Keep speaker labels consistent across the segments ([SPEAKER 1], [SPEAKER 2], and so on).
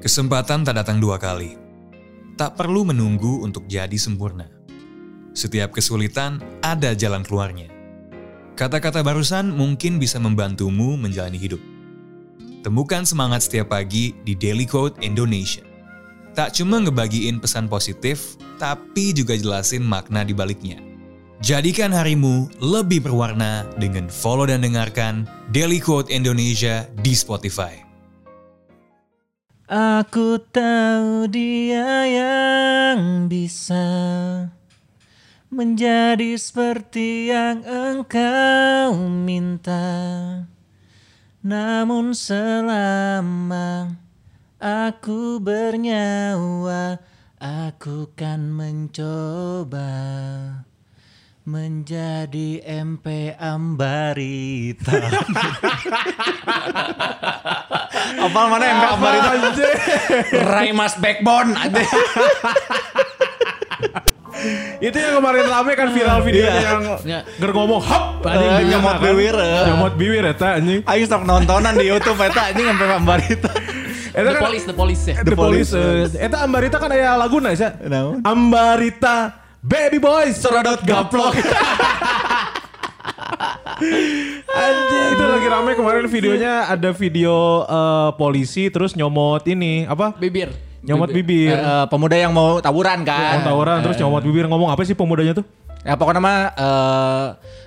[SPEAKER 1] Kesempatan tak datang dua kali. Tak perlu menunggu untuk jadi sempurna. Setiap kesulitan ada jalan keluarnya. Kata-kata barusan mungkin bisa membantumu menjalani hidup. Temukan semangat setiap pagi di Daily Code Indonesia. Tak cuma ngebagiin pesan positif, tapi juga jelasin makna di baliknya. Jadikan harimu lebih berwarna dengan follow dan dengarkan Daily Quote Indonesia di Spotify.
[SPEAKER 2] Aku tahu dia yang bisa menjadi seperti yang engkau minta. Namun selama aku bernyawa, aku kan mencoba menjadi MP Ambarita.
[SPEAKER 3] Apal mana yang kabar itu anjir? Rai Mas Backbone anjir.
[SPEAKER 4] Itu yang kemarin rame kan viral
[SPEAKER 3] Iya.
[SPEAKER 4] videonya yang ger ngomong hop anjing
[SPEAKER 3] Eh,
[SPEAKER 4] di kamar,
[SPEAKER 3] nyomot
[SPEAKER 4] kan?
[SPEAKER 3] biwir, eh.
[SPEAKER 4] Nyomot biwir eta anjing.
[SPEAKER 3] Ayo stop nontonan di YouTube eta anjing sampai Ambarita.
[SPEAKER 4] Eta
[SPEAKER 5] The
[SPEAKER 4] kan
[SPEAKER 5] Police, The Police ya.
[SPEAKER 4] The
[SPEAKER 3] The
[SPEAKER 4] Police.
[SPEAKER 3] Police.
[SPEAKER 4] eh, Eta Ambarita kan aya laguna sih.
[SPEAKER 3] Naon?
[SPEAKER 4] Ambarita Baby Boys
[SPEAKER 3] Serodot gaplok.
[SPEAKER 4] Anjing itu lagi rame kemarin videonya ada video eh, polisi terus nyomot ini apa?
[SPEAKER 5] Bibir.
[SPEAKER 4] Nyomot bibir. Eh,
[SPEAKER 3] Eh, pemuda yang mau tawuran kan.
[SPEAKER 4] Mau tawuran terus nyomot bibir ngomong apa sih pemudanya tuh?
[SPEAKER 3] Ya pokoknya mah eh,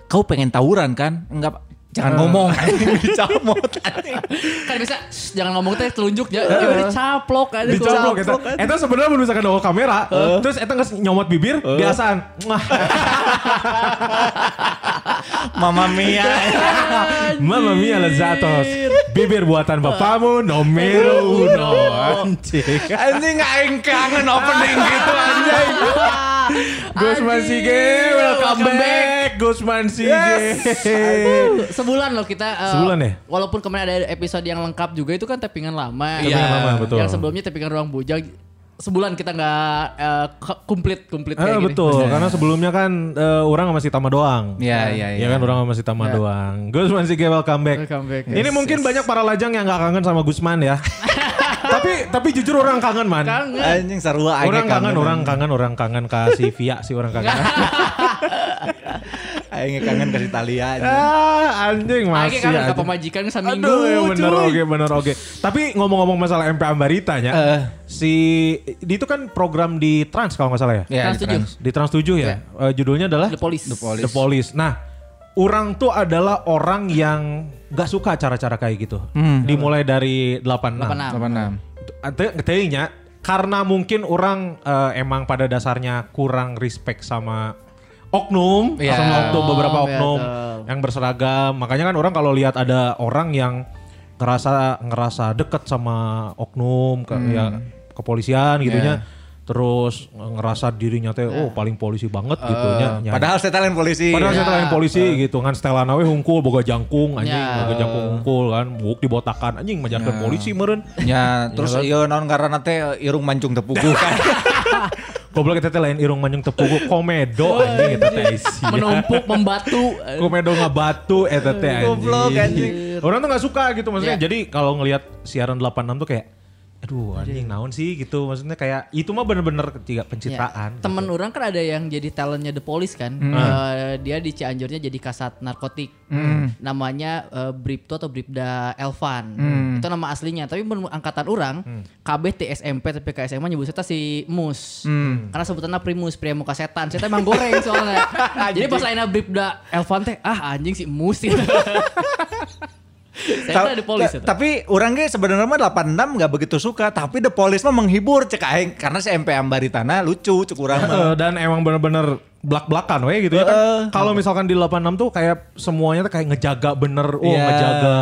[SPEAKER 3] kau pengen tawuran kan? Enggak jangan ngomong
[SPEAKER 4] Eh.
[SPEAKER 3] anjing dicamot anjing.
[SPEAKER 5] Kan bisa "Shh, jangan ngomong teh telunjuk ya.
[SPEAKER 2] Eh.
[SPEAKER 5] Ini dicaplok aja
[SPEAKER 4] Dicolok eta. Eta sebenarnya misalkan bawa kamera, terus eta nges nyomot bibir, biasaan. Mwah.
[SPEAKER 3] Mama Mia.
[SPEAKER 4] Mamma mia lezatos Bibir buatan bapamu Nomero uno Anjing
[SPEAKER 3] Anjing aing kangen opening gitu anjing.
[SPEAKER 4] Gusman Sige Welcome
[SPEAKER 5] welcome
[SPEAKER 4] back Gusman Sige
[SPEAKER 5] Sebulan loh kita. eh,
[SPEAKER 4] Sebulan ya?
[SPEAKER 5] Walaupun kemarin ada episode yang lengkap juga itu kan tappingan lama.
[SPEAKER 4] Tappingan
[SPEAKER 5] Iya.
[SPEAKER 4] lama, betul.
[SPEAKER 5] Yang sebelumnya tappingan ruang bujang. Sebulan kita nggak eh, ke- komplit komplit
[SPEAKER 4] Eh,
[SPEAKER 5] kayak gini. Iya.
[SPEAKER 4] betul, karena sebelumnya kan eh, orang sama si Tama doang.
[SPEAKER 3] Iya, iya,
[SPEAKER 4] Iya
[SPEAKER 3] iya.
[SPEAKER 4] kan orang sama si Tama doang. Gusman Sige welcome back.
[SPEAKER 5] Welcome back.
[SPEAKER 4] Ini
[SPEAKER 5] Yes,
[SPEAKER 4] mungkin
[SPEAKER 5] yes.
[SPEAKER 4] banyak para lajang yang gak kangen sama Gusman ya. tapi tapi jujur orang kangen man.
[SPEAKER 5] Kangen.
[SPEAKER 3] Anjing sarua aing
[SPEAKER 4] Orang kangen, orang kangen, orang kangen ke si Via sih orang kangen.
[SPEAKER 3] aing kangen kasih Talia anjing.
[SPEAKER 4] ah, anjing
[SPEAKER 5] Akhirnya kan
[SPEAKER 4] masih.
[SPEAKER 5] kangen ke
[SPEAKER 4] anjing.
[SPEAKER 5] pemajikan seminggu.
[SPEAKER 4] Aduh, ya bener
[SPEAKER 5] cuy.
[SPEAKER 4] oke, bener oke. Tapi ngomong-ngomong masalah MP Ambarita ya,
[SPEAKER 3] Eh.
[SPEAKER 4] si di itu kan program di Trans kalau nggak salah ya,
[SPEAKER 3] Ya,
[SPEAKER 5] Trans tujuh.
[SPEAKER 3] Trans.
[SPEAKER 4] di Trans 7 ya. Eh, judulnya adalah
[SPEAKER 5] The Police. The Police.
[SPEAKER 4] The Police. Nah, orang tuh adalah orang yang nggak suka cara-cara kayak gitu.
[SPEAKER 5] Hmm.
[SPEAKER 4] Dimulai dari 86.
[SPEAKER 5] 86.
[SPEAKER 3] 86.
[SPEAKER 4] Artinya karena mungkin orang eh, emang pada dasarnya kurang respect sama oknum,
[SPEAKER 3] Iya.
[SPEAKER 4] sama oknum beberapa
[SPEAKER 5] Oknum,
[SPEAKER 4] oknum
[SPEAKER 5] betul.
[SPEAKER 4] yang berseragam. Makanya kan orang kalau lihat ada orang yang ngerasa ngerasa deket sama oknum ke
[SPEAKER 3] Hmm.
[SPEAKER 4] ya, kepolisian gitunya.
[SPEAKER 3] Iya.
[SPEAKER 4] Terus ngerasa dirinya teh oh paling polisi banget gitu ya.
[SPEAKER 3] Eh, Padahal iya. Eh. saya talent polisi.
[SPEAKER 4] Padahal saya telain polisi gitu kan setelan we hungkul boga jangkung anjing,
[SPEAKER 5] Ya.
[SPEAKER 3] Iya.
[SPEAKER 4] boga jangkung hungkul kan, buk dibotakan anjing majarkan polisi meureun.
[SPEAKER 3] Ya, terus iya non karena teh irung mancung tepugu kan.
[SPEAKER 4] Goblok kita teh lain irung manjung tepugu komedo anjing kita teh isi. Iya.
[SPEAKER 5] Menumpuk, membatu.
[SPEAKER 4] Komedo ngebatu eta teh anjing.
[SPEAKER 3] Goblok, anjing.
[SPEAKER 4] Orang tuh gak suka gitu maksudnya.
[SPEAKER 5] Iya.
[SPEAKER 4] Jadi kalau ngelihat siaran 86 tuh kayak aduh anjing naon sih gitu maksudnya kayak itu mah bener-bener ketiga pencitraan.
[SPEAKER 5] Ya, Temen orang kan ada yang jadi talentnya The Police kan.
[SPEAKER 3] Hmm.
[SPEAKER 5] Eh, dia di Cianjurnya jadi kasat narkotik.
[SPEAKER 3] Hmm.
[SPEAKER 5] Namanya eh, Bripto atau Bripda Elvan.
[SPEAKER 3] Hmm.
[SPEAKER 5] Itu nama aslinya. Tapi menurut angkatan orang, KB TSMP tapi ke SMA nyebutnya si Mus.
[SPEAKER 3] Hmm.
[SPEAKER 5] Karena sebutannya Primus, pria muka setan. Saya emang goreng soalnya. jadi pas lainnya Bripda Elvan teh, ah anjing si Mus gitu.
[SPEAKER 3] Ta-
[SPEAKER 5] Saya The Police. eta.
[SPEAKER 3] ta- tapi orang ge sebenarnya mah 86 nggak begitu suka, tapi The Police mah menghibur cek aing karena si MP Ambaritana lucu cek urang
[SPEAKER 4] Eh,
[SPEAKER 3] mah.
[SPEAKER 4] dan emang bener-bener belak-belakan we gitu ya kan. Kalau misalkan di 86 tuh kayak semuanya tuh kayak ngejaga bener, oh
[SPEAKER 3] Iya.
[SPEAKER 4] ngejaga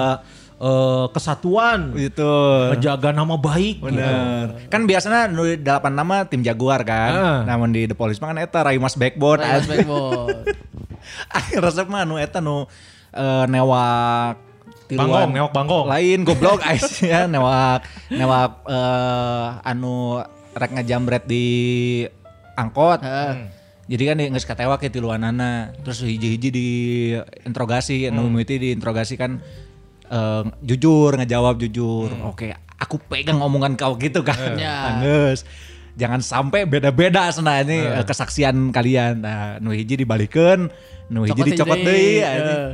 [SPEAKER 4] eh, kesatuan,
[SPEAKER 2] Gitu.
[SPEAKER 4] ngejaga nama baik.
[SPEAKER 3] Iya.
[SPEAKER 4] gitu.
[SPEAKER 2] Bener. Kan biasanya di delapan nama tim Jaguar kan.
[SPEAKER 4] Ah.
[SPEAKER 2] Namun di The Police mah kan eta Rai Mas Backboard.
[SPEAKER 5] Rai Mas Backboard.
[SPEAKER 2] Akhir resep mah nu eta nu eh, newak tiruan.
[SPEAKER 4] Bangkong, newak bangkong.
[SPEAKER 2] Lain goblok ais ya newak newak eh, anu rek ngejambret di angkot. Jadi kan nggak katewa ke tiluanana. Terus hiji-hiji di interogasi, anu mimiti di interogasi kan eh, jujur, ngejawab jujur. Oke, aku pegang omongan kau gitu kan.
[SPEAKER 5] Ya.
[SPEAKER 2] Anggeus. Jangan sampai beda-beda sana ini eh, kesaksian kalian. Nah, nu hiji dibalikeun, nu hiji
[SPEAKER 5] Cokot
[SPEAKER 2] dicokot
[SPEAKER 5] hiji.
[SPEAKER 2] deui. anjing.
[SPEAKER 5] Eh.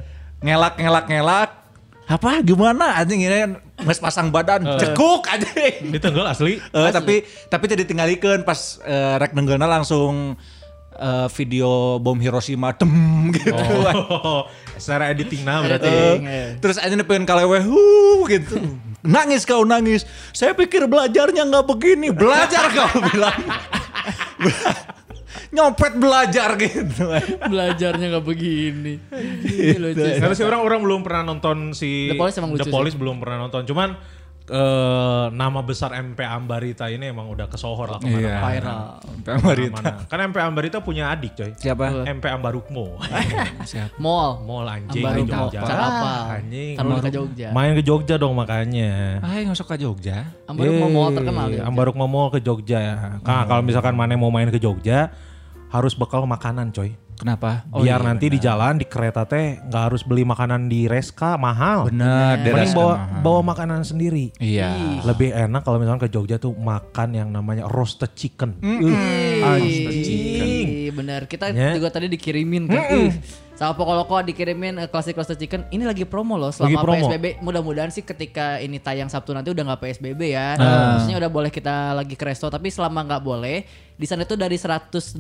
[SPEAKER 2] Ngelak ngelak ngelak. Apa gimana anjing ini nges pasang badan cekuk anjing.
[SPEAKER 4] Ditenggel asli.
[SPEAKER 2] Eh, tapi tapi tadi tinggalikeun pas eh, rek nenggeulna langsung eh, video bom Hiroshima dem gitu.
[SPEAKER 4] Secara editing nah berarti.
[SPEAKER 2] Eh, terus aja pengen kaleweh huh, gitu. Nangis kau nangis. Saya pikir belajarnya nggak begini. Belajar kau bilang. Bela- Nyopet belajar gitu.
[SPEAKER 5] Belajarnya nggak begini. Lucu sih.
[SPEAKER 3] ya.
[SPEAKER 4] Karena sih orang orang belum pernah nonton si
[SPEAKER 5] Iya. The Police emang lucu
[SPEAKER 4] The
[SPEAKER 5] sih.
[SPEAKER 4] Police belum pernah nonton. Cuman eh, nama besar MP Ambarita ini emang udah kesohor lah kemana-mana.
[SPEAKER 5] Viral.
[SPEAKER 4] Kemana-mana. Kan MP Ambarita punya adik coy.
[SPEAKER 2] Siapa?
[SPEAKER 4] MP Ambarukmo.
[SPEAKER 5] Mall.
[SPEAKER 4] Mall anjing di
[SPEAKER 5] Ambarukmo.
[SPEAKER 4] Jogja.
[SPEAKER 5] Cara apa?
[SPEAKER 4] Anjing.
[SPEAKER 5] Taruh ke Jogja.
[SPEAKER 4] Main ke Jogja dong makanya.
[SPEAKER 2] Ah, nggak suka Jogja.
[SPEAKER 5] Ambarukmo
[SPEAKER 4] Yeay,
[SPEAKER 5] Mall terkenal. ya. di Jogja.
[SPEAKER 4] Ambarukmo Mall ke Jogja ya. Nah, kalau misalkan Mane mau main ke Jogja harus bekal makanan coy.
[SPEAKER 2] Kenapa?
[SPEAKER 4] Biar nanti di jalan di kereta teh nggak harus beli makanan di reska mahal.
[SPEAKER 2] Benar,
[SPEAKER 4] Mending bawa bawa makanan sendiri.
[SPEAKER 2] Iya.
[SPEAKER 4] Lebih enak kalau misalkan ke Jogja tuh makan yang namanya roasted chicken.
[SPEAKER 5] Ih,
[SPEAKER 4] Uh, anjing.
[SPEAKER 5] Ih, Bener, Iya, kita
[SPEAKER 4] Ya.
[SPEAKER 5] juga tadi dikirimin kan. Ih, Sama Pokoloko dikirimin eh, klasik roasted chicken. Ini lagi promo loh
[SPEAKER 4] Lagi
[SPEAKER 5] selama
[SPEAKER 4] promo.
[SPEAKER 5] PSBB. Mudah-mudahan sih ketika ini tayang Sabtu nanti udah nggak PSBB ya.
[SPEAKER 4] Ah.
[SPEAKER 5] Maksudnya udah boleh kita lagi ke resto. Tapi selama nggak boleh, di sana itu dari 188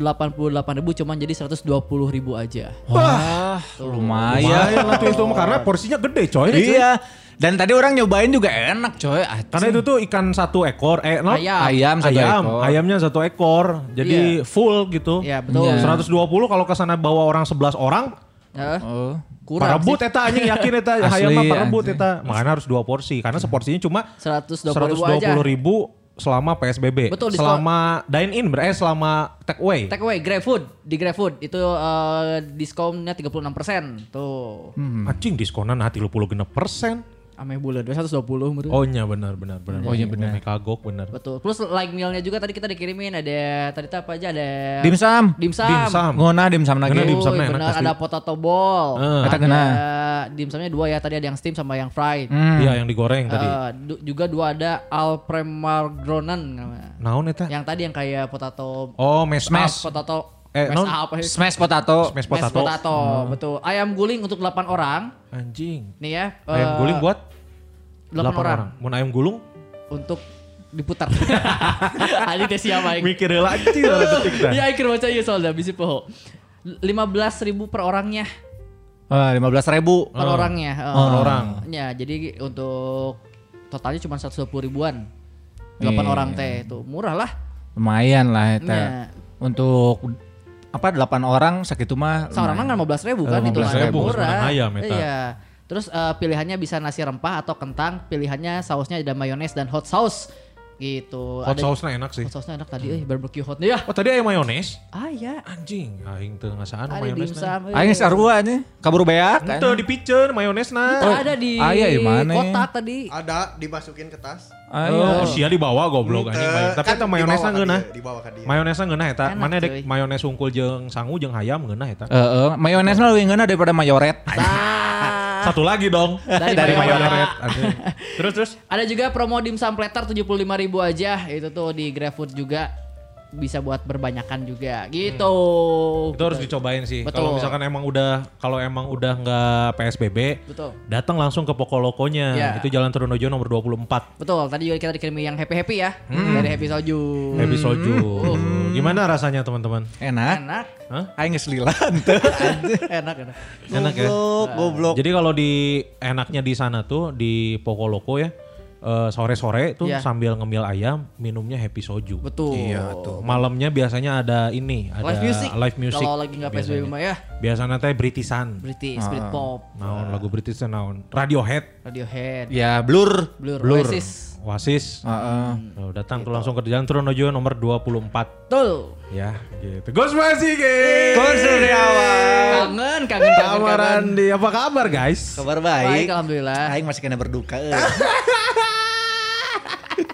[SPEAKER 5] ribu cuman jadi 120 ribu aja.
[SPEAKER 2] Wah, Oh, lumayan.
[SPEAKER 4] Lumayan lah tuh itu karena porsinya gede coy.
[SPEAKER 2] Iya. Dan tadi orang nyobain juga enak coy. Ah,
[SPEAKER 4] Karena itu tuh ikan satu ekor, eh no,
[SPEAKER 5] Ayam.
[SPEAKER 2] ayam satu
[SPEAKER 4] ayam,
[SPEAKER 2] ekor.
[SPEAKER 4] ayamnya satu ekor, jadi full gitu.
[SPEAKER 5] Iya, betul.
[SPEAKER 2] Iya.
[SPEAKER 4] 120 kalau ke sana bawa orang 11 orang,
[SPEAKER 5] Eh,
[SPEAKER 2] Oh.
[SPEAKER 5] kurang
[SPEAKER 4] parebut eta anjing yakin eta
[SPEAKER 2] Asli,
[SPEAKER 4] hayam mah parebut
[SPEAKER 2] asli.
[SPEAKER 4] eta. Makanya harus dua porsi karena seporsinya cuma
[SPEAKER 5] sih. 120 ribu
[SPEAKER 4] 120
[SPEAKER 5] aja.
[SPEAKER 4] ribu selama PSBB.
[SPEAKER 5] Betul, diskon.
[SPEAKER 4] selama dine in berarti selama take away.
[SPEAKER 5] Take away GrabFood di GrabFood itu eh, diskonnya 36% tuh.
[SPEAKER 4] Anjing diskonan hati lu puluh genep persen.
[SPEAKER 5] Ame bulan 120 menurut.
[SPEAKER 4] Oh iya benar benar benar. Oh iya benar. Kagok benar.
[SPEAKER 5] Hmm. Betul. Plus like mealnya juga tadi kita dikirimin ada tadi tuh apa aja ada
[SPEAKER 2] Dimsum.
[SPEAKER 5] dimsum.
[SPEAKER 4] Dimsum.
[SPEAKER 2] Ngona dimsum lagi.
[SPEAKER 4] Ngona
[SPEAKER 5] Dimsum.
[SPEAKER 4] dimsumnya enak
[SPEAKER 5] benar
[SPEAKER 4] asli.
[SPEAKER 5] ada potato ball.
[SPEAKER 4] Eh.
[SPEAKER 2] Kata
[SPEAKER 5] ada
[SPEAKER 2] kena.
[SPEAKER 5] dimsumnya dua ya tadi ada yang steam sama yang fried.
[SPEAKER 4] Iya yang digoreng tadi.
[SPEAKER 5] Eh, du- juga dua ada al premargronan namanya.
[SPEAKER 4] Naon eta?
[SPEAKER 5] Yang tadi yang kayak potato
[SPEAKER 4] Oh, mesh
[SPEAKER 5] up, potato
[SPEAKER 4] Eh,
[SPEAKER 5] mash
[SPEAKER 4] non-
[SPEAKER 5] up. Mash
[SPEAKER 2] Oh, iya. Smash potato.
[SPEAKER 4] Smash potato. Hmm.
[SPEAKER 5] potato, betul. Ayam guling untuk 8 orang.
[SPEAKER 4] Anjing.
[SPEAKER 5] Nih ya.
[SPEAKER 4] Ayam
[SPEAKER 5] eh,
[SPEAKER 4] guling buat
[SPEAKER 5] 8
[SPEAKER 4] 8
[SPEAKER 5] orang.
[SPEAKER 4] orang. Mun ayam gulung
[SPEAKER 5] untuk diputar. Adi teh siapa yang
[SPEAKER 4] mikir heula anjing lah detik dah.
[SPEAKER 5] Iya, akhir baca ya soalnya bisi poho. 15 ribu per orangnya,
[SPEAKER 2] Lima belas ribu.
[SPEAKER 5] per orangnya. eh.
[SPEAKER 4] Oh. per orang.
[SPEAKER 5] Ya, jadi untuk totalnya cuma 120 ribuan.
[SPEAKER 4] Iya,
[SPEAKER 5] 8 orang teh itu murah lah.
[SPEAKER 2] Lumayan lah eta.
[SPEAKER 5] Iya.
[SPEAKER 2] Untuk apa delapan orang sakitu mah.
[SPEAKER 5] Seorang
[SPEAKER 2] lumayan.
[SPEAKER 5] kan 15 ribu kan itu
[SPEAKER 4] 15.000,
[SPEAKER 5] murah.
[SPEAKER 4] makanan ayam, ya, eta.
[SPEAKER 5] Iya. Terus eh, pilihannya bisa nasi rempah atau kentang, pilihannya sausnya ada mayones dan hot sauce gitu.
[SPEAKER 4] Hot
[SPEAKER 5] Ada-
[SPEAKER 4] sauce-na enak sih.
[SPEAKER 5] Hot sauce-nya enak tadi, eh barbecue hotnya ya.
[SPEAKER 4] Oh tadi ayam mayones?
[SPEAKER 5] Ah ya,
[SPEAKER 4] Anjing, aing teu ngasaan
[SPEAKER 5] ada
[SPEAKER 4] mayones.
[SPEAKER 5] dimsum. eh.
[SPEAKER 2] Aing sarua nih. Kabur beak. kan.
[SPEAKER 4] Itu di pitcher mayonesna.
[SPEAKER 5] Kita ada di
[SPEAKER 2] ah, iya, di mana ya?
[SPEAKER 5] kotak tadi.
[SPEAKER 4] Ah.
[SPEAKER 6] Ada dimasukin ke tas.
[SPEAKER 4] Oh,
[SPEAKER 2] Ayo.
[SPEAKER 4] sia dibawa goblok anjing. mayones. Tapi eta mayonesna
[SPEAKER 6] Nah.
[SPEAKER 4] geunah.
[SPEAKER 6] Gitu. Kan Dibawa ke dia.
[SPEAKER 4] Mayonesna geunah eta.
[SPEAKER 5] Enak,
[SPEAKER 4] Mana
[SPEAKER 5] cuy.
[SPEAKER 4] dek mayones unggul jeung sangu jeung hayam geunah eta.
[SPEAKER 2] Eh, eh, mayones mah lebih ngena daripada mayoret.
[SPEAKER 5] Nah,
[SPEAKER 4] Satu lagi dong
[SPEAKER 5] Ah. Dari mayones.
[SPEAKER 4] mayonet. Anjing. Terus terus
[SPEAKER 5] Ada juga promo dimsum platter 75.000 aja. Itu tuh di GrabFood juga bisa buat berbanyakan juga gitu.
[SPEAKER 4] Hmm. itu harus dicobain sih.
[SPEAKER 5] Betul.
[SPEAKER 4] Kalau misalkan emang udah kalau emang udah nggak PSBB,
[SPEAKER 5] Betul.
[SPEAKER 4] datang langsung ke Pokolokonya.
[SPEAKER 5] Iya.
[SPEAKER 4] Itu Jalan Trunojo nomor 24.
[SPEAKER 5] Betul, tadi juga kita dikirimi yang happy-happy ya dari Happy Soju.
[SPEAKER 4] Hmm. Happy Soju.
[SPEAKER 5] Uh.
[SPEAKER 4] Gimana rasanya teman-teman?
[SPEAKER 2] Enak.
[SPEAKER 5] Enak.
[SPEAKER 2] Aing geus lilan teu.
[SPEAKER 5] enak, enak.
[SPEAKER 4] Enak ya?
[SPEAKER 2] Goblok, goblok.
[SPEAKER 4] Jadi kalau di enaknya di sana tuh di Pokoloko ya eh eh, sore-sore tuh
[SPEAKER 5] Iya.
[SPEAKER 4] sambil ngemil ayam minumnya happy soju.
[SPEAKER 5] Betul.
[SPEAKER 4] Malamnya biasanya ada ini, Iya. ada
[SPEAKER 5] Live music.
[SPEAKER 4] live music.
[SPEAKER 5] Kalau lagi nggak PSBB
[SPEAKER 4] biasanya. Ah.
[SPEAKER 5] mah ya
[SPEAKER 4] Biasanya teh Britishan.
[SPEAKER 5] British, Britpop,
[SPEAKER 4] Naon lagu British teh naon? Radiohead,
[SPEAKER 5] Radiohead,
[SPEAKER 2] Ya blur.
[SPEAKER 5] Blur,
[SPEAKER 4] Iya. Blur.
[SPEAKER 5] Oasis.
[SPEAKER 4] Oasis.
[SPEAKER 2] Heeh.
[SPEAKER 4] Tuh, datang tuh langsung ke jalan Trunojo nomor 24.
[SPEAKER 5] Tuh.
[SPEAKER 4] Ya, gitu. Gus Masige. Gus Suryawan.
[SPEAKER 5] Kangen, kangen, kangen, kangen.
[SPEAKER 4] Kamarandi, apa kabar guys?
[SPEAKER 2] Kabar
[SPEAKER 5] Baik,
[SPEAKER 2] baik.
[SPEAKER 5] alhamdulillah.
[SPEAKER 2] Aing masih kena berduka. eh.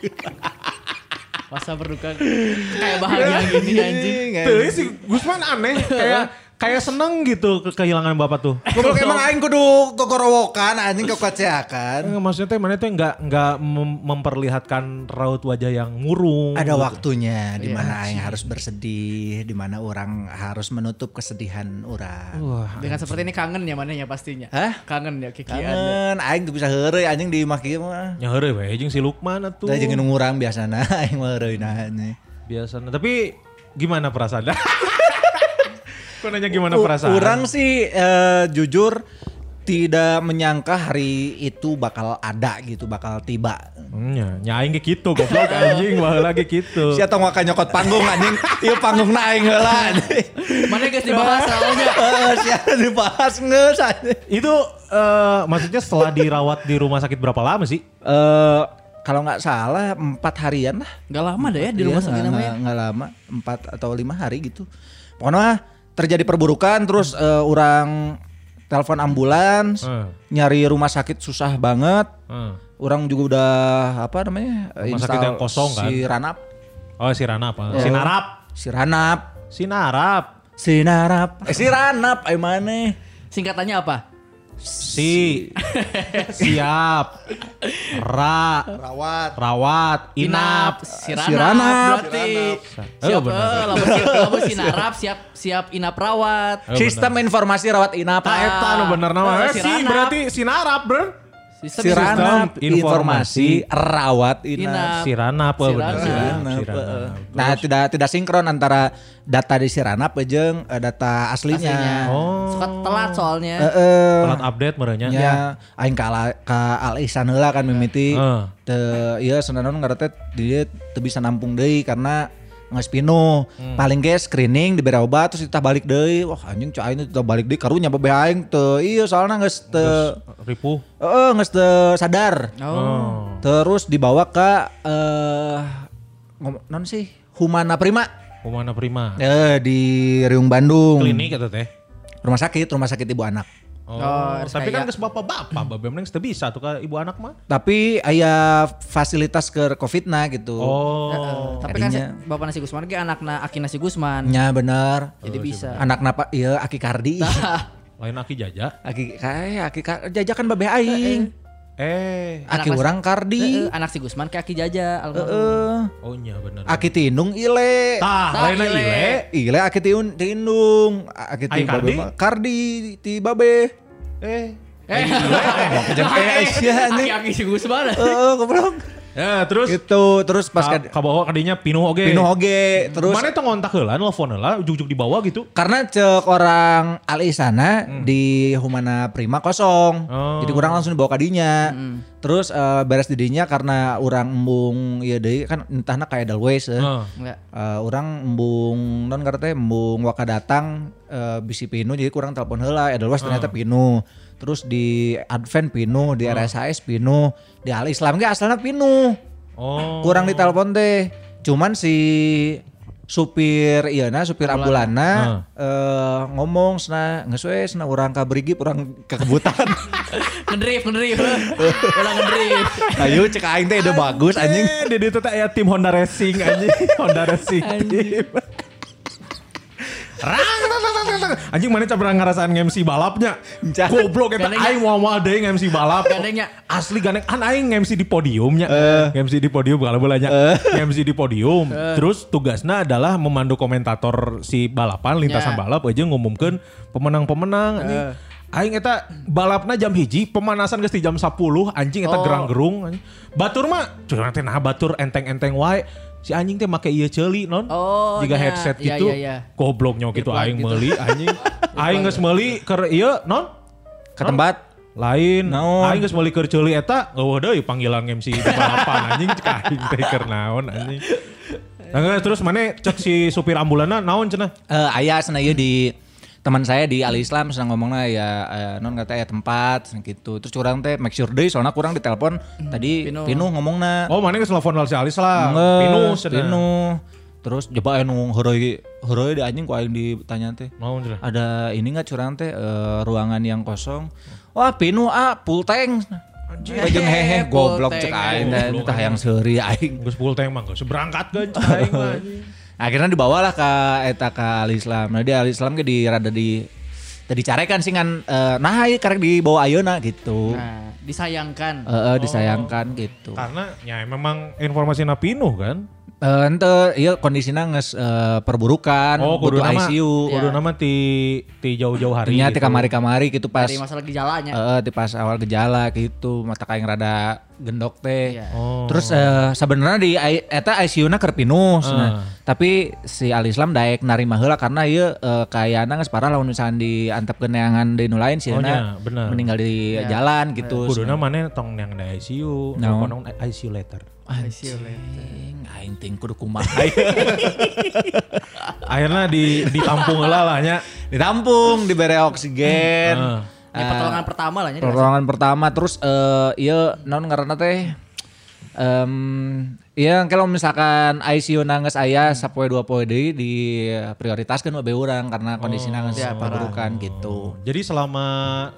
[SPEAKER 5] Masa berduka kayak bahagia gini anjing.
[SPEAKER 4] Tuh si Gusman aneh kayak kayak seneng gitu ke kehilangan bapak tuh.
[SPEAKER 2] Goblok emang aing kudu kokorowokan anjing kokoceakan.
[SPEAKER 4] Eh, Maksudnya teh mana tuh nggak nggak mem- memperlihatkan raut wajah yang murung.
[SPEAKER 2] Ada waktunya
[SPEAKER 4] Iya.
[SPEAKER 2] di mana aing harus bersedih, di mana orang harus menutup kesedihan orang.
[SPEAKER 4] Wah, Iya,
[SPEAKER 5] Dengan seperti ini kangen ya mananya pastinya.
[SPEAKER 2] Hah?
[SPEAKER 5] Kangen ya kikian.
[SPEAKER 2] Kangen, aing tuh bisa heureuy anjing di maki mah.
[SPEAKER 4] nyahere we jeung si Lukman atuh.
[SPEAKER 2] Udah jeung ngurang biasana aing mah heureuy nah, anjing.
[SPEAKER 4] Biasanya. Nah, Tapi gimana perasaan? Kau nanya gimana perasaan?
[SPEAKER 2] Kurang sih eh, jujur tidak menyangka hari itu bakal ada gitu, bakal tiba.
[SPEAKER 4] Hmm, ya, nyaing ke gitu goblok anjing wah lagi gitu.
[SPEAKER 2] Si atau ngaka nyokot panggung anjing, iya panggung naik heula. anjing.
[SPEAKER 5] Mana guys dibahas soalnya.
[SPEAKER 2] Eh, Si anu dibahas ngeus anjing.
[SPEAKER 4] Itu eh, maksudnya setelah dirawat di rumah sakit berapa lama sih?
[SPEAKER 2] Eh, kalau nggak salah empat harian lah.
[SPEAKER 5] Gak lama dah ya di rumah
[SPEAKER 2] Iya,
[SPEAKER 5] sakit
[SPEAKER 2] nggak-
[SPEAKER 5] namanya.
[SPEAKER 2] nggak- nggak lama, empat atau lima hari gitu. Pokoknya terjadi perburukan, terus eh, orang telepon ambulans,
[SPEAKER 4] Hmm.
[SPEAKER 2] nyari rumah sakit susah banget.
[SPEAKER 4] Hmm.
[SPEAKER 2] Orang juga udah apa namanya? eh,
[SPEAKER 4] Rumah sakit
[SPEAKER 2] install
[SPEAKER 4] yang kosong kan?
[SPEAKER 2] Si Ranap,
[SPEAKER 4] Oh si Rana apa? Si Narap.
[SPEAKER 2] si Ranap,
[SPEAKER 4] Si Narap.
[SPEAKER 2] si Narap, eh, si Ranap, eh mana?
[SPEAKER 5] Singkatannya apa?
[SPEAKER 4] Si siap. Ra
[SPEAKER 6] Rawat.
[SPEAKER 4] rawat inap.
[SPEAKER 5] Siranap,
[SPEAKER 2] Siranap.
[SPEAKER 5] berarti.
[SPEAKER 4] Oh,
[SPEAKER 5] Siap,
[SPEAKER 4] benar.
[SPEAKER 5] eh, lamun siap, lamun sinarap, siap, siap inap rawat.
[SPEAKER 4] Oh,
[SPEAKER 2] Sistem informasi rawat inap.
[SPEAKER 4] Ah, eta anu bener
[SPEAKER 5] Eh,
[SPEAKER 4] nama. Eh,
[SPEAKER 5] si
[SPEAKER 4] si
[SPEAKER 5] Ranap.
[SPEAKER 4] berarti si Narap, Bro.
[SPEAKER 5] Sistem
[SPEAKER 2] Si Ranap
[SPEAKER 4] Sistem informasi
[SPEAKER 2] informasi rawat inap.
[SPEAKER 5] Inap.
[SPEAKER 4] Si Rana apa
[SPEAKER 5] Si
[SPEAKER 4] bener
[SPEAKER 5] Rana.
[SPEAKER 4] si Rana,
[SPEAKER 2] Siranap,
[SPEAKER 4] si Rana.
[SPEAKER 2] eh. Nah, tidak tidak sinkron antara data di Siranap jeung eh, data aslinya.
[SPEAKER 5] Aslinya.
[SPEAKER 4] Oh.
[SPEAKER 5] Suka telat soalnya.
[SPEAKER 2] Eh, eh,
[SPEAKER 4] Telat update merenya.
[SPEAKER 2] nya aing ka Ala- ka Al Ihsan heula kan mimiti.
[SPEAKER 4] Heeh.
[SPEAKER 2] Te iya, ieu senanaon ngaranna teh dia teu bisa nampung deui karena nges pinu. Paling ge screening diberi obat terus ditah balik deui. Wah, anjing cai ini ditah balik deui karunya bebe aing teu ieu soalnya geus teu
[SPEAKER 4] Eh, Ripuh.
[SPEAKER 2] heeh geus teu sadar.
[SPEAKER 5] Oh.
[SPEAKER 2] Terus dibawa ke eh ngom- non sih Humana Prima
[SPEAKER 4] Kumana Oh, Prima.
[SPEAKER 2] eh di Riung Bandung.
[SPEAKER 4] Klinik eta teh.
[SPEAKER 2] Rumah sakit, rumah sakit ibu anak.
[SPEAKER 4] Oh,
[SPEAKER 5] Oh,
[SPEAKER 4] tapi
[SPEAKER 5] RSKI.
[SPEAKER 4] kan ke bapak-bapak, bapak mending teu bisa tuh ka ibu anak mah.
[SPEAKER 2] Tapi aya fasilitas ke covid na gitu.
[SPEAKER 4] Oh.
[SPEAKER 5] Tapi kan si,
[SPEAKER 2] Tadinya.
[SPEAKER 5] Bapak Nasi Gusman ge anakna Aki Nasi Gusman.
[SPEAKER 2] Nya bener.
[SPEAKER 5] Jadi bisa. Nah.
[SPEAKER 2] Anak napa? Iya, Hmm. Oh, aki kardi.
[SPEAKER 4] Lain aki jaja.
[SPEAKER 2] aki kayak aki ka- jajakan babe aing.
[SPEAKER 4] Eh,
[SPEAKER 2] Aki
[SPEAKER 5] Anak-
[SPEAKER 2] urang
[SPEAKER 5] Heeh,
[SPEAKER 2] kardi.
[SPEAKER 5] anak si Gusman ke Aki Jaja almarhum.
[SPEAKER 2] Heeh.
[SPEAKER 4] oh nya bener. Ah,
[SPEAKER 2] Aki tinung ile. Eh,
[SPEAKER 4] Tah,
[SPEAKER 5] Tah,
[SPEAKER 4] lainnya
[SPEAKER 5] ile.
[SPEAKER 4] ile.
[SPEAKER 2] Ile aki tiun tinung. A- Aki ti
[SPEAKER 4] Ai kardi?
[SPEAKER 2] babe mah- kardi ti babe.
[SPEAKER 4] Eh.
[SPEAKER 5] Eh,
[SPEAKER 2] Kejam kayak Aisyah
[SPEAKER 5] Aki
[SPEAKER 2] anjing.
[SPEAKER 5] Aki si Gusman.
[SPEAKER 2] Heeh, goblok.
[SPEAKER 4] Ya, terus
[SPEAKER 2] Gitu, terus pas
[SPEAKER 4] Ka,
[SPEAKER 2] ka-
[SPEAKER 4] kaboho kadinya pinuh oge.
[SPEAKER 2] Pino Hoge terus
[SPEAKER 4] Mana teh ngontak heula, nelfon heula, ujug-ujug di bawah gitu.
[SPEAKER 2] karena cek orang Alisana di Humana Prima kosong.
[SPEAKER 4] Oh.
[SPEAKER 2] Jadi kurang langsung dibawa kadinya. Terus eh, beres didinya karena orang embung ya deui kan entahna kayak Dalways eh.
[SPEAKER 4] Heeh.
[SPEAKER 5] Enggak.
[SPEAKER 2] Eh, orang embung non karena teh embung waka datang eh, bisi Pino jadi kurang telepon heula Edelweiss ternyata Pino. Terus di Advent Pino, di RSHS Pino, di Al Islam ge asalna Pino
[SPEAKER 4] Oh.
[SPEAKER 2] kurang ditelepon teh cuman si supir iya na supir ambulana eh, ngomong sena geus we sena urang ka brigip urang kekebutan
[SPEAKER 5] Ngedrift, ngedrift. Ulang ngedrift.
[SPEAKER 2] ayo Nah, cek aing teh udah bagus anjing
[SPEAKER 4] Eh, di ditu teh aya tim Honda Racing anjing, Honda Racing tim. Rang, tang, tang, tang, tang, tang. Anjing mana cabang ngerasaan MC balapnya.
[SPEAKER 2] Encan.
[SPEAKER 4] Goblok eta
[SPEAKER 5] Gandengnya.
[SPEAKER 4] aing moal deui MC balap.
[SPEAKER 5] Gandengnya.
[SPEAKER 4] Asli gandeng an aing MC di podiumnya. MC di podium kalau boleh nya. MC di podium.
[SPEAKER 5] Eh.
[SPEAKER 4] Terus tugasnya adalah memandu komentator si balapan lintasan
[SPEAKER 5] Ya. Eh.
[SPEAKER 4] balap aja ngumumkeun pemenang-pemenang anjing. Aing eta balapna jam hiji, pemanasan geus di jam 10, anjing eta
[SPEAKER 5] Oh.
[SPEAKER 4] gerang-gerung. anjing. Batur mah, cuman teh nah batur enteng-enteng wae. Si anjing teh make ieu ceuli non.
[SPEAKER 5] Oh,
[SPEAKER 4] Jika
[SPEAKER 5] nya.
[SPEAKER 4] headset
[SPEAKER 5] Iya,
[SPEAKER 4] gitu.
[SPEAKER 5] iya, iya.
[SPEAKER 4] Gobloknya gitu
[SPEAKER 5] Earplug
[SPEAKER 4] aing
[SPEAKER 5] gitu.
[SPEAKER 4] meuli anjing. aing geus meuli keur ieu non.
[SPEAKER 2] ke tempat
[SPEAKER 4] lain
[SPEAKER 2] Naon?
[SPEAKER 4] aing geus meuli keur ceuli eta eueuh deui panggilan MC di balapan anjing cek aing teh keur naon anjing Nah, nggak, terus mana cek si supir ambulanna naon cenah?
[SPEAKER 2] Eh ayah sana ieu di teman saya di Al Islam senang ngomongnya ya eh, non kata ya tempat gitu terus kurang teh make sure deh soalnya kurang ditelepon tadi
[SPEAKER 5] Pinu.
[SPEAKER 2] Pinu, ngomongna
[SPEAKER 4] Oh, mana geus telepon si Alis lah.
[SPEAKER 2] Nges,
[SPEAKER 4] Pinus cenah.
[SPEAKER 2] Pinu. terus coba anu heroi heroi di anjing ku aing ditanya teh
[SPEAKER 4] Naon cenah?
[SPEAKER 2] ada ini nggak curang teh eh, ruangan yang kosong wah pinu ah full tank Bajeng hehe
[SPEAKER 5] Full
[SPEAKER 2] goblok
[SPEAKER 5] tank,
[SPEAKER 2] cek aing
[SPEAKER 4] anjing.
[SPEAKER 2] teh entah yang seuri aing
[SPEAKER 4] Geus full tank mah geus berangkat kan aing mah. anjing.
[SPEAKER 2] akhirnya dibawalah ke eta ke al Islam nah di al Islam ke di rada di tadi carekan sih kan eh, nah ieu karek dibawa ayeuna gitu
[SPEAKER 5] Nah, disayangkan.
[SPEAKER 2] Eh, eh, disayangkan gitu
[SPEAKER 4] Karena ya memang informasinya Pinu kan.
[SPEAKER 2] Eh, ente iya kondisinya nges eh, perburukan
[SPEAKER 4] Oh, kudu
[SPEAKER 2] butuh
[SPEAKER 4] nama,
[SPEAKER 2] ICU
[SPEAKER 4] kudu nama ti ti jauh-jauh hari.
[SPEAKER 2] artinya
[SPEAKER 4] gitu.
[SPEAKER 2] di kamari-kamari gitu pas
[SPEAKER 5] Dari masalah gejalanya.
[SPEAKER 2] eh di pas awal gejala gitu mata kain rada gendok teh
[SPEAKER 5] Iya.
[SPEAKER 4] Oh.
[SPEAKER 2] terus eh, sebenarnya di I- eta ICU na kerpinus
[SPEAKER 4] Ah.
[SPEAKER 2] nah. tapi si Al Islam daek narima heula karena ieu eh, kayana geus parah lamun misalkan diantep keneangan di nu lain si
[SPEAKER 4] Oh,
[SPEAKER 2] Euna
[SPEAKER 4] nya, bener.
[SPEAKER 2] meninggal di
[SPEAKER 5] Ya.
[SPEAKER 2] jalan gitu
[SPEAKER 4] kudu nama mana tong yang di ICU,
[SPEAKER 2] Naon?
[SPEAKER 4] no. nong ICU later.
[SPEAKER 5] ICU
[SPEAKER 2] Anjing, aing ting kudu kumaha
[SPEAKER 4] Akhirnya di ditampung lah lah nya.
[SPEAKER 2] ditampung diberi oksigen
[SPEAKER 4] Heeh.
[SPEAKER 2] Ah.
[SPEAKER 5] Ya, pertolongan pertama lah. ya,
[SPEAKER 2] Pertolongan pertama terus eh iya non karena teh em iya kalau misalkan ICU nangis
[SPEAKER 4] Hmm.
[SPEAKER 2] ayah sapoe dua poe deui diprioritaskeun we urang karena kondisi
[SPEAKER 4] Oh,
[SPEAKER 2] nangis
[SPEAKER 5] ya, parah.
[SPEAKER 2] perburukan gitu.
[SPEAKER 4] Jadi selama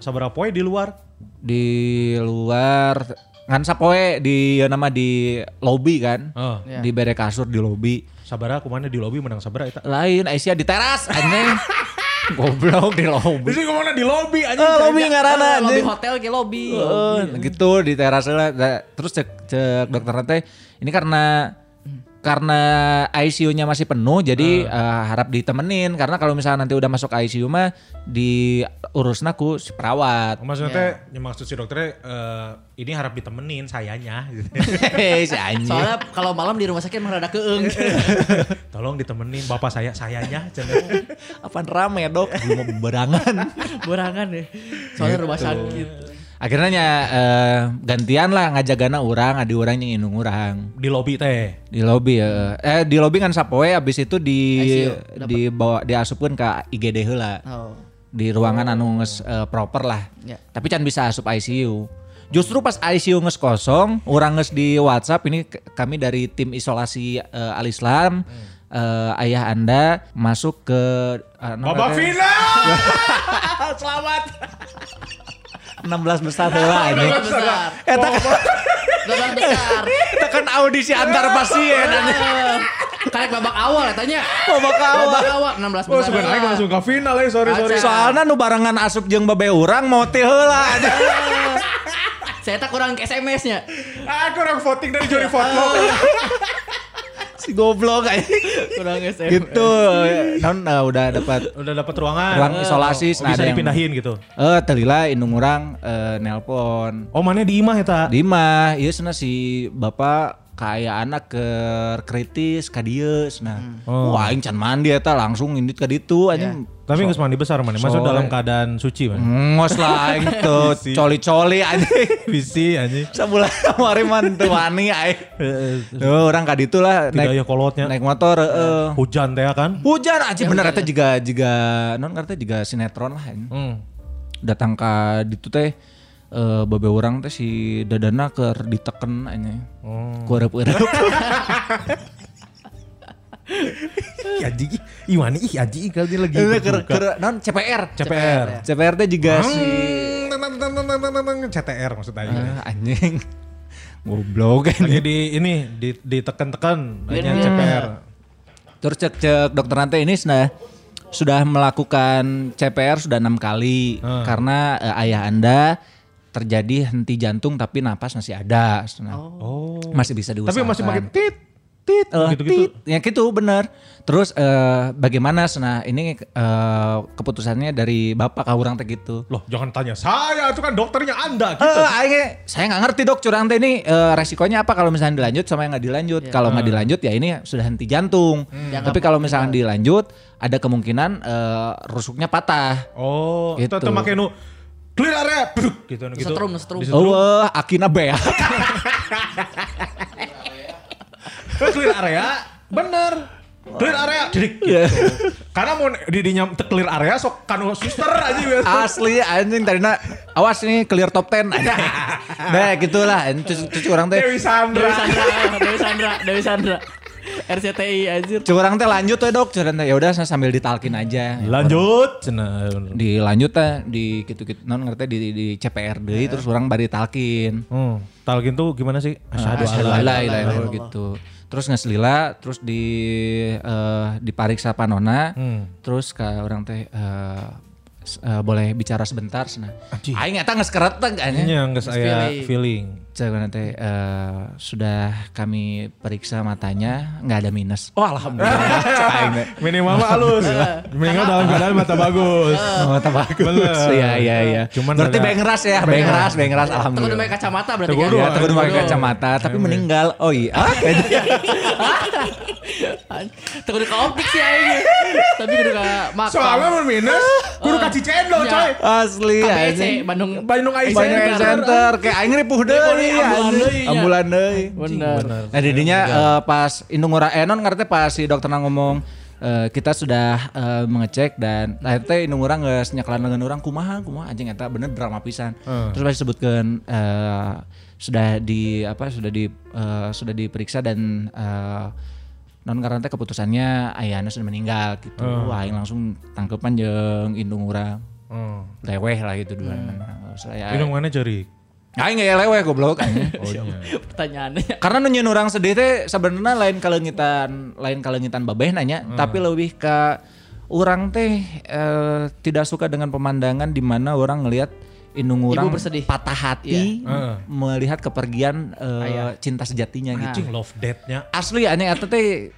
[SPEAKER 4] sabaraha poe di luar
[SPEAKER 2] Di luar ngan sapoe di ieu nama di lobi kan.
[SPEAKER 4] Heeh.
[SPEAKER 5] Ya.
[SPEAKER 2] Di bere kasur di lobi.
[SPEAKER 4] sabaraha kumana di lobi menang sabaraha eta.
[SPEAKER 2] Lain Aisyah di teras anjing. Goblok di lobi.
[SPEAKER 4] Jadi kumana di lobi anjing.
[SPEAKER 2] Eh, lobi ngaranna
[SPEAKER 5] Eh, lobby
[SPEAKER 2] anjing.
[SPEAKER 5] hotel ke lobby.
[SPEAKER 2] Heeh, gitu di teras lah. Da- Terus cek cek dokter teh ini karena karena ICU-nya masih penuh jadi eh, harap ditemenin karena kalau misalnya nanti udah masuk ICU mah diurusna ku si perawat.
[SPEAKER 4] Maksudnya teh
[SPEAKER 2] Ya.
[SPEAKER 4] yang maksud si dokternya eh, ini harap ditemenin sayanya gitu.
[SPEAKER 2] Hehehe, si anjing.
[SPEAKER 5] Soalnya kalau malam di rumah sakit emang rada keeng.
[SPEAKER 4] Tolong ditemenin bapak saya sayanya cenah.
[SPEAKER 2] Apaan rame dok? Belum mau berangan.
[SPEAKER 5] Borangan deh. Soalnya rumah
[SPEAKER 2] Gitu.
[SPEAKER 5] sakit.
[SPEAKER 2] Akhirnya nya, eh, gantian lah ngajagana orang, adi orang yang indung orang.
[SPEAKER 4] di lobi teh.
[SPEAKER 2] Di lobi ya. Eh di lobi kan sapoe abis itu di
[SPEAKER 5] ICU, dapet.
[SPEAKER 2] dibawa diasupkeun ke IGD heula.
[SPEAKER 5] Oh.
[SPEAKER 2] di ruangan anu nges eh, proper lah.
[SPEAKER 5] Ya.
[SPEAKER 2] Tapi can bisa asup ICU. Justru pas ICU nges kosong, orang nges di WhatsApp ini k- kami dari tim isolasi eh, Al Islam eh, ayah Anda masuk ke eh, nomor-
[SPEAKER 4] Babak final.
[SPEAKER 2] 16 besar lah ini.
[SPEAKER 5] Gelombang besar.
[SPEAKER 2] Eta
[SPEAKER 5] Gelombang besar.
[SPEAKER 2] eta kan audisi antar pasien anjing.
[SPEAKER 5] Eh, Karek babak awal katanya.
[SPEAKER 2] Babak awal.
[SPEAKER 5] Babak awal
[SPEAKER 4] Oh,
[SPEAKER 5] 16 besar. lah.
[SPEAKER 4] ke final ya, sorry
[SPEAKER 5] sorry.
[SPEAKER 2] Soalnya nu barengan asup jeung babe urang mau teh heula anjing.
[SPEAKER 5] Ah, Saya tak kurang SMS-nya.
[SPEAKER 4] Aku orang voting dari juri voting.
[SPEAKER 2] si goblok anjing.
[SPEAKER 5] Kurang SMS.
[SPEAKER 2] Gitu. Non eh, udah dapat
[SPEAKER 4] Udah dapat ruangan.
[SPEAKER 2] ruang isolasi
[SPEAKER 4] Oh, bisa
[SPEAKER 2] ada yang-
[SPEAKER 4] dipindahin gitu.
[SPEAKER 2] Eh, telila indung orang eh, nelpon.
[SPEAKER 4] Oh, mana di imah eta?
[SPEAKER 2] Di mah, ieu cenah si bapak kayak anak ke kritis ka dieu cenah. Wah, aing can mandi eta langsung indit ka ditu anjing.
[SPEAKER 4] Tapi geus mandi besar mana? Masuk
[SPEAKER 2] Sore.
[SPEAKER 4] dalam keadaan suci
[SPEAKER 2] Hmm.
[SPEAKER 4] mana?
[SPEAKER 2] Ngos lah aing teu coli-coli anjing.
[SPEAKER 4] Bisi anjing.
[SPEAKER 2] Sabulan kamari mah teu wani aing. Duh, urang ka Oh, ditu lah
[SPEAKER 4] Tidak ya
[SPEAKER 2] naik
[SPEAKER 4] kolotnya.
[SPEAKER 2] naik motor heeh.
[SPEAKER 4] Hujan teh kan?
[SPEAKER 2] Hujan anjing bener ya. eta juga juga non karena juga sinetron lah anjing.
[SPEAKER 4] Hmm.
[SPEAKER 2] datang ka ditu teh eh babe orang teh si dadana keur diteken anya. Hmm.
[SPEAKER 4] Ih anjing, ih, ih mana ih anjing kalau dia lagi
[SPEAKER 2] Iya, keur keur non CPR.
[SPEAKER 4] CPR.
[SPEAKER 2] CPR teh juga si
[SPEAKER 4] Hmm, CTR maksud aing.
[SPEAKER 2] Ah, anjing. Goblok
[SPEAKER 4] Hmm. Lagi
[SPEAKER 2] ini.
[SPEAKER 4] di ini di ditekan-tekan hanya CPR.
[SPEAKER 2] Terus cek-cek dokter nanti ini sudah sudah melakukan CPR sudah enam kali
[SPEAKER 4] Ah.
[SPEAKER 2] karena eh, ayah Anda terjadi henti jantung tapi napas masih ada. Nah,
[SPEAKER 4] Oh.
[SPEAKER 2] Masih bisa diusahakan.
[SPEAKER 4] Tapi masih pakai tit tit
[SPEAKER 2] Eh,
[SPEAKER 4] gitu-gitu.
[SPEAKER 2] tit. Ya gitu bener. Terus eh, bagaimana nah ini eh, keputusannya dari bapak kaurang teh gitu.
[SPEAKER 4] Loh, jangan tanya saya, itu kan dokternya Anda.
[SPEAKER 2] Eh, akhirnya saya nggak ngerti dok curang teh ini eh, resikonya apa kalau misalnya dilanjut sama yang nggak dilanjut. Kalau nggak dilanjut ya ini sudah henti jantung. Tapi kalau misalnya dilanjut ada kemungkinan eh, rusuknya patah.
[SPEAKER 4] Oh,
[SPEAKER 2] Gitu.
[SPEAKER 4] itu tuh pakai nu clear area duduk gitu gitu
[SPEAKER 5] Setrum, setrum.
[SPEAKER 4] Disetrum.
[SPEAKER 2] Oh, eh, akina beak.
[SPEAKER 4] "Eh, clear area bener clear area jadi gitu karena mau di dinyam te clear area sok kanu suster aja gitu
[SPEAKER 2] Asli anjing tadinya awas nih clear top 10. Nah, gitulah. Terus terus orang teh
[SPEAKER 4] Dewi Sandra
[SPEAKER 5] Dewi Sandra, Dewi Sandra, Dewi Sandra. RCTI anjir.
[SPEAKER 2] Curang teh lanjut ya dok, curang teh ya udah saya sambil ditalkin aja.
[SPEAKER 4] lanjut Cenah.
[SPEAKER 2] Dilanjut teh di gitu-gitu, non ngerti di, di CPR deh, terus orang bari talkin.
[SPEAKER 4] hmm, talgin tuh gimana sih asyhadu
[SPEAKER 2] Asyhadu
[SPEAKER 4] alla
[SPEAKER 2] alla ilaha illallah gitu. Terus ngeselila, terus di eh, dipariksa panona, terus ke orang teh eh, s- eh, boleh bicara sebentar sana. Aing eta geus kereteg anjing.
[SPEAKER 4] Nya, Iya, nggak saya feeling
[SPEAKER 2] Cagana teh eh, sudah kami periksa matanya, nggak ada minus. Oh alhamdulillah. Cek aing teh.
[SPEAKER 4] minimal mah halus minimal dalam keadaan mata bagus
[SPEAKER 2] Ah.
[SPEAKER 4] mata bagus
[SPEAKER 2] Iya iya iya.
[SPEAKER 4] Cuman
[SPEAKER 2] berarti
[SPEAKER 4] ada-
[SPEAKER 2] bengeras ya, bengeras, bengeras
[SPEAKER 5] Temen
[SPEAKER 2] alhamdulillah. Iya,
[SPEAKER 5] namanya kacamata berarti
[SPEAKER 4] Teguh
[SPEAKER 5] kan.
[SPEAKER 4] dulu,
[SPEAKER 2] Ya, tapi
[SPEAKER 4] Teguh
[SPEAKER 2] pakai
[SPEAKER 4] dulu.
[SPEAKER 2] kacamata, tapi meninggal. Oh iya. Ah,
[SPEAKER 5] Teguh dulu ke optik sih aja. Tapi kudu ke makam.
[SPEAKER 4] soalnya mau minus kudu kasih cendol
[SPEAKER 5] Iya.
[SPEAKER 4] coy
[SPEAKER 2] Asli
[SPEAKER 5] KBC
[SPEAKER 2] anjing.
[SPEAKER 5] Bandung.
[SPEAKER 4] Bandung Eye
[SPEAKER 2] Banyak
[SPEAKER 4] Center.
[SPEAKER 2] yang center, kayak aing ripuh deui
[SPEAKER 5] Iya, ambulan deui
[SPEAKER 2] anjing.
[SPEAKER 5] nya.
[SPEAKER 2] Ambulan deui.
[SPEAKER 5] Bener.
[SPEAKER 2] Nah, didinya eh, pas indung ngora enon ngerti pas si dokterna ngomong eh, kita sudah eh, mengecek dan akhirnya indung orang nggak nyekalan dengan orang kumaha kumaha anjing eta bener drama pisan
[SPEAKER 5] Hmm.
[SPEAKER 2] terus pas disebutkan eh, sudah di apa sudah di eh, sudah diperiksa dan eh, non karena teh keputusannya ayahnya sudah meninggal gitu
[SPEAKER 5] Hmm.
[SPEAKER 2] wah yang langsung tangkepan jeng indung orang leweh lah gitu dua
[SPEAKER 5] Hmm.
[SPEAKER 2] saya
[SPEAKER 4] Hmm, minum mana cari
[SPEAKER 2] Aing nggak leweh goblok anjing.
[SPEAKER 5] Pertanyaannya.
[SPEAKER 2] Karena nunjun orang sedih teh sebenarnya lain kalengitan lain kalengitan babeh nanya, tapi lebih ke orang teh eh, tidak suka dengan pemandangan di mana orang ngelihat indung orang
[SPEAKER 5] bersedih. Iya.
[SPEAKER 2] patah hati melihat kepergian eh, cinta
[SPEAKER 5] Nah.
[SPEAKER 2] sejatinya gitu.
[SPEAKER 4] Cing love date-nya
[SPEAKER 2] Asli aneh eta teh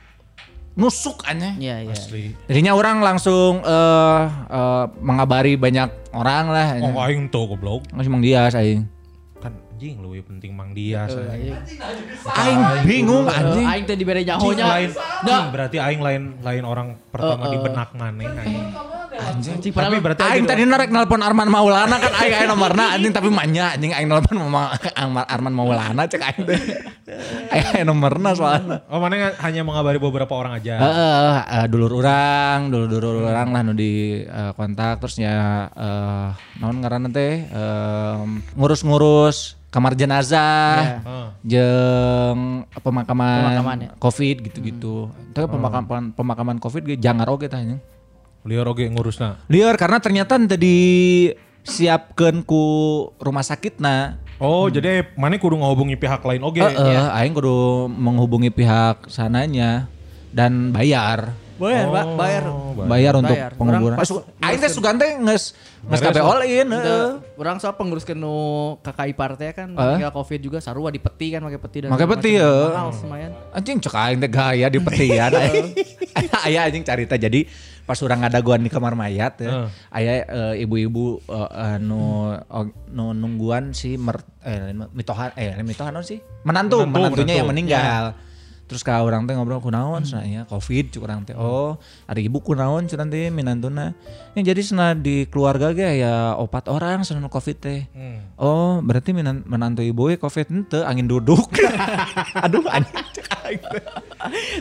[SPEAKER 2] nusuk aneh.
[SPEAKER 5] Iya, iya.
[SPEAKER 4] asli.
[SPEAKER 2] Jadinya orang langsung eh, eh, mengabari banyak orang lah. anjing.
[SPEAKER 4] Oh aing tuh goblok.
[SPEAKER 2] Masih Mang Dias aing.
[SPEAKER 4] Kan anjing lu penting Mang Dias.
[SPEAKER 5] iya.
[SPEAKER 4] anjing.
[SPEAKER 2] Aing bingung
[SPEAKER 5] Eh,
[SPEAKER 2] anjing.
[SPEAKER 5] Aing teh dibere
[SPEAKER 4] Anjing
[SPEAKER 5] nyahonya.
[SPEAKER 4] lain,
[SPEAKER 5] Nah,
[SPEAKER 4] anjing berarti aing lain lain orang pertama di benak maneh anjing.
[SPEAKER 5] anjing
[SPEAKER 4] Tapi
[SPEAKER 5] padahal
[SPEAKER 4] berarti
[SPEAKER 2] Aing tadi narek nelpon Arman Maulana kan aing aya nomorna anjing tapi manya anjing aing nelpon mama Arman- Arman Maulana cek aing teh. Aing aya nomorna soalnya.
[SPEAKER 4] Oh maneh hanya mengabari beberapa orang aja.
[SPEAKER 2] Heeh, eh, dulur orang, dulur-dulur orang lah nu di eh, kontak terus ya eh naon ngaranna teh em, ngurus-ngurus kamar jenazah. Jeng Iya. pemakaman,
[SPEAKER 5] Pemakaman, ya.
[SPEAKER 2] COVID gitu-gitu. Itu kan pemakaman pemakaman COVID ge jangar oge tah anjing.
[SPEAKER 4] Lior oge ngurusna.
[SPEAKER 2] Liar karena ternyata tadi siapkan ku rumah sakit na.
[SPEAKER 4] Oh, jadi maneh kudu ngahubungi pihak lain oge.
[SPEAKER 2] Heeh,
[SPEAKER 5] iya.
[SPEAKER 2] aing kudu menghubungi pihak sananya dan bayar.
[SPEAKER 5] bayar, Pak, Oh, bayar.
[SPEAKER 2] Bayar, untuk
[SPEAKER 5] Bayar.
[SPEAKER 2] penguburan.
[SPEAKER 5] Orang pas-
[SPEAKER 2] Aing teh sugan teh nges nges
[SPEAKER 4] Beres
[SPEAKER 2] kabeh all in. heeh.
[SPEAKER 5] Udah, Orang soal pengurus kenu kakak ipar teh kan
[SPEAKER 2] Eh?
[SPEAKER 5] tinggal covid juga sarua di peti kan pakai peti dan
[SPEAKER 2] Pakai
[SPEAKER 5] segala
[SPEAKER 2] peti,
[SPEAKER 5] macam.
[SPEAKER 2] ya.
[SPEAKER 5] Mahal lumayan.
[SPEAKER 2] Anjing cek aing teh gaya di petian. aing. Aya anjing carita jadi pas urang ngadaguan di kamar mayat ya. Aya eh, ibu-ibu eh, eh, nu og- nu nungguan si mer, eh, mitohan eh mitohan naon sih? Menantu,
[SPEAKER 4] Menantu,
[SPEAKER 2] menantunya
[SPEAKER 4] menantu. Iya.
[SPEAKER 2] yang meninggal. Terus ka urang teh ngobrol kunaon cenah ya covid cuk urang teh. Oh, ada ibu kunaon cenah teh minantuna. Ya jadi cenah di keluarga ge ya opat orang cenah nu covid teh. Oh, berarti minan, menantu ibu we covid henteu angin duduk. Aduh anjing.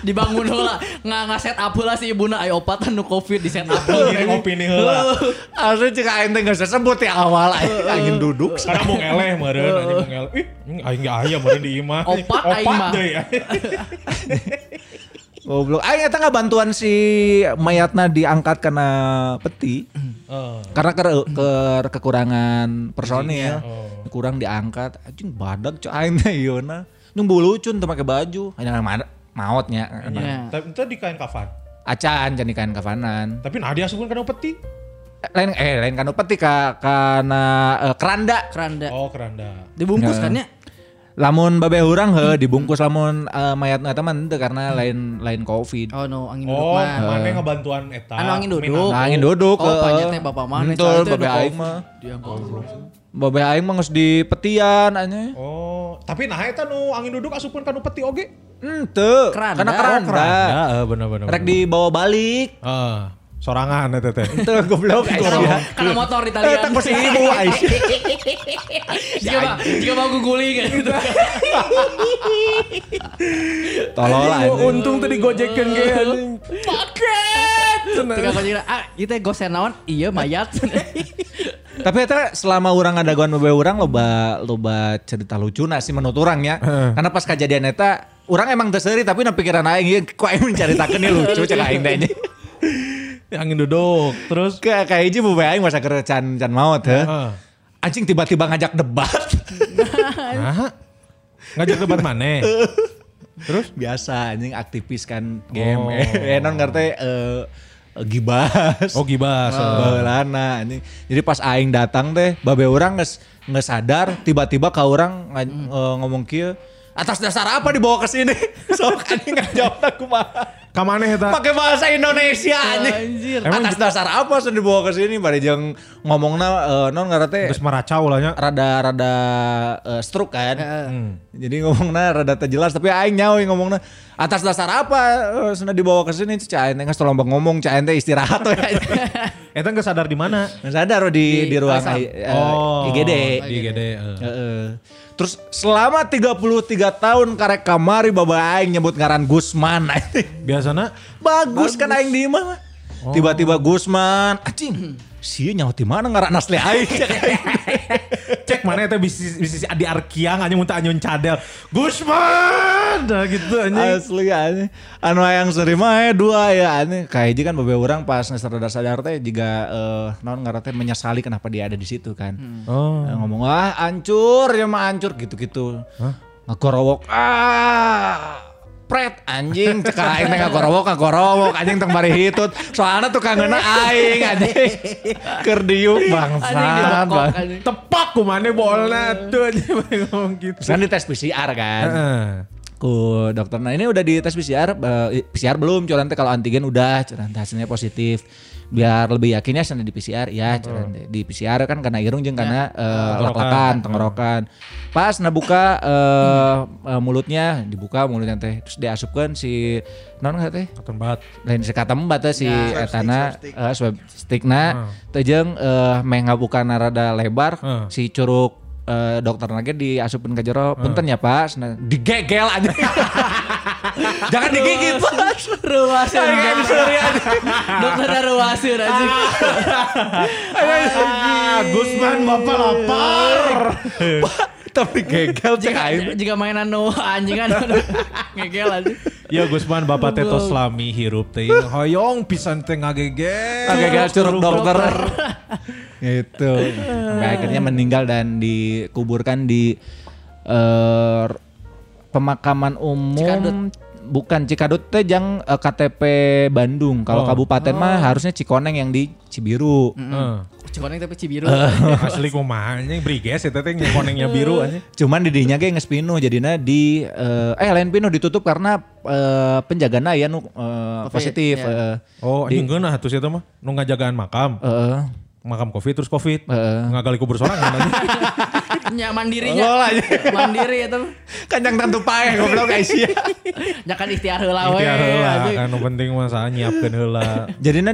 [SPEAKER 5] Dibangun heula, nggak nggak set up heula si ibuna ayo opatan nu covid di set up.
[SPEAKER 4] Ngiring opini heula.
[SPEAKER 2] Asli cek aing teh geus sebut ya awal aing angin duduk.
[SPEAKER 4] Karena mau ngeleh meureun anjing mau ngeleh. Ih, anjing aing ge aya meureun di imah.
[SPEAKER 5] Opat aing mah.
[SPEAKER 4] deui, anjing.
[SPEAKER 2] Goblok. Aing eta bantuan si mayatna diangkat karena peti. Karena ke, ke- kekurangan
[SPEAKER 5] Iya.
[SPEAKER 2] personil.
[SPEAKER 5] Oh.
[SPEAKER 2] Kurang diangkat. Anjing badak cek aing teh ieu-na. Nyung bulu cun teu make baju. Hanya ma- maotnya.
[SPEAKER 5] Iya.
[SPEAKER 4] Tapi itu di kain kafan.
[SPEAKER 2] Acan jadi kain kafanan.
[SPEAKER 4] Tapi Nadia kan sungguh kena peti.
[SPEAKER 2] Eh, Lain eh lain kanu peti ka kana eh, keranda.
[SPEAKER 5] Keranda.
[SPEAKER 4] Oh, keranda.
[SPEAKER 5] Dibungkus kan ya?
[SPEAKER 2] Lamun babe urang heuh dibungkus lamun eh, mayatna eta mah henteu karena lain lain covid.
[SPEAKER 5] Hmm. Oh no, angin duduk
[SPEAKER 4] Oh,
[SPEAKER 5] mah.
[SPEAKER 4] mana ngebantuan eta.
[SPEAKER 5] Anu angin duduk.
[SPEAKER 4] Minang-
[SPEAKER 2] Nah, angin duduk.
[SPEAKER 5] Oh,
[SPEAKER 2] eh.
[SPEAKER 5] panjat teh bapak mana?
[SPEAKER 2] Betul,
[SPEAKER 5] Soalnya teh
[SPEAKER 2] babe
[SPEAKER 5] ada
[SPEAKER 2] aing
[SPEAKER 5] covid.
[SPEAKER 2] mah. Oh,
[SPEAKER 5] Dia goblok.
[SPEAKER 2] Babe aing mah geus di petian anjing.
[SPEAKER 4] Oh, tapi nah eta nu angin duduk asupan kanu peti oge. Ya, eh,
[SPEAKER 2] Henteu.
[SPEAKER 5] Keranda.
[SPEAKER 2] Hmm, Karena
[SPEAKER 5] Oh,
[SPEAKER 2] keranda.
[SPEAKER 4] bener bener.
[SPEAKER 2] Rek dibawa balik.
[SPEAKER 4] Ah, sorangan ya teh.
[SPEAKER 2] Itu goblok
[SPEAKER 5] Karena, Eh, karena motor di talian.
[SPEAKER 2] Eh, tak pasti ibu, Ais.
[SPEAKER 5] jika mau, jika mau gitu. gue guling.
[SPEAKER 2] Tolol
[SPEAKER 3] Gua
[SPEAKER 2] anjing.
[SPEAKER 3] untung tadi gojekin kayak anjing.
[SPEAKER 5] Paket. Tukang kunci, ah, itu gosen naon, iya mayat.
[SPEAKER 2] Nah, Tapi eta selama orang ngadaguan beberapa orang loba loba cerita lucu nah sih menurut orang ya. Karena pas kejadian eta orang emang terseri tapi na pikiran aing ieu kok aing menceritakeun ieu lucu cek aing teh. anjing.
[SPEAKER 4] Angin duduk terus
[SPEAKER 2] Kayak kayak hiji bu aing masa kerecan can maut heuh. Anjing tiba-tiba ngajak debat.
[SPEAKER 5] Kan.
[SPEAKER 4] nah, ngajak debat mana?
[SPEAKER 2] Terus biasa anjing aktivis kan game.
[SPEAKER 4] Oh.
[SPEAKER 2] eh non ngerti eh, gibas.
[SPEAKER 4] Oh gibas. eh.
[SPEAKER 2] Beulana Ah, anjing. Jadi pas aing datang teh babe orang nges nges sadar tiba-tiba ka orang nga- eh, ngomong kieu atas dasar apa dibawa ke sini? Sok anjing ngajawab aku mah.
[SPEAKER 4] Kamaneh eta?
[SPEAKER 2] Pakai bahasa Indonesia anjing.
[SPEAKER 5] Anjir.
[SPEAKER 2] Atas dasar apa sih dibawa ke sini? Bari jeung ngomongna eh, non ngarate
[SPEAKER 4] Terus meracau lah nya.
[SPEAKER 2] rada rada eh, stroke kan. Jadi ngomongnya rada tak jelas tapi aing nyawa yang ngomongnya atas dasar apa eh, sudah dibawa ke sini cah ente nggak tolong ngomong cah ente istirahat we.
[SPEAKER 4] Eta nggak sadar di mana?
[SPEAKER 2] Nggak sadar we, di di
[SPEAKER 5] Di
[SPEAKER 2] ruang
[SPEAKER 5] WhatsApp.
[SPEAKER 2] I- eh,
[SPEAKER 4] Oh.
[SPEAKER 2] IGD.
[SPEAKER 4] Di IGD. eh.
[SPEAKER 2] Heeh. Terus selama 33 tahun karek kamari baba aing nyebut ngaran Gusman. Bagus,
[SPEAKER 4] Biasana
[SPEAKER 2] kan aing di imah. Tiba-tiba Gusman, anjing. Sia nyawa di mana ngaran asli aing.
[SPEAKER 4] cek mana eta bisnis bisnis di Arkiang anjing muntah anyun cadel. Gusman dah gitu anjing.
[SPEAKER 2] Asli aneh. Anu yang serima dua ya aneh. Kayak hiji kan beberapa orang pas ngeser sadar teh juga eh, non ngarate menyesali kenapa dia ada di situ kan.
[SPEAKER 4] Oh.
[SPEAKER 2] Eh, ngomong ah hancur ya mah hancur gitu-gitu. Ngakorowok ah pret anjing cek aing teh ngakorowok ngakorowok anjing teng bari hitut. Soalnya tukangena aing anjing. Keur diuk
[SPEAKER 5] Anjing di
[SPEAKER 2] bangsat.
[SPEAKER 5] kan. bokok,
[SPEAKER 2] bang.
[SPEAKER 5] anjing.
[SPEAKER 4] Tepak kumane bolna tuh anjing ngomong gitu.
[SPEAKER 2] Terus kan di tes PCR kan.
[SPEAKER 4] Heeh.
[SPEAKER 2] ku dokter. Nah ini udah di tes PCR, eh, PCR belum, cuman teh kalau antigen udah, cuman teh hasilnya positif. Biar lebih yakinnya sana di PCR, ya cuman teh. di PCR kan karena irung jeung karena lak-lakan, tenggorokan. Pas nah buka eh, eh, mulutnya, dibuka mulutnya teh, terus diasupkan si non nggak teh?
[SPEAKER 4] Katon bat.
[SPEAKER 2] lain sekatem bata si
[SPEAKER 6] Ya. Swab
[SPEAKER 2] etana
[SPEAKER 6] stick,
[SPEAKER 2] eh, swab stickna teu jeung eh, meh ngabukaan rada lebar
[SPEAKER 4] Hmm.
[SPEAKER 2] si curug eh, dokter lagi diasupin ke jero punten ya Pak Sana- digegel aja jangan digigit
[SPEAKER 5] Ah.
[SPEAKER 2] Pak
[SPEAKER 5] Ruasin. Dokter ruasin anjing.
[SPEAKER 4] Ah, Gusman bapak lapar.
[SPEAKER 2] tapi gegel cek
[SPEAKER 5] Jika,
[SPEAKER 2] aing
[SPEAKER 5] jika mainan no anjing kan ngegel anjing.
[SPEAKER 4] Ya Gusman bapak teto selami hirup teh hoyong pisan teh ngagege.
[SPEAKER 2] gegel curug dokter Ah. itu Sampai akhirnya meninggal dan dikuburkan di eh, pemakaman umum
[SPEAKER 5] Cikadut.
[SPEAKER 2] bukan Cikadut teh jang eh, KTP Bandung kalau
[SPEAKER 4] Oh.
[SPEAKER 2] kabupaten mah harusnya Cikoneng yang di Cibiru
[SPEAKER 4] Heeh.
[SPEAKER 5] Cikoneng tapi Cibiru.
[SPEAKER 4] Eh. Asli kumaha anjing briges eta teh yang konengnya biru anjing.
[SPEAKER 2] cuman di dinya ge geus pinuh jadinya di eh, eh lain pinuh ditutup karena eh, penjagana ya nu eh, positif eh,
[SPEAKER 5] ya.
[SPEAKER 4] Oh, anjing geunah atuh eta mah nu ngajagaan makam.
[SPEAKER 2] eh,
[SPEAKER 4] makam covid terus covid
[SPEAKER 2] Heeh.
[SPEAKER 4] ngagali kubur sorangan aja
[SPEAKER 5] Ya
[SPEAKER 4] Oh,
[SPEAKER 5] mandirinya.
[SPEAKER 4] iya.
[SPEAKER 5] Mandiri itu.
[SPEAKER 2] kanjang tantu pae goblok guys iya.
[SPEAKER 5] Jangan kan ikhtiar heula we.
[SPEAKER 4] ikhtiar heula
[SPEAKER 5] Oh, iya, anjing.
[SPEAKER 4] kan nu penting masalah nyiapkeun heula
[SPEAKER 2] Jadinya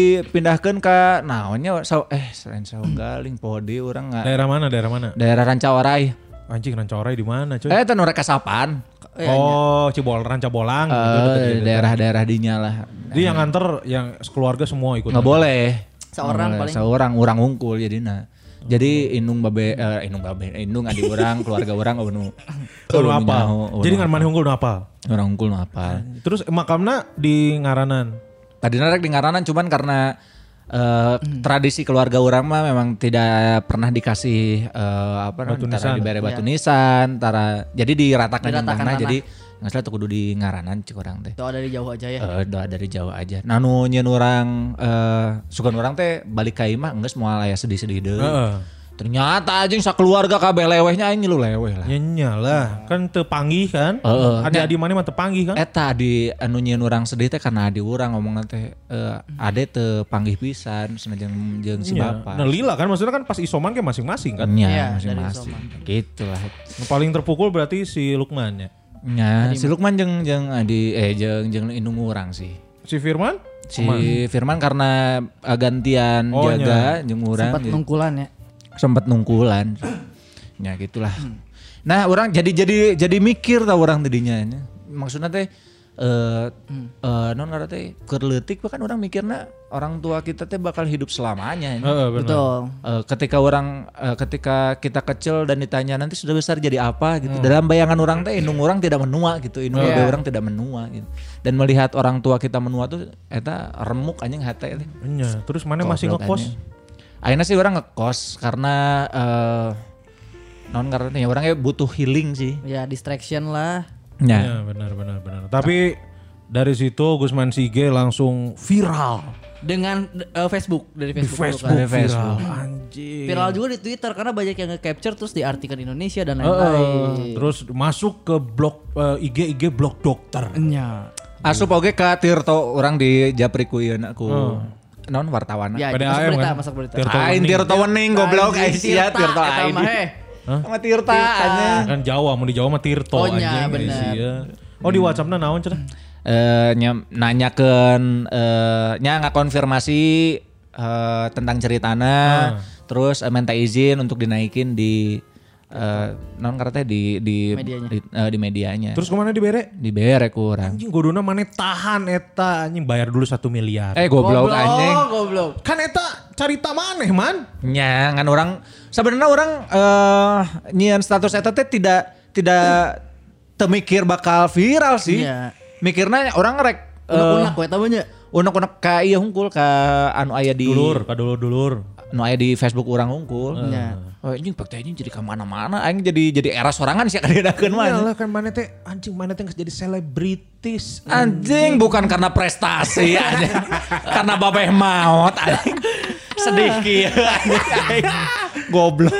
[SPEAKER 2] dipindahkan ke naonnya sau eh selain saung galing poho deui urang nga
[SPEAKER 4] daerah mana daerah mana
[SPEAKER 2] daerah Rancawarai.
[SPEAKER 4] anjing rancorai di mana cuy
[SPEAKER 2] Eh eta nu rek kasapan.
[SPEAKER 5] Eh,
[SPEAKER 4] oh cibol rancabolang gitu, deket
[SPEAKER 2] Eh,
[SPEAKER 4] gitu.
[SPEAKER 2] daerah-daerah dinya lah.
[SPEAKER 4] jadi yang nganter yang sekeluarga semua ikut
[SPEAKER 2] Nggak boleh.
[SPEAKER 5] Seorang
[SPEAKER 2] Nggak boleh,
[SPEAKER 5] paling.
[SPEAKER 2] Seorang urang hungkul jadina. Jadi indung babe eh, indung babe indung adi urang keluarga urang oh, anu
[SPEAKER 4] Lu apa jadi ngan mana unggul nu apa
[SPEAKER 2] urang hungkul oh, nu apal.
[SPEAKER 4] terus makamna di ngaranan
[SPEAKER 2] Tadinya rek di ngaranan cuman karena eh, tradisi keluarga orang mah memang tidak pernah dikasih eh, apa
[SPEAKER 4] Batu nisan.
[SPEAKER 2] namanya tara dibere batu nisan, tara jadi diratakan
[SPEAKER 5] Diratakan
[SPEAKER 2] tanah
[SPEAKER 5] tanah.
[SPEAKER 2] jadi nggak salah tuh kudu di ngaranan cik orang teh.
[SPEAKER 5] Doa dari jauh aja ya.
[SPEAKER 2] Eh, doa dari Jawa aja. Nah nu nyeun urang eh sugan urang teh balik ka imah geus moal aya sedih-sedih deui.
[SPEAKER 4] Heeh.
[SPEAKER 2] Ternyata anjing sakeluarga kabeh lewehnya aing lu leweh lah.
[SPEAKER 4] nyenya lah Ya, kan tepanggih kan
[SPEAKER 2] Heeh.
[SPEAKER 4] ada di mana mah tepanggih kan
[SPEAKER 2] Eta di anu nyieun urang sedih teh karena adi urang ngomong teh eh, ade teu panggih pisan senajan jeung si
[SPEAKER 4] Hmm. Iya.
[SPEAKER 2] bapak.
[SPEAKER 4] Nah lila kan maksudnya kan pas isoman kayak masing-masing kan.
[SPEAKER 2] Iya,
[SPEAKER 5] Iya,
[SPEAKER 2] masing-masing.
[SPEAKER 5] dari
[SPEAKER 2] Gitu lah.
[SPEAKER 4] Yang Paling terpukul berarti si Lukman ya.
[SPEAKER 2] ah, Nya, si Lukman jeung jeung adi eh jeung jeung indung urang sih.
[SPEAKER 4] si Firman?
[SPEAKER 2] Si Firman karena eh, gantian
[SPEAKER 4] Oh,
[SPEAKER 2] jaga jemuran
[SPEAKER 4] Kan
[SPEAKER 5] Sempat
[SPEAKER 2] gitu.
[SPEAKER 5] nungkulan ya.
[SPEAKER 2] sempet nungkulan. ya gitulah. Nah, orang jadi jadi jadi mikir tau orang tadinya. Maksudnya teh eh eh, non karena teh kerletik bahkan orang mikirnya orang tua kita teh bakal hidup selamanya. nya.
[SPEAKER 4] Heeh, benar.
[SPEAKER 5] Betul.
[SPEAKER 2] Eh, ketika orang eh, ketika kita kecil dan ditanya nanti sudah besar jadi apa gitu dalam bayangan orang teh indung orang tidak menua gitu indung
[SPEAKER 5] Iya.
[SPEAKER 2] babe orang tidak menua gitu dan melihat orang tua kita menua tuh eta remuk anjing hate teh
[SPEAKER 4] Iya, terus mana masih
[SPEAKER 2] Goblok
[SPEAKER 4] ngekos?
[SPEAKER 2] anjing. Akhirnya sih orang ngekos karena eh, non karena nih orangnya butuh healing sih.
[SPEAKER 5] Ya distraction lah.
[SPEAKER 2] Nah,
[SPEAKER 5] Ya.
[SPEAKER 4] Iya, benar benar benar. Tapi dari situ Gusman Sige langsung viral
[SPEAKER 5] Dengan eh, Facebook dari
[SPEAKER 4] di
[SPEAKER 5] Facebook. dulu
[SPEAKER 4] Facebook,
[SPEAKER 5] kan.
[SPEAKER 4] viral. Anjir.
[SPEAKER 5] Viral juga di Twitter karena banyak yang nge-capture terus diartikan Indonesia dan
[SPEAKER 4] Oh, Heeh,
[SPEAKER 5] lain-lain.
[SPEAKER 4] terus masuk ke blog eh, IG IG blog dokter.
[SPEAKER 5] Nya.
[SPEAKER 2] asup oge ka Tirto orang di Japri ku ieu aku non wartawan.
[SPEAKER 5] Ya,
[SPEAKER 4] Pada
[SPEAKER 5] masuk
[SPEAKER 4] AM
[SPEAKER 5] berita,
[SPEAKER 4] kan?
[SPEAKER 5] masuk berita.
[SPEAKER 4] Oh. Tirta
[SPEAKER 2] Ain
[SPEAKER 4] Wening.
[SPEAKER 2] Tirto Wening goblok
[SPEAKER 5] Anjing,
[SPEAKER 2] aing sia
[SPEAKER 5] Tirta,
[SPEAKER 2] Tirto
[SPEAKER 5] eta
[SPEAKER 2] aing.
[SPEAKER 5] mah, eh. heh.
[SPEAKER 2] Sama Tirta anjing.
[SPEAKER 4] Kan Jawa, mau di Jawa mah Tirto
[SPEAKER 5] Oh, nya,
[SPEAKER 4] anjing.
[SPEAKER 5] bener.
[SPEAKER 4] isi, ya. Oh di WhatsAppnya naon cerah?
[SPEAKER 2] Eh, nya- nanyakeun eh, nya ngakonfirmasi eh, tentang ceritana terus eh, minta izin untuk dinaikin di eh, non karena teh di di
[SPEAKER 5] Medianya.
[SPEAKER 2] di, eh, di medianya.
[SPEAKER 4] Terus kemana dibere?
[SPEAKER 2] dibere kurang.
[SPEAKER 4] Anjing godona mana tahan eta anjing bayar dulu satu miliar.
[SPEAKER 2] Eh goblok, anjing.
[SPEAKER 5] goblok.
[SPEAKER 4] kan eta carita maneh man.
[SPEAKER 2] Nya ngan orang sebenarnya orang eh nyian status eta teh tidak tidak temikir bakal viral sih.
[SPEAKER 5] Iya.
[SPEAKER 2] Mikirnya orang rek
[SPEAKER 4] Eh.
[SPEAKER 2] eh,
[SPEAKER 5] Unak-unak kowe tamunya.
[SPEAKER 2] unek-unek ka ieu hungkul ka anu aya di
[SPEAKER 4] Dulur, kadulur dulur.
[SPEAKER 2] anu aya di Facebook orang hungkul.
[SPEAKER 5] Nya.
[SPEAKER 2] Oh, anjing bakti anjing jadi ka mana-mana, anjing jadi jadi era sorangan sih kadeunakeun
[SPEAKER 5] Iya
[SPEAKER 2] mah.
[SPEAKER 4] Iyalah kan mana teh anjing mana teh geus jadi selebritis.
[SPEAKER 2] Anjing bukan karena prestasi anjing. karena babeh maut anjing. Sedih kieu anjing. Aing Goblok.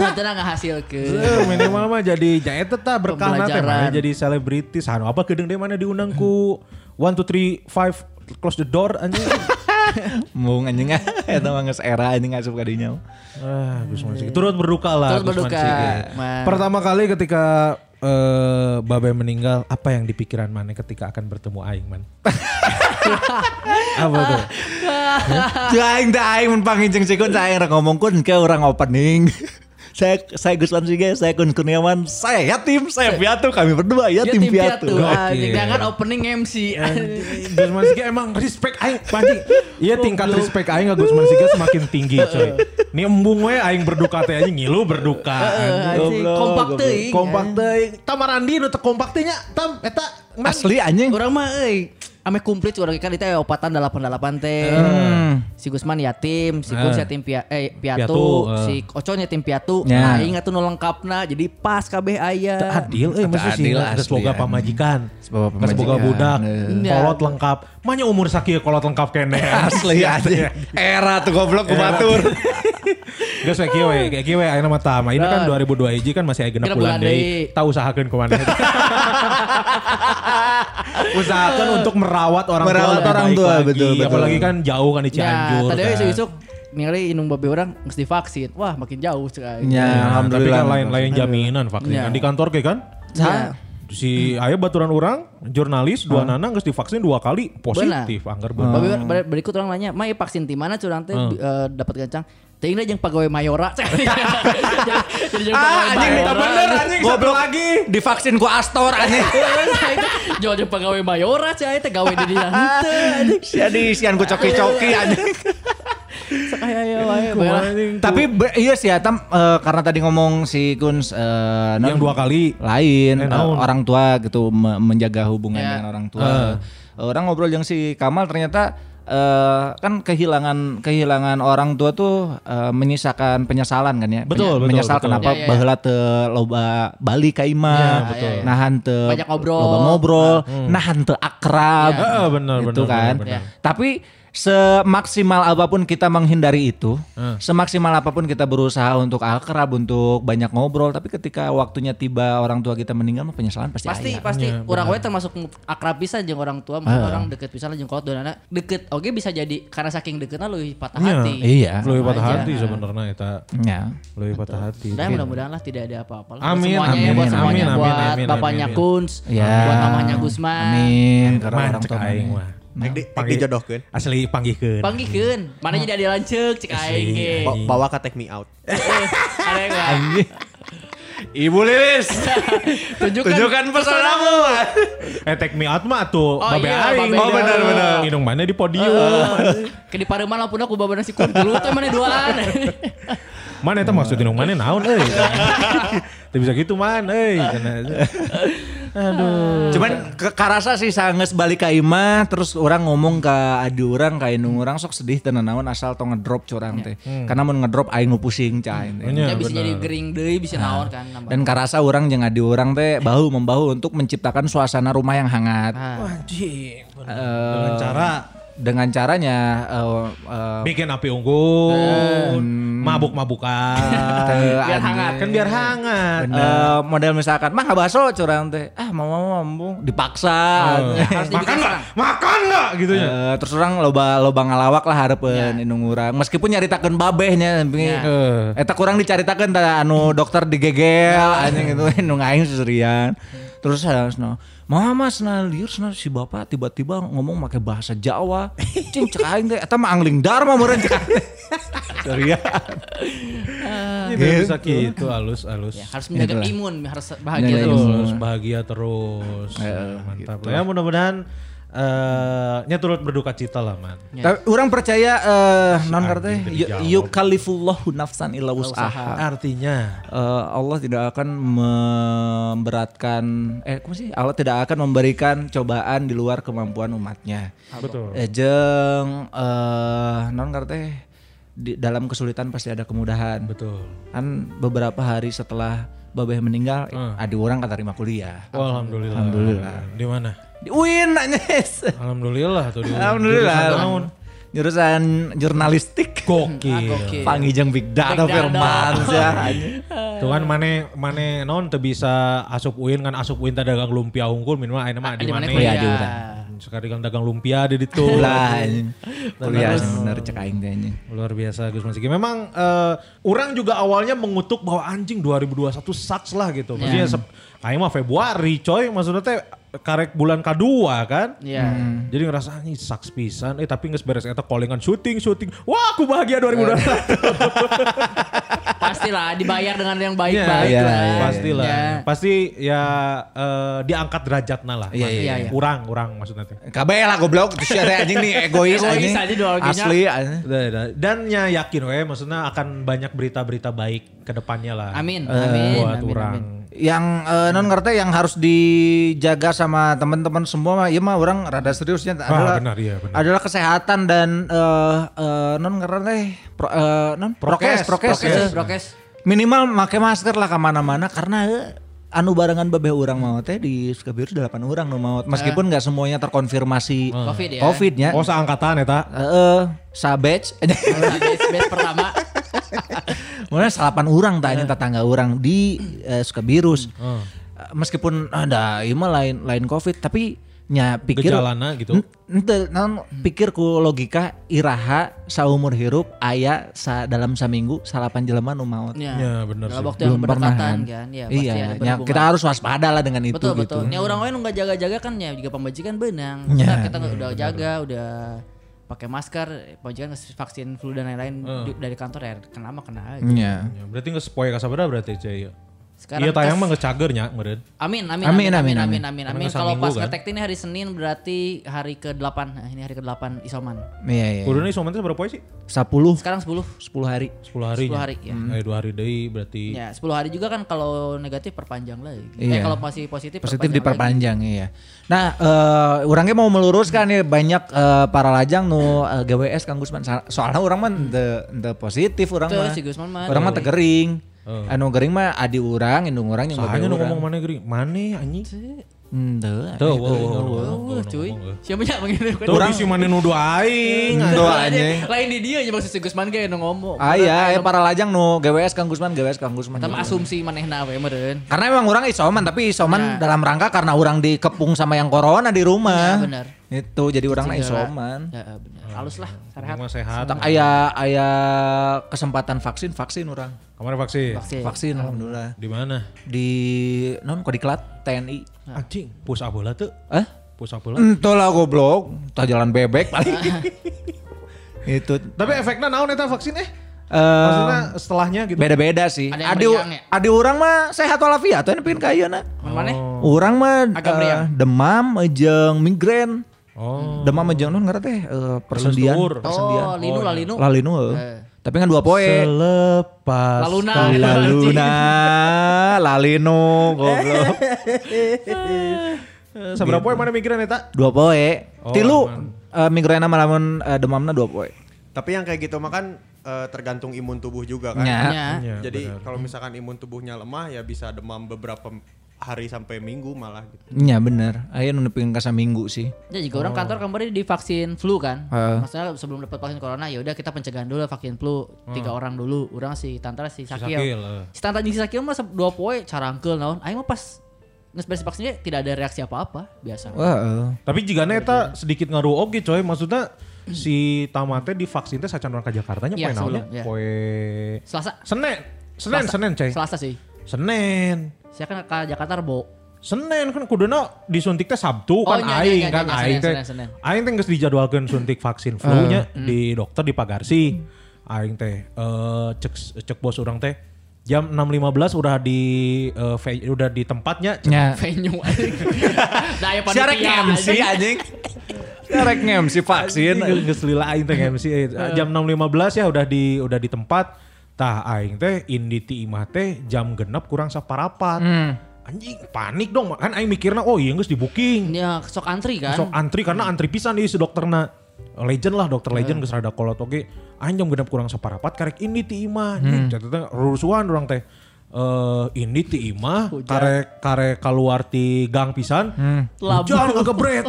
[SPEAKER 5] Sebenarnya nggak hasil ke.
[SPEAKER 4] Eh, minimal mah jadi ya eta tah berkah na teh mana
[SPEAKER 5] Pembelajaran.
[SPEAKER 4] jadi selebritis. Anu apa kedeung deh mana diundang ku 1 2 3 5 close the door anjing.
[SPEAKER 2] Mung anjing ah, eta mah geus era anjing asup ka dinya.
[SPEAKER 4] ah, Gus Mansigi. Turut berduka lah. Gus
[SPEAKER 5] Turut berduka,
[SPEAKER 4] Mansigi.
[SPEAKER 5] Man.
[SPEAKER 4] Pertama kali ketika eh Babe meninggal, apa yang di pikiran Mane ketika akan bertemu Aing, Man? apa tuh?
[SPEAKER 2] Aing teh aing mun panginjing sikun saya aing rek ngomong kun ke urang opening. saya saya Gus Lansiga, saya Kun Kurniawan, saya ya tim, saya Piatu, kami berdua ya, tim, Piatu.
[SPEAKER 5] anjing. Dengan opening MC.
[SPEAKER 4] Gus Mansigi emang respect Aing, Panji. Iya tingkat respect Aing ke Gus Mansigi semakin tinggi coy. Ini embung we Aing berduka teh aja ngilu berduka.
[SPEAKER 5] Eh, Anjing, kompak iya. teuing.
[SPEAKER 4] Kompak teh. Tamarandi nu teu kompak teh nya. Tam eta man.
[SPEAKER 2] Asli anjing.
[SPEAKER 5] Orang mah euy. Ame komplit orang kan itu opatan dalapan dalapan teh. Si Gusman yatim, si Gus
[SPEAKER 4] Eh.
[SPEAKER 5] yatim pia, eh,
[SPEAKER 4] Piatu,
[SPEAKER 5] piatu,
[SPEAKER 4] eh.
[SPEAKER 5] si Ocon yatim piatu.
[SPEAKER 2] Ya.
[SPEAKER 5] Nah, ingat tuh nu lengkapna jadi pas kabeh aya.
[SPEAKER 4] Adil eh mesti sih
[SPEAKER 2] adil
[SPEAKER 4] geus
[SPEAKER 2] asli,
[SPEAKER 4] boga
[SPEAKER 2] anjing.
[SPEAKER 4] pamajikan.
[SPEAKER 2] Geus boga
[SPEAKER 4] Geus boga
[SPEAKER 2] pamajikan, iya.
[SPEAKER 4] budak.
[SPEAKER 5] eh.
[SPEAKER 4] Kolot lengkap. Manya umur sakieu kolot lengkap kene.
[SPEAKER 2] Asli anjing. Iya, Era tuh goblok kumatur.
[SPEAKER 4] Geus we kieu we, kieu we ayeuna mah tama. Ini kan 2002 hiji kan masih aya genep
[SPEAKER 5] Genep
[SPEAKER 4] bulan
[SPEAKER 5] bulan
[SPEAKER 4] deui.
[SPEAKER 5] deui.
[SPEAKER 4] Tah usahakeun ku maneh. Usahakan untuk merawat orang tua
[SPEAKER 2] Merawat
[SPEAKER 4] lebih
[SPEAKER 2] orang
[SPEAKER 4] baik
[SPEAKER 2] tua,
[SPEAKER 4] lagi.
[SPEAKER 2] betul, Iya, betul.
[SPEAKER 4] Apalagi kan jauh kan di
[SPEAKER 5] Ya,
[SPEAKER 4] Cianjur.
[SPEAKER 5] tadi
[SPEAKER 4] kan.
[SPEAKER 5] euy isuk ningali inung babe orang geus divaksin. Wah, makin jauh
[SPEAKER 2] Ya,
[SPEAKER 5] cek
[SPEAKER 4] Ya, tapi
[SPEAKER 2] alhamdulillah. Iya.
[SPEAKER 4] kan lain-lain jaminan vaksin
[SPEAKER 5] Ya.
[SPEAKER 4] kan di kantor kayak kan.
[SPEAKER 5] Ya.
[SPEAKER 4] Si ayah baturan orang, jurnalis dua nana geus divaksin dua kali positif anggar bener.
[SPEAKER 5] Babi ber- berikut orang nanya, "Mai vaksin di mana curang teh
[SPEAKER 4] Ah.
[SPEAKER 5] eh, dapat gancang?" Teuing da jeung pegawai Mayora. Jadi
[SPEAKER 4] Ah,
[SPEAKER 2] Ah,
[SPEAKER 5] jeung pegawai Mayora.
[SPEAKER 2] anjing goblok lagi. Divaksin ku Astor anjing.
[SPEAKER 5] Jauh jeung pegawai Mayora cai teh gawe di dieu henteu.
[SPEAKER 2] Jadi sian ku coki-coki anjing.
[SPEAKER 5] Sok aya aya wae bae.
[SPEAKER 2] Tapi be- iya sih ya, Tam, eh, karena tadi ngomong si Guns eh, non-
[SPEAKER 4] Yang dua kali.
[SPEAKER 2] lain
[SPEAKER 4] Eh,
[SPEAKER 2] eh,
[SPEAKER 4] naon? Eh.
[SPEAKER 2] orang tua gitu me- menjaga hubungan
[SPEAKER 5] Ya.
[SPEAKER 2] dengan orang tua. Eh, Orang ngobrol yang si Kamal ternyata eh, kan kehilangan kehilangan orang tua tuh eh, menyisakan penyesalan kan ya.
[SPEAKER 4] Betul, betul,
[SPEAKER 2] menyesal
[SPEAKER 4] betul.
[SPEAKER 2] kenapa
[SPEAKER 5] Ya, ya, ya.
[SPEAKER 2] baheula teu loba Bali ka imah,
[SPEAKER 5] betul. ya, ya.
[SPEAKER 2] nahan teu
[SPEAKER 5] Banyak ngobrol.
[SPEAKER 2] loba ngobrol, nahan teu akrab.
[SPEAKER 4] Nah, hmm. Ya. Heeh, benar,
[SPEAKER 2] gitu
[SPEAKER 4] benar,
[SPEAKER 2] kan.
[SPEAKER 4] benar, benar.
[SPEAKER 2] Tapi semaksimal apapun kita menghindari itu,
[SPEAKER 4] Hmm.
[SPEAKER 2] semaksimal apapun kita berusaha untuk akrab, untuk banyak ngobrol, tapi ketika waktunya tiba orang tua kita meninggal, mah penyesalan pasti,
[SPEAKER 5] Pasti
[SPEAKER 2] aya.
[SPEAKER 5] pasti
[SPEAKER 4] Iya,
[SPEAKER 5] orang wae termasuk akrab pisan jeung orang
[SPEAKER 4] Ah.
[SPEAKER 5] tua, maksudnya orang deket pisan lah jeung kolot dua anak. Deket oge bisa jadi karena saking deketna leuwih patah hati.
[SPEAKER 2] Iya.
[SPEAKER 4] Lebih patah
[SPEAKER 5] aja.
[SPEAKER 4] hati sebenarnya eta.
[SPEAKER 2] Ya.
[SPEAKER 4] Lebih patah hati.
[SPEAKER 5] Dan mudah-mudahan lah tidak ada apa-apa lah.
[SPEAKER 4] Iya. Amin,
[SPEAKER 5] semuanya ya,
[SPEAKER 4] amin,
[SPEAKER 5] buat semuanya
[SPEAKER 4] amin, amin,
[SPEAKER 5] buat
[SPEAKER 4] amin, Iya.
[SPEAKER 5] bapaknya
[SPEAKER 4] amin.
[SPEAKER 5] Kunz,
[SPEAKER 2] Ya.
[SPEAKER 5] buat mamanya Gusman.
[SPEAKER 2] Amin. Karena
[SPEAKER 4] Karena
[SPEAKER 2] orang tua
[SPEAKER 4] aing mah.
[SPEAKER 5] Nah,
[SPEAKER 6] Dik dijodohkeun.
[SPEAKER 4] Asli panggihkeun.
[SPEAKER 5] Panggihkeun. Mana jadi ada lanceuk cek aing ge.
[SPEAKER 6] Ba- Bawa ke take me out.
[SPEAKER 5] Eh, Ada yang nggak?
[SPEAKER 2] Ibu Lilis,
[SPEAKER 5] Tunjukkan.
[SPEAKER 2] tunjukkan pesonamu.
[SPEAKER 4] Eh take me out mah tuh
[SPEAKER 5] Oh,
[SPEAKER 4] babe
[SPEAKER 5] iya,
[SPEAKER 4] aing.
[SPEAKER 5] babe Oh, aing. benar-benar.
[SPEAKER 4] Minum mana di podium.
[SPEAKER 5] Ke di pareman lamun aku babana si kur dulu teh mana duaan.
[SPEAKER 4] Mana itu maksud minum mana naon euy. Teu bisa gitu man euy. Cenah.
[SPEAKER 2] Cuman ke karasa sih sanges balik ka imah terus orang ngomong ke adi orang ka indung orang sok sedih tenan naon asal tong ngedrop curang teh. Karena mun ngedrop aing nu pusing cai.
[SPEAKER 4] Hmm. Nya,
[SPEAKER 5] Ya bisa
[SPEAKER 4] bener.
[SPEAKER 5] jadi gering deui bisa
[SPEAKER 2] Nah.
[SPEAKER 5] naon kan nambah.
[SPEAKER 2] Dan karasa orang jeung adi orang teh bahu membahu untuk menciptakan suasana rumah yang hangat.
[SPEAKER 5] Ah.
[SPEAKER 2] Eh,
[SPEAKER 4] Dengan cara
[SPEAKER 2] dengan caranya eh, eh,
[SPEAKER 4] bikin api unggun, mabuk-mabukan.
[SPEAKER 2] teu
[SPEAKER 5] biar
[SPEAKER 2] anjing.
[SPEAKER 5] hangat.
[SPEAKER 4] kan biar hangat.
[SPEAKER 2] Eh, model misalkan mah nggak baso curang teh ah mau mau mau dipaksa
[SPEAKER 4] Eh,
[SPEAKER 5] Harus dibikin serang.
[SPEAKER 4] Makan nggak gitu ya.
[SPEAKER 2] Eh, terus orang loba loba ngalawak lah hareupeun indung urang meskipun nyaritakeun babehnya eh,
[SPEAKER 5] Ya.
[SPEAKER 2] eta kurang dicaritakeun ta anu dokter digegel anjing itu indung aing susurian terus eh, harus no Mama sana liur sana si bapak tiba-tiba ngomong pakai bahasa Jawa. Cing cek aing teh eta mah angling dharma meureun cek aing.
[SPEAKER 4] Iya. Ah. Bisa gitu halus-halus.
[SPEAKER 5] Ya, harus menjaga
[SPEAKER 2] Itulah.
[SPEAKER 5] imun, harus
[SPEAKER 4] gitu.
[SPEAKER 5] bahagia
[SPEAKER 2] Menjaga
[SPEAKER 5] terus.
[SPEAKER 2] imun.
[SPEAKER 4] terus bahagia terus mantap lah. ya mudah-mudahan eh nya turut berduka cita lah man
[SPEAKER 2] Tapi orang percaya eh non karteh
[SPEAKER 4] tadi jawab.
[SPEAKER 2] yukalifullahu nafsan illa wus'aha.
[SPEAKER 4] artinya
[SPEAKER 2] Eh, Allah tidak akan memberatkan eh apa sih Allah tidak akan memberikan cobaan di luar kemampuan umatnya.
[SPEAKER 4] betul
[SPEAKER 2] Eh, jeng eh non teh di dalam kesulitan pasti ada kemudahan.
[SPEAKER 4] betul
[SPEAKER 2] Kan beberapa hari setelah Babeh meninggal,
[SPEAKER 4] Ah.
[SPEAKER 2] ada orang kata terima kuliah.
[SPEAKER 4] Oh, alhamdulillah
[SPEAKER 2] Alhamdulillah.
[SPEAKER 4] di mana
[SPEAKER 2] Di UIN nanyes.
[SPEAKER 4] alhamdulillah tuh di
[SPEAKER 2] Alhamdulillah.
[SPEAKER 4] Hmm. jurusan naon?
[SPEAKER 2] Jurusan
[SPEAKER 4] Ah,
[SPEAKER 2] jurnalistik.
[SPEAKER 4] gokil
[SPEAKER 5] Oke.
[SPEAKER 2] Pangijeng Big Data
[SPEAKER 5] Iya. Big Data.
[SPEAKER 2] Firman
[SPEAKER 4] Tuhan mana mana kan non teu bisa asup uin kan asup uin teh dagang lumpia unggul minimal ayeuna mah Ah, di
[SPEAKER 5] Di mana
[SPEAKER 4] mana
[SPEAKER 5] kuliah di
[SPEAKER 2] urang.
[SPEAKER 4] sekarang dagang lumpia di ditu
[SPEAKER 2] Lah anjing. Kuliah Iya, bener cek aing teh anjing.
[SPEAKER 4] Luar biasa Gus Mas Iki. Memang eh, orang juga awalnya mengutuk bahwa anjing 2021 sats lah gitu. Maksudnya
[SPEAKER 5] Iya.
[SPEAKER 4] sep- aing mah Februari coy, maksudnya teh karek bulan kedua kan.
[SPEAKER 5] Iya.
[SPEAKER 2] Hmm.
[SPEAKER 4] Jadi ngerasa anjing saks pisan, eh tapi nggak beres eta callingan syuting syuting. Wah aku
[SPEAKER 5] Iya.
[SPEAKER 4] bahagia 2021.
[SPEAKER 5] Pastilah dibayar dengan yang
[SPEAKER 2] Ya,
[SPEAKER 5] baik-baik
[SPEAKER 4] Iya,
[SPEAKER 5] lah.
[SPEAKER 4] pastilah.
[SPEAKER 5] Ya.
[SPEAKER 4] Pasti ya eh, diangkat derajatna lah.
[SPEAKER 2] Iya, iya,
[SPEAKER 5] iya.
[SPEAKER 4] Kurang, kurang maksudnya teh.
[SPEAKER 2] KB lah goblok terus ya teh anjing nih egois
[SPEAKER 5] Egois
[SPEAKER 2] anjing.
[SPEAKER 5] aja ideologinya.
[SPEAKER 2] Asli anjing.
[SPEAKER 5] Iya,
[SPEAKER 4] Dan ya yakin we maksudnya akan banyak berita-berita baik ke depannya lah. Eh,
[SPEAKER 5] Amin, amin,
[SPEAKER 4] Buat
[SPEAKER 5] amin,
[SPEAKER 4] orang.
[SPEAKER 5] amin.
[SPEAKER 2] Yang eh, non ngerti yang harus dijaga sama teman-teman semua mah iya mah orang rada seriusnya adalah
[SPEAKER 4] benar, iya, benar.
[SPEAKER 2] adalah kesehatan dan eh, eh, non ngerti pro, eh, non
[SPEAKER 4] Prokes,
[SPEAKER 2] prokes,
[SPEAKER 5] Prokes,
[SPEAKER 2] eh.
[SPEAKER 5] prokes.
[SPEAKER 2] minimal pakai masker lah kemana-mana karena eh, anu barengan babe orang maut teh di Sukabumi delapan orang nu maut meskipun nggak semuanya terkonfirmasi Eh,
[SPEAKER 5] Covid ya.
[SPEAKER 2] covidnya
[SPEAKER 4] Eh. Oh seangkatan eta.
[SPEAKER 2] Heeh, sabech
[SPEAKER 5] Base, base pertama.
[SPEAKER 2] Mulai salapan orang
[SPEAKER 4] Eh.
[SPEAKER 2] tanya tetangga orang di eh, Sukabirus. Eh, Meskipun ada ieu mah lain lain Covid tapi nya pikir
[SPEAKER 4] Gejalana gitu. Hmm.
[SPEAKER 2] N- ente, naon, pikir ku logika iraha saumur hirup aya sa dalam saminggu salapan jelema nu maot.
[SPEAKER 5] Ya,
[SPEAKER 4] Ya, benar
[SPEAKER 5] Dalam
[SPEAKER 4] sih.
[SPEAKER 5] waktu yang berdekatan
[SPEAKER 2] kan.
[SPEAKER 5] kan. Ya, pasti
[SPEAKER 2] iya,
[SPEAKER 5] ada
[SPEAKER 2] nya
[SPEAKER 5] berhubungan.
[SPEAKER 2] kita harus waspada lah dengan itu
[SPEAKER 5] betul
[SPEAKER 2] gitu.
[SPEAKER 5] betul. Ya orang lain nggak jaga-jaga kan ya juga pembajikan benang.
[SPEAKER 2] Ya,
[SPEAKER 5] Kita, kita udah jaga, udah pakai masker, pembajikan ngasih vaksin flu dan lain-lain di- dari kantor ya kena mah kena aja.
[SPEAKER 2] Iya.
[SPEAKER 4] Ya, berarti nggak spoy kasabada berarti cuy. Iya
[SPEAKER 5] Sekarang
[SPEAKER 4] tayang
[SPEAKER 5] kas-
[SPEAKER 4] mah ngecagernya meren.
[SPEAKER 5] Amin
[SPEAKER 2] Amin,
[SPEAKER 5] amin amin amin
[SPEAKER 2] amin,
[SPEAKER 5] amin amin. amin.
[SPEAKER 4] Karena
[SPEAKER 5] Kalau
[SPEAKER 4] seminggu
[SPEAKER 5] pas
[SPEAKER 4] kan.
[SPEAKER 5] ngetek ini hari Senin berarti hari ke-8. Nah, ini hari ke-8 isoman.
[SPEAKER 2] Iya, iya.
[SPEAKER 4] Kurun ini somannya berapa poe sih?
[SPEAKER 2] 10
[SPEAKER 5] Sekarang 10.
[SPEAKER 2] 10 hari.
[SPEAKER 4] 10 hari.
[SPEAKER 5] 10 hari, ya.
[SPEAKER 4] Hmm. Eh, 2 hari deui berarti.
[SPEAKER 5] Ya, 10 hari juga kan kalau negatif perpanjang lagi. Eh
[SPEAKER 2] Iya.
[SPEAKER 5] kalau masih positif
[SPEAKER 2] positif
[SPEAKER 5] lagi.
[SPEAKER 2] diperpanjang iya. Nah, eh orangnya mau meluruskan ya banyak eh, para lajang nu eh, GWS Kang Gusman Sa- soalnya orang mah the, positif orang
[SPEAKER 5] Tuh,
[SPEAKER 2] mah.
[SPEAKER 5] si Gusman mah.
[SPEAKER 2] Orang mah tegering. Anu gering mah adi urang, indung urang yang
[SPEAKER 4] Sahanya nu ngomong mana gering? Mana anjing?
[SPEAKER 2] Tuh,
[SPEAKER 4] Tuh, wow, wow, wow.
[SPEAKER 5] Wah, cuy. Siapa yang mengirim?
[SPEAKER 4] Tuh orang sih mana nuduh aing.
[SPEAKER 2] doanya.
[SPEAKER 5] Lain di dia aja maksud si Gusman kayak ngomong.
[SPEAKER 2] Ah iya, eh, para lajang nu GWS Kang Gusman, GWS Kang Gusman. Gitu.
[SPEAKER 5] Tapi asumsi manehna we meureun.
[SPEAKER 2] Karena emang orang isoman, tapi isoman
[SPEAKER 5] Ya.
[SPEAKER 2] dalam rangka karena orang dikepung sama yang corona di rumah.
[SPEAKER 5] Ya, benar.
[SPEAKER 2] Itu jadi orang isoman.
[SPEAKER 5] Ya, bener. Halus lah,
[SPEAKER 4] Anjing
[SPEAKER 5] sarehat.
[SPEAKER 4] mah sehat.
[SPEAKER 2] Tak aya aya kesempatan vaksin vaksin orang.
[SPEAKER 4] Kamari vaksin.
[SPEAKER 5] Vaksin.
[SPEAKER 2] Vaksin alhamdulillah.
[SPEAKER 4] Di mana?
[SPEAKER 2] Di non kok diklat TNI.
[SPEAKER 5] Nah.
[SPEAKER 4] Anjing, push up bola tuh.
[SPEAKER 2] Eh?
[SPEAKER 4] Pusap pula.
[SPEAKER 2] Entah lah goblok, tah jalan bebek paling. Gitu. itu
[SPEAKER 4] Tapi efeknya naon eta vaksin eh?
[SPEAKER 2] Eh,
[SPEAKER 4] Maksudnya setelahnya gitu.
[SPEAKER 2] beda-beda sih.
[SPEAKER 5] Ada yang
[SPEAKER 2] Adi
[SPEAKER 5] meriang ya?
[SPEAKER 2] adi orang mah sehat walafiat tuh pin ka ayeuna.
[SPEAKER 5] Mana?
[SPEAKER 2] Orang mah
[SPEAKER 5] Oh.
[SPEAKER 2] eh,
[SPEAKER 5] Agak meriang.
[SPEAKER 2] demam jeung migrain.
[SPEAKER 4] Oh.
[SPEAKER 2] Demam jeung non ngaran teh eh, persendian,
[SPEAKER 4] Persentuur.
[SPEAKER 2] persendian.
[SPEAKER 5] Oh, linu lah linu.
[SPEAKER 2] Lalinu heuh.
[SPEAKER 5] Eh.
[SPEAKER 2] Tapi kan dua poe.
[SPEAKER 4] Selepas.
[SPEAKER 5] Laluna.
[SPEAKER 2] Laluna, lalinu goblok.
[SPEAKER 4] Seberapa yang mana mikirin eta?
[SPEAKER 2] Dua poe.
[SPEAKER 4] Oh,
[SPEAKER 2] Tilu
[SPEAKER 4] aman.
[SPEAKER 2] eh, migraina mah lamun eh, demamna dua poe.
[SPEAKER 6] Tapi yang kayak gitu mah kan eh, tergantung imun tubuh juga kan.
[SPEAKER 2] Nya.
[SPEAKER 5] Ya.
[SPEAKER 4] Ya,
[SPEAKER 6] Jadi
[SPEAKER 4] benar.
[SPEAKER 6] kalau misalkan imun tubuhnya lemah ya bisa demam beberapa hari sampai minggu malah gitu.
[SPEAKER 2] Nya bener. Ayo nepikeun ka minggu sih.
[SPEAKER 5] Ya juga orang kantor kemarin divaksin flu kan.
[SPEAKER 2] Heeh.
[SPEAKER 5] Maksudnya sebelum dapat vaksin corona ya udah kita pencegahan dulu vaksin flu tiga orang dulu. Orang si Tantra Ah. si
[SPEAKER 4] Sakil,
[SPEAKER 5] Sakil.
[SPEAKER 4] heeh.
[SPEAKER 5] Si Tantra jeung si Sakil mah sep- dua poe carangkeul naon. Aing mah pas geus beres vaksinnya tidak ada reaksi apa-apa biasa.
[SPEAKER 2] Wah. eh.
[SPEAKER 4] Tapi jika neta sedikit ngaruh oke coy, maksudnya si tamate divaksin teh sacan orang ke Jakarta nya poe
[SPEAKER 5] Iya,
[SPEAKER 4] naonnya?
[SPEAKER 5] sebelum, iya.
[SPEAKER 4] Poe
[SPEAKER 5] Selasa.
[SPEAKER 4] Senen. Senen,
[SPEAKER 5] Selasa-
[SPEAKER 4] Senen coy.
[SPEAKER 5] Selasa sih.
[SPEAKER 4] Senen.
[SPEAKER 5] Saya kan ke Jakarta Rebo.
[SPEAKER 4] Senin kan kuduna disuntik teh Sabtu kan
[SPEAKER 5] nya, nya,
[SPEAKER 4] aing
[SPEAKER 5] nya,
[SPEAKER 4] kan
[SPEAKER 5] nya,
[SPEAKER 4] aing
[SPEAKER 5] Senin,
[SPEAKER 4] teh.
[SPEAKER 5] Senin, Senin.
[SPEAKER 4] Aing teh geus dijadwalkeun suntik vaksin flu nya
[SPEAKER 5] Mm.
[SPEAKER 4] di dokter di Pagarsi. Aing teh eh, cek cek bos orang teh jam 6.15 udah di eh, ve- udah di tempatnya.
[SPEAKER 2] Nya.
[SPEAKER 5] Venue anjing. Nah, ya
[SPEAKER 2] Siarek MC
[SPEAKER 5] anjing.
[SPEAKER 2] anjing. Siarek MC vaksin.
[SPEAKER 4] Aing geus lila aing teh MC eh, jam 6.15 ya udah di udah di tempat. Tah aing teh indi ti imah teh jam genep kurang saparapat. Anjing panik dong kan aing mikirna oh iya geus di booking.
[SPEAKER 5] Ya, sok antri kan.
[SPEAKER 4] Sok antri karena antri pisan di si dokterna. Legend lah dokter legend geus rada kolot oge. Anjom genep kurang separapat karek ini ti imah. Catetna rusuhan urang teh. Eh ini ti imah karek karek keluar ti gang pisan. Hujan
[SPEAKER 5] Labu.
[SPEAKER 4] ngegebret.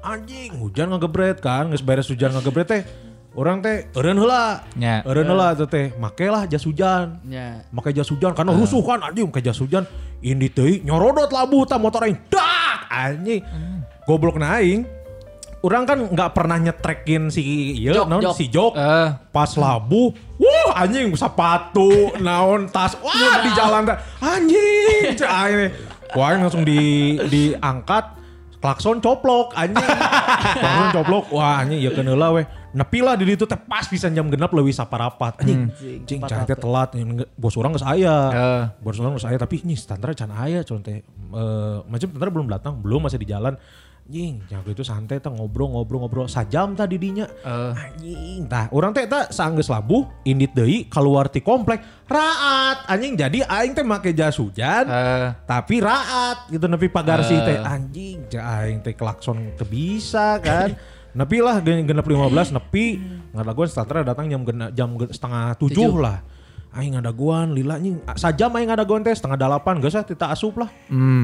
[SPEAKER 4] Anjing hujan ngegebret kan geus beres hujan ngegebret teh. Orang teh eureun heula.
[SPEAKER 2] Nya.
[SPEAKER 4] Eureun heula tuh teh. Makelah jas hujan.
[SPEAKER 5] Ya.
[SPEAKER 4] Makai jas hujan karena rusuh kan anjing pakai jas hujan. Ini teh nyorodot labu tah motor aing. Dak anjing.
[SPEAKER 5] Hmm.
[SPEAKER 4] Goblok aing. Orang kan nggak pernah nyetrekin si iya
[SPEAKER 5] Jok,
[SPEAKER 4] naon
[SPEAKER 5] jok.
[SPEAKER 4] si jok
[SPEAKER 2] Eh.
[SPEAKER 4] pas labu. Wuh anjing sepatu naon tas. Wah di jalan teh. Anjing. cek aing teh. Wah aing langsung di diangkat klakson coplok anjing. klakson coplok. Wah anjing ya keneula weh. Nepi lah di ditu teh pas pisan jam genap leuwih saparapat anjing. Anjing
[SPEAKER 5] Cepat
[SPEAKER 4] cai teh
[SPEAKER 5] apa.
[SPEAKER 4] telat nge- bos orang geus aya.
[SPEAKER 2] Heeh.
[SPEAKER 4] Bos orang geus aya tapi ini standar can aya cuman teh Eh, macam standar belum datang, belum masih di jalan. Anjing, jago itu santai teh ngobrol ngobrol ngobrol sajam tadi dinya. Anjing, tah orang teh tah saanggeus labuh, indit deui keluar ti komplek, raat. Anjing jadi aing teh make jas hujan.
[SPEAKER 2] Eh.
[SPEAKER 4] Tapi raat gitu nepi pagar sih teh anjing ja aing teh klakson kebisa kan. nepi lah gen- genep 15 nepi ngadaguan starter datang jam gena- jam ge- setengah tujuh
[SPEAKER 5] Tujuh.
[SPEAKER 4] lah. Aing ngadaguan lila nying sajam aing ngadaguan teh setengah delapan geus ah tita asup lah.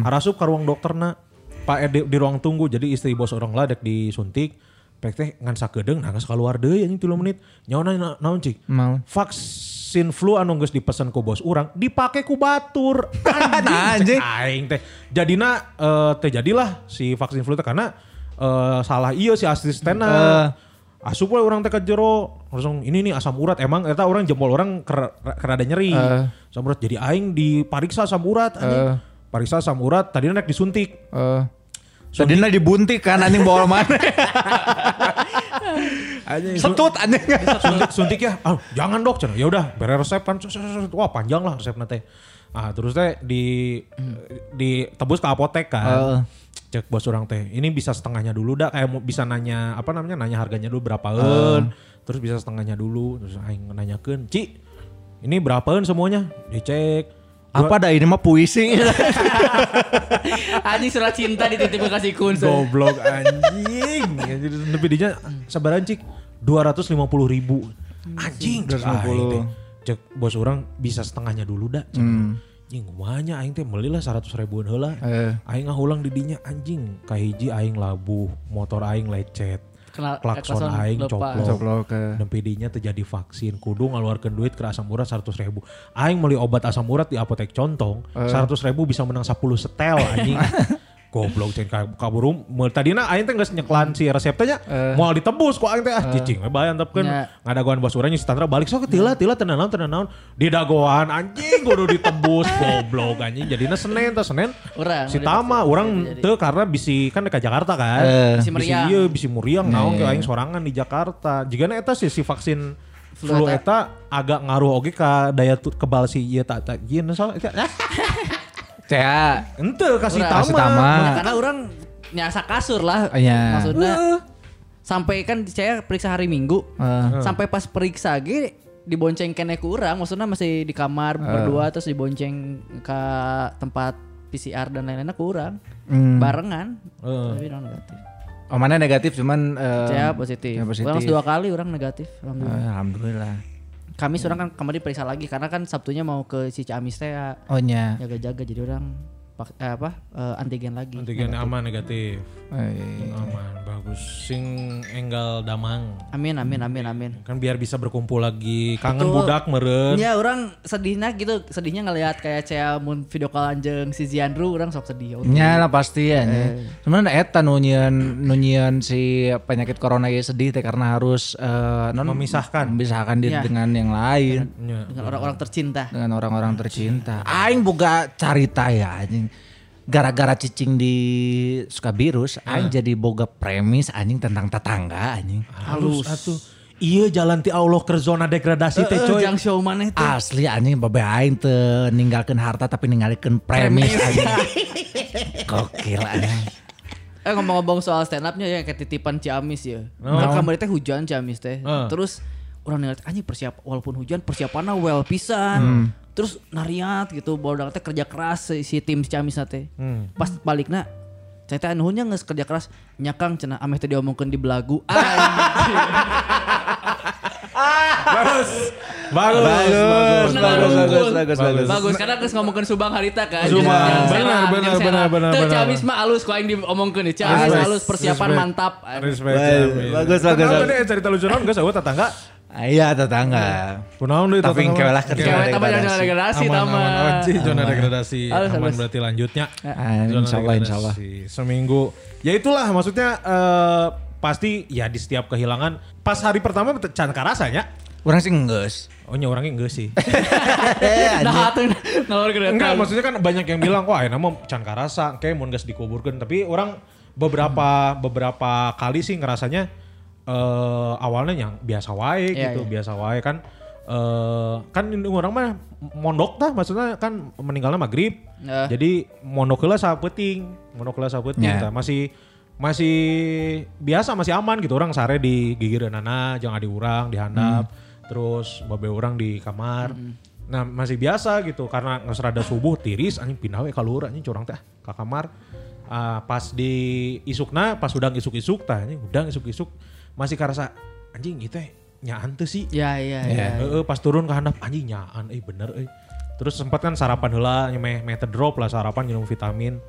[SPEAKER 4] Arasup ka ruang dokterna. Pak Ede eh, di ruang tunggu jadi istri bos orang lah dek disuntik. Pek teh ngan sakedeung nangis keluar deui anjing 3 menit. Nyaona na- naon cik?
[SPEAKER 2] Mau.
[SPEAKER 4] vaksin flu anu geus dipesan ku bos urang dipake ku batur anjing
[SPEAKER 2] Anjing.
[SPEAKER 4] cek aing teh jadina eh, teh jadilah si vaksin flu teh karena eh, salah iya si asistenna asup we urang teh ke jero langsung ini nih asam urat emang eta orang jempol orang ker, kerada nyeri asam urat jadi aing dipariksa asam urat anjing pariksa asam urat tadi naik disuntik
[SPEAKER 2] Eh. Tadina dibuntik kan anjing bawa mana.
[SPEAKER 4] anjing
[SPEAKER 2] Setut anjing.
[SPEAKER 4] suntik suntik ya ah, jangan dok cenah ya udah bere resep kan Sus, sus, sus. wah panjang lah resep teh ah terus teh di di tebus ke apotek kan cek bos orang teh ini bisa setengahnya dulu dah kayak mau bisa nanya apa namanya nanya harganya dulu berapaun terus bisa setengahnya dulu terus aing nanyakeun ci ini berapaun semuanya dicek
[SPEAKER 2] Apa dah ini mah puisi.
[SPEAKER 5] Anjing surat cinta dititip ke si Kun.
[SPEAKER 4] goblok anjing gitu, lebih dinya sabaran cik 250 ribu anjing cek aing teh. cek bos orang bisa setengahnya dulu dah cek. anjing kumanya aing teh melilah 100 ribuan heula
[SPEAKER 2] Eh.
[SPEAKER 4] aing ngahulang di dinya anjing kahiji aing labuh motor aing lecet
[SPEAKER 5] Kenal-
[SPEAKER 4] klakson
[SPEAKER 5] klakson
[SPEAKER 4] aing
[SPEAKER 5] lepas.
[SPEAKER 4] coplok
[SPEAKER 2] Coplok, eh.
[SPEAKER 4] dan PD-nya terjadi vaksin kudu ngeluarkan duit ke asam urat 100 ribu
[SPEAKER 5] Eh.
[SPEAKER 4] aing beli obat asam urat di apotek contong 100 ribu bisa menang 10 setel anjing Goblok cing ka- kabur Tadi na aing teh geus nyeklan si resepnya moal ditebus kok aing teh ah cicing we bayan tepkeun
[SPEAKER 5] Eh. Nya.
[SPEAKER 4] ngadagoan basuranya si Tantra balik sok tila tila tenan naon tenan naon didagoan anjing kudu ditebus goblok anjing jadina Senin teh Senin
[SPEAKER 5] Orang
[SPEAKER 4] si
[SPEAKER 5] udah
[SPEAKER 4] Tama
[SPEAKER 5] pasti
[SPEAKER 4] orang
[SPEAKER 5] jadi.
[SPEAKER 4] teu karena bisi kan dekat Jakarta kan
[SPEAKER 2] Eh.
[SPEAKER 5] Bisi meriang.
[SPEAKER 4] ieu, bisi muriang
[SPEAKER 2] Nah,
[SPEAKER 4] naon
[SPEAKER 2] iya,
[SPEAKER 4] ke aing sorangan di Jakarta jigana eta sih si vaksin
[SPEAKER 5] Flu
[SPEAKER 4] flu
[SPEAKER 5] eta.
[SPEAKER 4] eta agak ngaruh oge ka daya tu- kebal si ieu tak tak ieu soal eta ah,
[SPEAKER 2] Cea.
[SPEAKER 4] Ente kasih
[SPEAKER 5] Urang.
[SPEAKER 4] tama.
[SPEAKER 2] Kasih tama.
[SPEAKER 5] Ya, karena orang nyasa kasur lah.
[SPEAKER 2] Iya.
[SPEAKER 5] Maksudnya sampai kan saya periksa hari Minggu.
[SPEAKER 2] Eh.
[SPEAKER 5] Sampai pas periksa ge dibonceng kene ke urang, maksudnya masih di kamar
[SPEAKER 2] Eh.
[SPEAKER 5] berdua terus dibonceng ke tempat PCR dan lain-lainnya ke urang.
[SPEAKER 2] Hmm.
[SPEAKER 5] Barengan. Tapi orang negatif.
[SPEAKER 2] Oh mana negatif cuman eh,
[SPEAKER 5] Saya positif.
[SPEAKER 2] ya, positif. Eh.
[SPEAKER 5] Orang dua kali orang negatif. Alhamdulillah.
[SPEAKER 2] Alhamdulillah.
[SPEAKER 5] Kami seorang kan kemarin periksa lagi karena kan Sabtunya mau ke si Ciamis teh ya,
[SPEAKER 2] Oh nya.
[SPEAKER 5] jaga-jaga jadi orang pak- eh, apa eh, antigen lagi.
[SPEAKER 4] Antigen aman negatif.
[SPEAKER 2] Eh,
[SPEAKER 4] Aman bagus. Sing enggal damang.
[SPEAKER 5] Amin amin amin amin.
[SPEAKER 4] Kan biar bisa berkumpul lagi. Kangen
[SPEAKER 5] Betul.
[SPEAKER 4] budak meren.
[SPEAKER 5] Ya orang sedihnya gitu, sedihnya ngelihat kayak Cea mun video call anjing si Ziandru orang sok sedih. orang.
[SPEAKER 2] Nya lah pasti ya. nya. Cuman eta nunyian nunyian si penyakit corona ya sedih teh karena harus eh, non
[SPEAKER 4] Memisahkan.
[SPEAKER 2] memisahkan diri
[SPEAKER 5] Iya.
[SPEAKER 2] dengan yang lain.
[SPEAKER 4] Ya.
[SPEAKER 5] Dengan orang-orang tercinta.
[SPEAKER 2] dengan orang-orang tercinta. Aing boga carita ya anjing. Gara-gara cicing di Sukabirus,
[SPEAKER 4] Eh.
[SPEAKER 2] aing jadi boga premis anjing tentang tetangga anjing.
[SPEAKER 4] Halus atuh. Iya jalan ti Allah ke zona degradasi
[SPEAKER 2] Eh,
[SPEAKER 4] teh coy.
[SPEAKER 5] Eh, Jang show maneh teh.
[SPEAKER 2] Asli anjing babe aing teu ninggalkeun harta tapi ninggalkeun premis anjing. Gokil anjing.
[SPEAKER 5] Eh ngomong-ngomong soal stand up-nya ya kayak titipan Ciamis ya.
[SPEAKER 4] Oh. Ah.
[SPEAKER 5] Kan kemarin teh hujan Ciamis teh.
[SPEAKER 4] Heeh.
[SPEAKER 5] Terus orang ngeliat anjing persiap walaupun hujan persiapannya well pisan.
[SPEAKER 4] Hmm.
[SPEAKER 5] Terus nariat gitu bawa teh kerja keras si, si tim Ciamis teh.
[SPEAKER 4] Hmm.
[SPEAKER 5] Pas balikna saya teh anu nya geus kerja keras nyakang cenah ameh teh diomongkeun di belagu. Ah, iya. Anjing.
[SPEAKER 4] Bagus. Bagus.
[SPEAKER 5] Bener,
[SPEAKER 4] Bagus.
[SPEAKER 5] unggul.
[SPEAKER 4] Bagus. Bagus. Bagus.
[SPEAKER 5] Bagus karena geus ngomongkeun Subang Harita kan.
[SPEAKER 4] Subang.
[SPEAKER 5] Jangan
[SPEAKER 4] Benar,
[SPEAKER 5] serang,
[SPEAKER 4] benar,
[SPEAKER 5] jangan
[SPEAKER 4] benar,
[SPEAKER 5] serang.
[SPEAKER 4] benar,
[SPEAKER 5] Teu
[SPEAKER 4] benar.
[SPEAKER 5] Ciamis mah alus ku aing diomongkeun ya. Ciamis
[SPEAKER 4] Respect,
[SPEAKER 5] alus persiapan
[SPEAKER 4] respect.
[SPEAKER 5] mantap.
[SPEAKER 4] Respect.
[SPEAKER 2] Bagus, bagus,
[SPEAKER 4] Kenapa
[SPEAKER 2] bagus.
[SPEAKER 4] deh cerita lucu naon geus eueuh tetangga?
[SPEAKER 2] Ah, Iya tetangga.
[SPEAKER 4] Kunaon deui
[SPEAKER 2] Tapi
[SPEAKER 4] tetangga?
[SPEAKER 2] engke lah kerja
[SPEAKER 5] Cewek tambah
[SPEAKER 2] degradasi.
[SPEAKER 5] jangan degradasi
[SPEAKER 4] aman,
[SPEAKER 5] tambah.
[SPEAKER 4] aman, aman. Cih, zona degradasi.
[SPEAKER 5] Halus,
[SPEAKER 4] aman
[SPEAKER 5] halus.
[SPEAKER 4] berarti lanjutnya.
[SPEAKER 2] Ah,
[SPEAKER 4] Zona
[SPEAKER 2] insya Allah,
[SPEAKER 4] degradasi.
[SPEAKER 2] insya Allah.
[SPEAKER 4] Seminggu. Ya itulah maksudnya eh, pasti ya di setiap kehilangan pas hari pertama te- can rasanya.
[SPEAKER 2] Orang sih ngeus.
[SPEAKER 4] Oh nya orangnya enggak sih.
[SPEAKER 5] Nah, atuh ngalor geretan.
[SPEAKER 4] Enggak maksudnya kan banyak yang bilang wah enak mah can karasa kayak mau gas dikuburkan tapi orang beberapa beberapa kali sih ngerasanya eh awalnya yang biasa wae
[SPEAKER 5] Iya,
[SPEAKER 4] gitu
[SPEAKER 5] iya.
[SPEAKER 4] biasa wae kan eh kan ini orang mah mondok tah maksudnya kan meninggalnya maghrib
[SPEAKER 5] Nah.
[SPEAKER 4] jadi mondok heula sapeting mondok heula sapeting
[SPEAKER 2] Ya.
[SPEAKER 4] tah. masih masih biasa masih aman gitu orang sare di gigir nana jangan di urang dihandap terus babe orang di kamar nah masih biasa gitu karena nggak serada subuh tiris anjing pindah we ka luhur anjing curang teh ke kamar Ah, pas di isukna pas udang isuk-isuk tah anjing udang isuk-isuk masih karasa anjing itu teh nyaan teu sih
[SPEAKER 5] Ya ya ya.
[SPEAKER 4] Eh, eh, pas turun ke handap anjing nyaan eh bener eh. Terus sempat kan sarapan heula meh meh teh drop lah sarapan minum vitamin.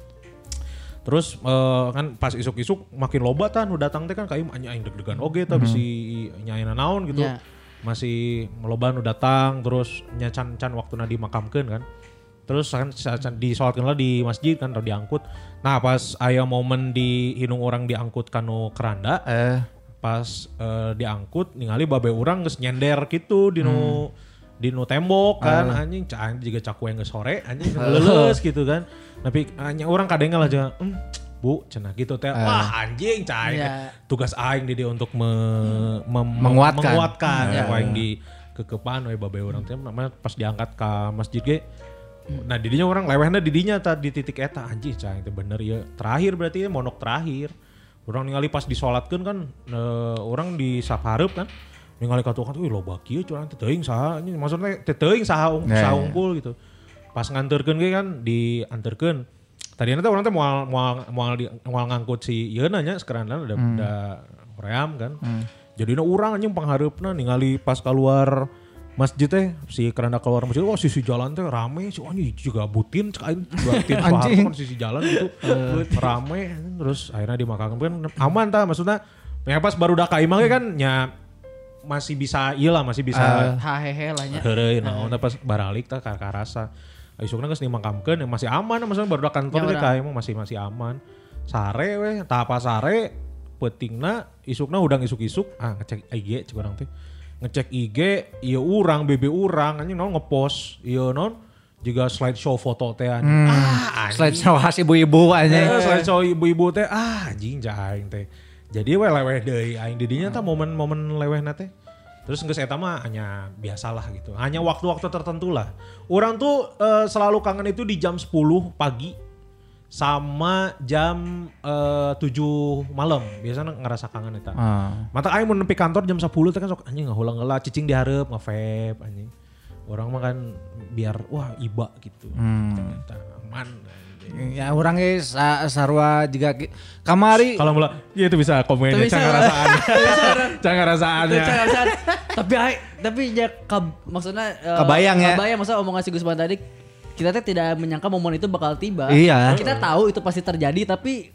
[SPEAKER 4] Terus eh, kan pas isuk-isuk makin loba tan udah datang teh kan kayak anjing aing deg-degan oge tapi si nyaina naon gitu.
[SPEAKER 5] Ya.
[SPEAKER 4] Masih meloban udah datang terus nyacan can waktuna dimakamkeun kan. Terus kan sa- can- disolatkeun lah di masjid kan atau diangkut. Nah pas aya momen di hidung orang diangkut kanu keranda
[SPEAKER 2] Eh,
[SPEAKER 4] pas eh, diangkut ningali babe orang geus nyender gitu di nu di nu tembok kan anjing ca anjing juga caku yang sore anjing leles gitu kan tapi hanya orang kadang lah aja "Hmm, bu cenah gitu teh wah anjing cah aing
[SPEAKER 5] Ya.
[SPEAKER 4] teh." tugas aing di dia untuk me- mem-
[SPEAKER 2] Menguatkan.
[SPEAKER 4] menguatkan caku aing di kekepan we babe orang teh namanya pas diangkat ke masjid ge nah didinya orang lewehna didinya ta di titik eta anjing cah itu bener ya terakhir berarti ya monok terakhir orang ningali pas disolatkan kan eh, orang di saparep kan ningali katukan tuh loba kieu curang teh teuing saha anjing maksudnya teh teuing saha ung-
[SPEAKER 2] Ya,
[SPEAKER 4] saha
[SPEAKER 2] ya.
[SPEAKER 4] unggul gitu pas nganterkeun ge kan dianterkeun tadi nanti orang teh moal moal moal, di, moal ngangkut si ieu nanya sekarang ada ada ream kan jadinya urang anjing panghareupna ningali pas keluar masjid teh si keranda keluar masjid wah sisi jalan teh rame si anjing juga butin cek aing juga tin paharep kan sisi jalan gitu rame terus akhirnya dimakan kan aman tah maksudnya ya pas baru dak imah ge kan nya masih bisa iya lah masih bisa
[SPEAKER 2] Ah. Eh,
[SPEAKER 5] Hahehe lah nya.
[SPEAKER 4] nah, Heureuy naon teh pas baralik teh ka karasa. isukna geus dimangkamkeun yang masih aman maksudnya baru kantor
[SPEAKER 5] Nya
[SPEAKER 4] dia
[SPEAKER 5] orang.
[SPEAKER 4] kayak emang masih masih aman. Sare weh, tah apa sare peutingna isukna udang isuk-isuk ah ngecek IG cik orang teh. Ngecek IG ieu urang BB urang anjing naon ngepost ieu naon juga slideshow foto teh anjing. Ah,
[SPEAKER 2] Slideshow khas ibu-ibu aja.
[SPEAKER 4] Eh, selain cowok ibu-ibu teh ah anjing aing teh. Jadi we leweh deui aing di dinya tah momen-momen lewehna teh. Terus geus eta mah hanya biasalah gitu. Hanya waktu-waktu tertentu lah. Orang tuh eh, selalu kangen itu di jam 10 pagi sama jam eh, 7 malam. Biasanya ngerasa kangen eta.
[SPEAKER 2] Ah.
[SPEAKER 4] Mata aing mun nepi kantor jam 10 teh kan sok anjing ngahulang heula cicing dihareup ngevape anjing. Orang mah kan biar wah iba gitu. Eta aman.
[SPEAKER 2] Ya orang ge sa- sarua juga ki- kamari
[SPEAKER 4] Kalau mulai ya itu bisa komen
[SPEAKER 5] Itu bisa.
[SPEAKER 4] jangan rasaan. Jangan ya. rasaan
[SPEAKER 5] Itu cara saat- tapi ai- tapi ya kab- maksudnya eh,
[SPEAKER 2] Kebayang ya.
[SPEAKER 5] Kebayang maksudnya omongan si Gusman tadi kita teh tidak menyangka momen itu bakal tiba.
[SPEAKER 2] Iya.
[SPEAKER 5] Kita tahu itu pasti terjadi tapi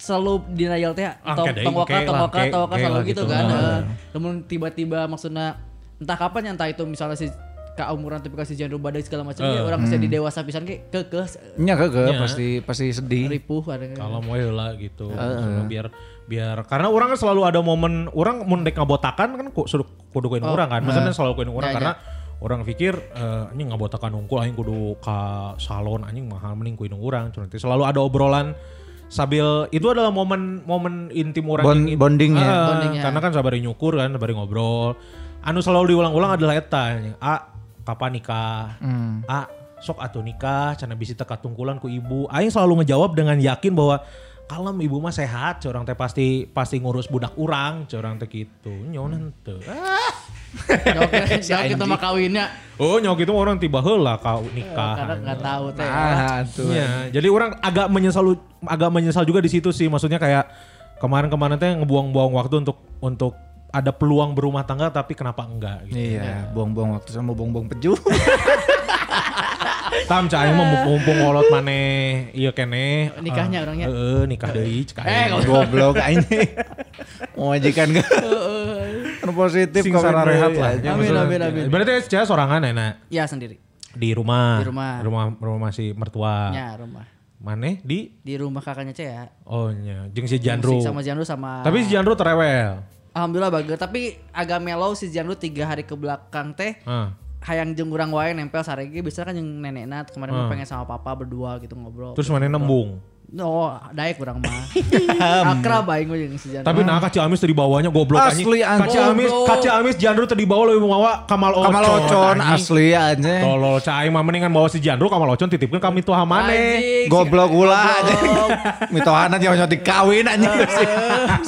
[SPEAKER 5] selalu denial teh
[SPEAKER 4] Ah,
[SPEAKER 5] tong
[SPEAKER 4] kedai,
[SPEAKER 5] tong waka
[SPEAKER 4] kei
[SPEAKER 5] tong
[SPEAKER 4] lah,
[SPEAKER 5] waka
[SPEAKER 4] kei-
[SPEAKER 5] tong waka
[SPEAKER 4] kei
[SPEAKER 5] selalu
[SPEAKER 4] lah gitu.
[SPEAKER 5] gitu kan.
[SPEAKER 4] Ah.
[SPEAKER 5] eh. Namun tiba-tiba maksudnya entah kapan ya, entah itu misalnya si keumuran tapi kasih jandu badai segala macam ya, orang bisa di dewasa pisan ke ke ke
[SPEAKER 2] nya keke pasti pasti sedih.
[SPEAKER 5] ripuh ada
[SPEAKER 4] Kalau mau lah gitu. Maksudnya biar biar karena orang kan selalu ada momen orang mun dek ngabotakan kan ku- sudu- kudu koin
[SPEAKER 5] Oh.
[SPEAKER 4] orang kan. Maksudnya selalu koin orang
[SPEAKER 5] Ya,
[SPEAKER 4] karena orang pikir eh, anjing ngabotakan unggul anjing kudu ka salon anjing mahal mending koin orang. Cuma nanti selalu ada obrolan sambil itu adalah momen momen intim orang
[SPEAKER 2] Bond-
[SPEAKER 4] yang-
[SPEAKER 2] bonding ya.
[SPEAKER 4] Eh,
[SPEAKER 5] Bonding ya.
[SPEAKER 4] Karena kan sabari nyukur kan, sabari ngobrol. Anu selalu diulang-ulang adalah eta. A, kapan nikah? A, sok atuh nikah, cana bisi teka tungkulan ku ibu. Aing selalu ngejawab dengan yakin bahwa kalem ibu mah sehat, orang teh pasti pasti ngurus budak urang, orang teh gitu. Nyonan teu. Ah,
[SPEAKER 5] kita mah kawinnya
[SPEAKER 4] Oh, nyawa gitu orang tiba heula kau
[SPEAKER 5] Oh, karena
[SPEAKER 4] nikah.
[SPEAKER 5] nggak tahu teh. ya.
[SPEAKER 2] Ah, tuh.
[SPEAKER 4] Iya, jadi orang agak menyesal agak menyesal juga di situ sih. Maksudnya kayak kemarin-kemarin teh ngebuang-buang waktu untuk untuk ada peluang berumah tangga tapi kenapa enggak gitu.
[SPEAKER 2] Iya, buang-buang waktu sama buang-buang peju.
[SPEAKER 4] Tam cah aing mah mumpung ngolot maneh ieu keneh.
[SPEAKER 5] Nikahnya orangnya.
[SPEAKER 4] Heeh, nikah deui cek
[SPEAKER 5] Eh,
[SPEAKER 4] aing.
[SPEAKER 5] kalau-
[SPEAKER 2] Goblok anjing. Memajikan gak? Anu positif Iya,
[SPEAKER 4] Sing sarua
[SPEAKER 2] deui,
[SPEAKER 4] rehat lah.
[SPEAKER 2] anjing.
[SPEAKER 4] Ya,
[SPEAKER 5] Iya, Amin,
[SPEAKER 4] maksudnya-
[SPEAKER 5] amin, amin.
[SPEAKER 4] Berarti cah sorangan enak
[SPEAKER 5] Ya sendiri.
[SPEAKER 4] di rumah.
[SPEAKER 5] Di rumah.
[SPEAKER 4] Rumah rumah masih mertua.
[SPEAKER 5] Ya rumah.
[SPEAKER 4] Maneh di
[SPEAKER 5] Di rumah kakaknya Cea.
[SPEAKER 4] Oh nya, jeung si Jandro.
[SPEAKER 5] Musik sama Jandro sama
[SPEAKER 4] Tapi si Jandro terewel.
[SPEAKER 5] Alhamdulillah bagus tapi agak mellow si Jandro tiga hari ke belakang teh
[SPEAKER 4] Heeh.
[SPEAKER 5] hayang jeung urang wae nempel sarege biasanya kan yang nenekna kemarin mah pengen sama papa berdua gitu ngobrol
[SPEAKER 4] Ah. Terus maneh nembung.
[SPEAKER 5] no daek urang mah akrab aing gue jeung si Jandro
[SPEAKER 4] Tapi nah kaca amis tadi bawahnya goblok anjing.
[SPEAKER 2] Asli, anjing.
[SPEAKER 4] Kaca amis,
[SPEAKER 5] Goblok.
[SPEAKER 4] kaca amis Jandro tadi bawah lebih mawa Kamal Ocon.
[SPEAKER 2] Kamal Ocon
[SPEAKER 4] anjing.
[SPEAKER 2] asli aja.
[SPEAKER 4] Tolol cai mah mendingan bawa si Jandro Kamal Ocon titipkan kami tuh hamane.
[SPEAKER 5] Anjing, si-
[SPEAKER 2] Goblok
[SPEAKER 5] goblok.
[SPEAKER 2] gula aja. Mitohana nyawa dikawin aja.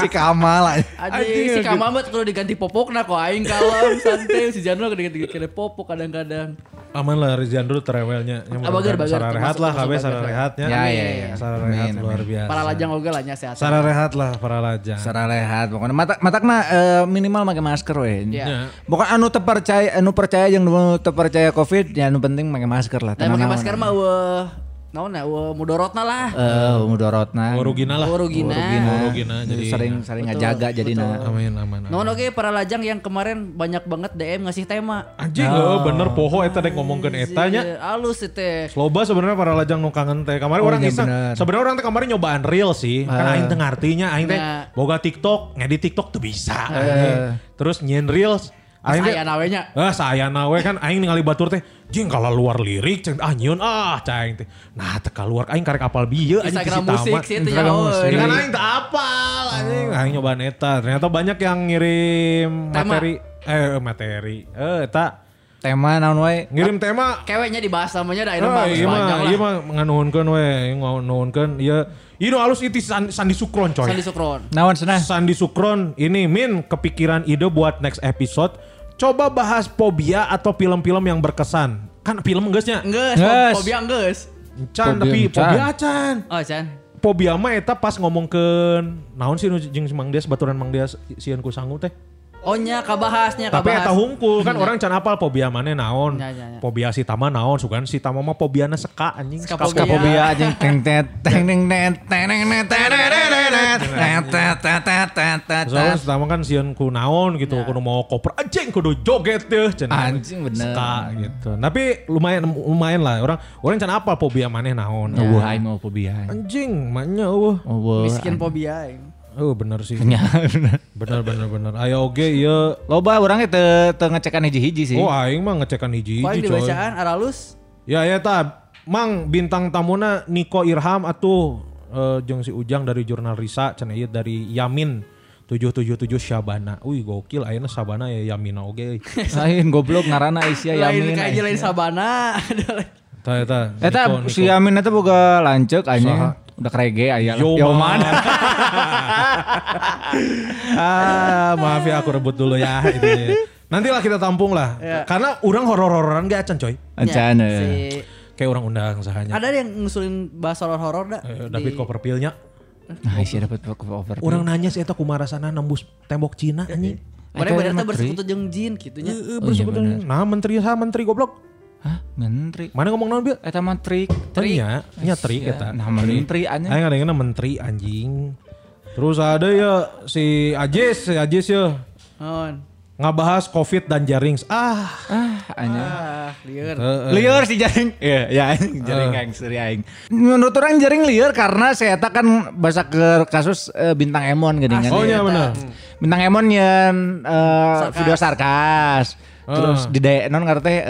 [SPEAKER 2] Si Kamal aja.
[SPEAKER 5] Anjing si Kamal mah kudu diganti popokna kok aing kalem santai si Jandro kudu diganti popok kadang-kadang
[SPEAKER 4] Aman lah si Jandro terewelnya. Ya,
[SPEAKER 5] Ah, bager,
[SPEAKER 4] mudah-mudahan
[SPEAKER 5] bager.
[SPEAKER 4] Sarah rehat lah,
[SPEAKER 5] Termasuk-
[SPEAKER 4] KB
[SPEAKER 5] termasuk
[SPEAKER 4] sarah
[SPEAKER 5] bager.
[SPEAKER 4] rehatnya.
[SPEAKER 2] Ya, ya, ya.
[SPEAKER 4] Sarah rehat
[SPEAKER 2] Amin,
[SPEAKER 4] luar biasa.
[SPEAKER 5] para lajang oge lah nya sehat
[SPEAKER 4] Sarah rehat lah para lajang.
[SPEAKER 2] Secara rehat pokoknya matak matakna eh, minimal pakai masker we.
[SPEAKER 5] Iya.
[SPEAKER 4] Ya.
[SPEAKER 2] Bukan anu terpercaya anu percaya yang anu terpercaya Covid ya anu penting pakai masker lah.
[SPEAKER 5] Dan pakai masker mah weh naon ya weh mudorotna lah
[SPEAKER 2] Eh, mudorotna.
[SPEAKER 4] Warugina lah.
[SPEAKER 5] Warugina.
[SPEAKER 4] Warugina, jadi-
[SPEAKER 2] sering sering ngajaga jadi nah.
[SPEAKER 4] Amin, amin. amin.
[SPEAKER 5] Naon oke para lajang yang kemarin banyak banget DM ngasih tema.
[SPEAKER 4] Anjing lo bener poho eta dek ngomongkeun
[SPEAKER 5] Iya.
[SPEAKER 4] etanya.
[SPEAKER 5] Anjir, Alus sih teh.
[SPEAKER 4] Loba sebenarnya para lajang nu kangen teh. Kemarin
[SPEAKER 2] Oh,
[SPEAKER 4] orang
[SPEAKER 2] iya
[SPEAKER 4] iseng.
[SPEAKER 2] bener.
[SPEAKER 4] Sebenarnya orang teh kemarin nyobaan real sih. Kan aing teh ngartinya aing teh
[SPEAKER 5] Nah.
[SPEAKER 4] boga TikTok, ngedit TikTok tuh bisa. anjing. Terus nyen reels. Aing teh-
[SPEAKER 5] Saya nawenya.
[SPEAKER 4] Ah saya nawe kan aing ningali batur teh jing kalau luar lirik ceng ah nyieun ah ceng teh. Nah teh keluar aing karek apal bieu anjing pisi
[SPEAKER 5] Instagram musik
[SPEAKER 4] tamat.
[SPEAKER 5] sih itu
[SPEAKER 2] Instagram
[SPEAKER 5] nyaho.
[SPEAKER 2] musik.
[SPEAKER 4] Ya kan aing teu apal anjing aing nyoba eta. Ternyata banyak yang ngirim
[SPEAKER 5] Tema.
[SPEAKER 4] materi eh materi. Eh eta
[SPEAKER 2] Tema naon wae.
[SPEAKER 4] ngirim tema
[SPEAKER 5] Keweknya dibahas namanya dah ini
[SPEAKER 4] Ah,
[SPEAKER 5] mah
[SPEAKER 4] iya
[SPEAKER 5] panjang
[SPEAKER 4] mah,
[SPEAKER 5] lah.
[SPEAKER 4] iya mah nganuhunkeun we, nganuhunkeun ieu. Ieu nu alus itu Sandi Sukron coy.
[SPEAKER 5] Sandi Sukron.
[SPEAKER 2] Naon cenah?
[SPEAKER 4] Sandi Sukron ini Min kepikiran ide buat next episode coba bahas fobia atau film-film yang berkesan kan film enggeusnya
[SPEAKER 5] Enggeus,
[SPEAKER 2] Nges.
[SPEAKER 5] fobia enggeus.
[SPEAKER 4] Can
[SPEAKER 2] Fobia,
[SPEAKER 4] tapi
[SPEAKER 2] Can.
[SPEAKER 4] fobia Can
[SPEAKER 5] Oh, Chan.
[SPEAKER 4] fobia mah eta pas ngomong ke naon sih nu jeung si Mang Dias baturan Mang Dias sieun ku sangu teh
[SPEAKER 5] Ohnya kabahasnya
[SPEAKER 4] Tapi
[SPEAKER 5] kabahas.
[SPEAKER 4] eta hungkul kan orang can apal fobia mana naon.
[SPEAKER 5] Nya, nya, nya.
[SPEAKER 4] Fobia si tama naon, sugan si tama mah fobiana seka anjing.
[SPEAKER 5] Skapobia.
[SPEAKER 2] Skapobia aja teng tet teng neng net teng neng net teng neng net teng net teng tet tet tet tet tet
[SPEAKER 4] Soalnya si
[SPEAKER 2] tet.
[SPEAKER 4] tama kan sieun ku naon gitu, kudu mau koper anjing kudu joget deh. Can
[SPEAKER 2] Ya. Anjing bener.
[SPEAKER 4] Seka gitu. Tapi lumayan lumayan lah orang orang can apal fobia mana naon.
[SPEAKER 2] Nubuh aing mau fobia.
[SPEAKER 4] Anjing, maknya eueuh.
[SPEAKER 2] Nubuh.
[SPEAKER 5] miskin fobia. aing.
[SPEAKER 4] Oh bener sih. Bener bener bener. Ayo oge ieu.
[SPEAKER 2] Loba orangnya te, te ngecekan hiji-hiji sih.
[SPEAKER 4] Oh aing mah ngecekan hiji-hiji
[SPEAKER 5] Paling
[SPEAKER 4] Iya, coy.
[SPEAKER 5] dibacaan aralus
[SPEAKER 4] Ya ya ta, Mang bintang tamuna Niko Irham atuh eh, jeung si Ujang dari jurnal Risa cenah ieu dari Yamin 777 Syabana. Uy gokil ayeuna Syabana ya Yamina oge.
[SPEAKER 2] Lain goblok ngarana Isya
[SPEAKER 5] lain
[SPEAKER 2] Yamin.
[SPEAKER 5] kayaknya lain sabana. ada lain-
[SPEAKER 4] Eta eta.
[SPEAKER 2] Eta
[SPEAKER 4] ya, Niko,
[SPEAKER 2] Eh, si
[SPEAKER 4] Niko.
[SPEAKER 2] Yamin itu boga lancek aja. Udah kerege aya.
[SPEAKER 4] Yo,
[SPEAKER 2] Yoman.
[SPEAKER 4] Ah, maaf ya aku rebut dulu ya ini. Nantilah kita tampung lah. Karena orang horor-hororan gak acan eh. coy.
[SPEAKER 2] Encan.
[SPEAKER 5] Ya, si,
[SPEAKER 4] Kayak orang undang sahanya.
[SPEAKER 5] ada yang ngusulin bahas horor horor dah.
[SPEAKER 4] Eh, David Copperfield-nya.
[SPEAKER 2] Nah, Isya dapat over.
[SPEAKER 4] Orang nanya sih eta kumaha rasana nembus tembok Cina anjing.
[SPEAKER 5] Mereka
[SPEAKER 2] Eta
[SPEAKER 5] benar
[SPEAKER 2] mah
[SPEAKER 5] tuh bersekutu jeung jin gitunya.
[SPEAKER 4] Eh, bersekutu. Nah, menteri sah menteri goblok.
[SPEAKER 2] Hah, menteri.
[SPEAKER 4] Mana ngomong Eh, naon Bil?
[SPEAKER 2] Eta mah trik.
[SPEAKER 4] Tanya, nya trik eta.
[SPEAKER 2] Nah, menteri aja.
[SPEAKER 4] Aing ada yang menteri anjing. Terus ada ya si Ajis, si Ajis ya
[SPEAKER 5] Non.
[SPEAKER 4] ngabahas COVID dan jaring. Ah,
[SPEAKER 2] Ah, aja.
[SPEAKER 5] Ah, liar.
[SPEAKER 2] Liar si jaring. Iya, ya aing jaring aing seri aing. Menurut orang jaring liar karena saya eta kan bahasa ke kasus eh, bintang Emon gini kan.
[SPEAKER 4] oh iya benar.
[SPEAKER 2] Bintang Emon yang eh,
[SPEAKER 5] Sarkas.
[SPEAKER 2] video sarkas. Terus di dae non ngerti eh,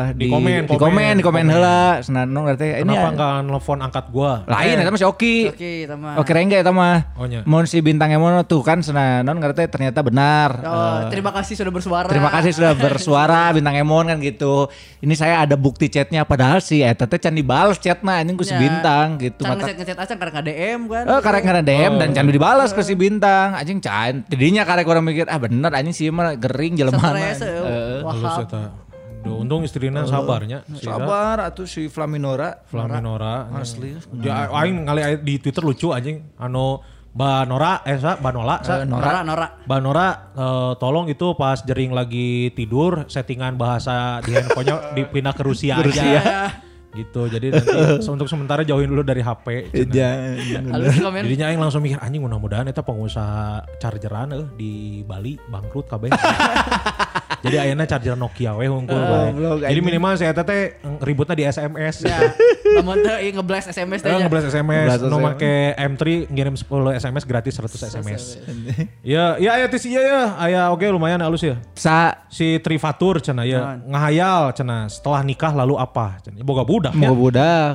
[SPEAKER 4] Ah. Di komen,
[SPEAKER 2] di komen, di komen heula. Senan non ngerti ini
[SPEAKER 4] Kenapa
[SPEAKER 2] ya,
[SPEAKER 4] nggak nelfon angkat gua?
[SPEAKER 2] lain eta masih Oki.
[SPEAKER 5] Oke, teman.
[SPEAKER 2] Oke rengga eta mah.
[SPEAKER 4] Oh, nya.
[SPEAKER 2] Mun si bintang Emon tuh kan senan non ngerti ternyata benar. Eh,
[SPEAKER 5] Oh, terima kasih sudah bersuara.
[SPEAKER 2] Terima kasih sudah bersuara bintang Emon kan gitu. Ini saya ada bukti chatnya padahal si Eta teh can dibales chatna anjing ku si
[SPEAKER 5] Ya.
[SPEAKER 2] bintang gitu.
[SPEAKER 5] Can
[SPEAKER 2] Mata,
[SPEAKER 5] ngechat ngechat aja karena nggak DM kan.
[SPEAKER 2] eh karek karena DM dan can dibales ke si bintang. Anjing can. Jadinya karek orang mikir ah bener anjing si mah gering jelema.
[SPEAKER 5] Stres, eh,
[SPEAKER 4] Terus
[SPEAKER 5] wahab.
[SPEAKER 4] eta. Duh, untung istrinya sabarnya.
[SPEAKER 2] Sabar atuh si Flaminora.
[SPEAKER 4] Flaminora.
[SPEAKER 2] Asli.
[SPEAKER 4] Ya, aing ngali aya di Twitter lucu anjing. Anu Mbak Nora, eh sa, Mbak Nola, sa.
[SPEAKER 5] Nora, Nora.
[SPEAKER 4] Mbak Nora, eh, tolong itu pas jering lagi tidur, settingan bahasa di handphonenya dipindah ke Rusia aja. Gitu, jadi nanti se- untuk sementara jauhin dulu dari HP. cenah.
[SPEAKER 5] Halus komen.
[SPEAKER 4] Jadinya Aing langsung mikir, anjing mudah-mudahan itu pengusaha chargeran eh, di Bali bangkrut kabeh. jadi ayeuna charger Nokia weh hungkul
[SPEAKER 5] Eh,
[SPEAKER 4] bae. Jadi minimal saya teh ributnya di SMS.
[SPEAKER 5] Ya, temen tuh iya ngeblast SMS
[SPEAKER 4] Eh,
[SPEAKER 5] aja.
[SPEAKER 4] ngebelas SMS, nu make M3 ngirim 10 SMS gratis 100 SMS. Ya, ya ya tis iya ya. Aya oke lumayan halus ya.
[SPEAKER 2] Sa
[SPEAKER 4] Si Trifatur cenah ya, ngahayal cenah setelah nikah lalu apa? Cenah boga budak ya.
[SPEAKER 2] mau budak.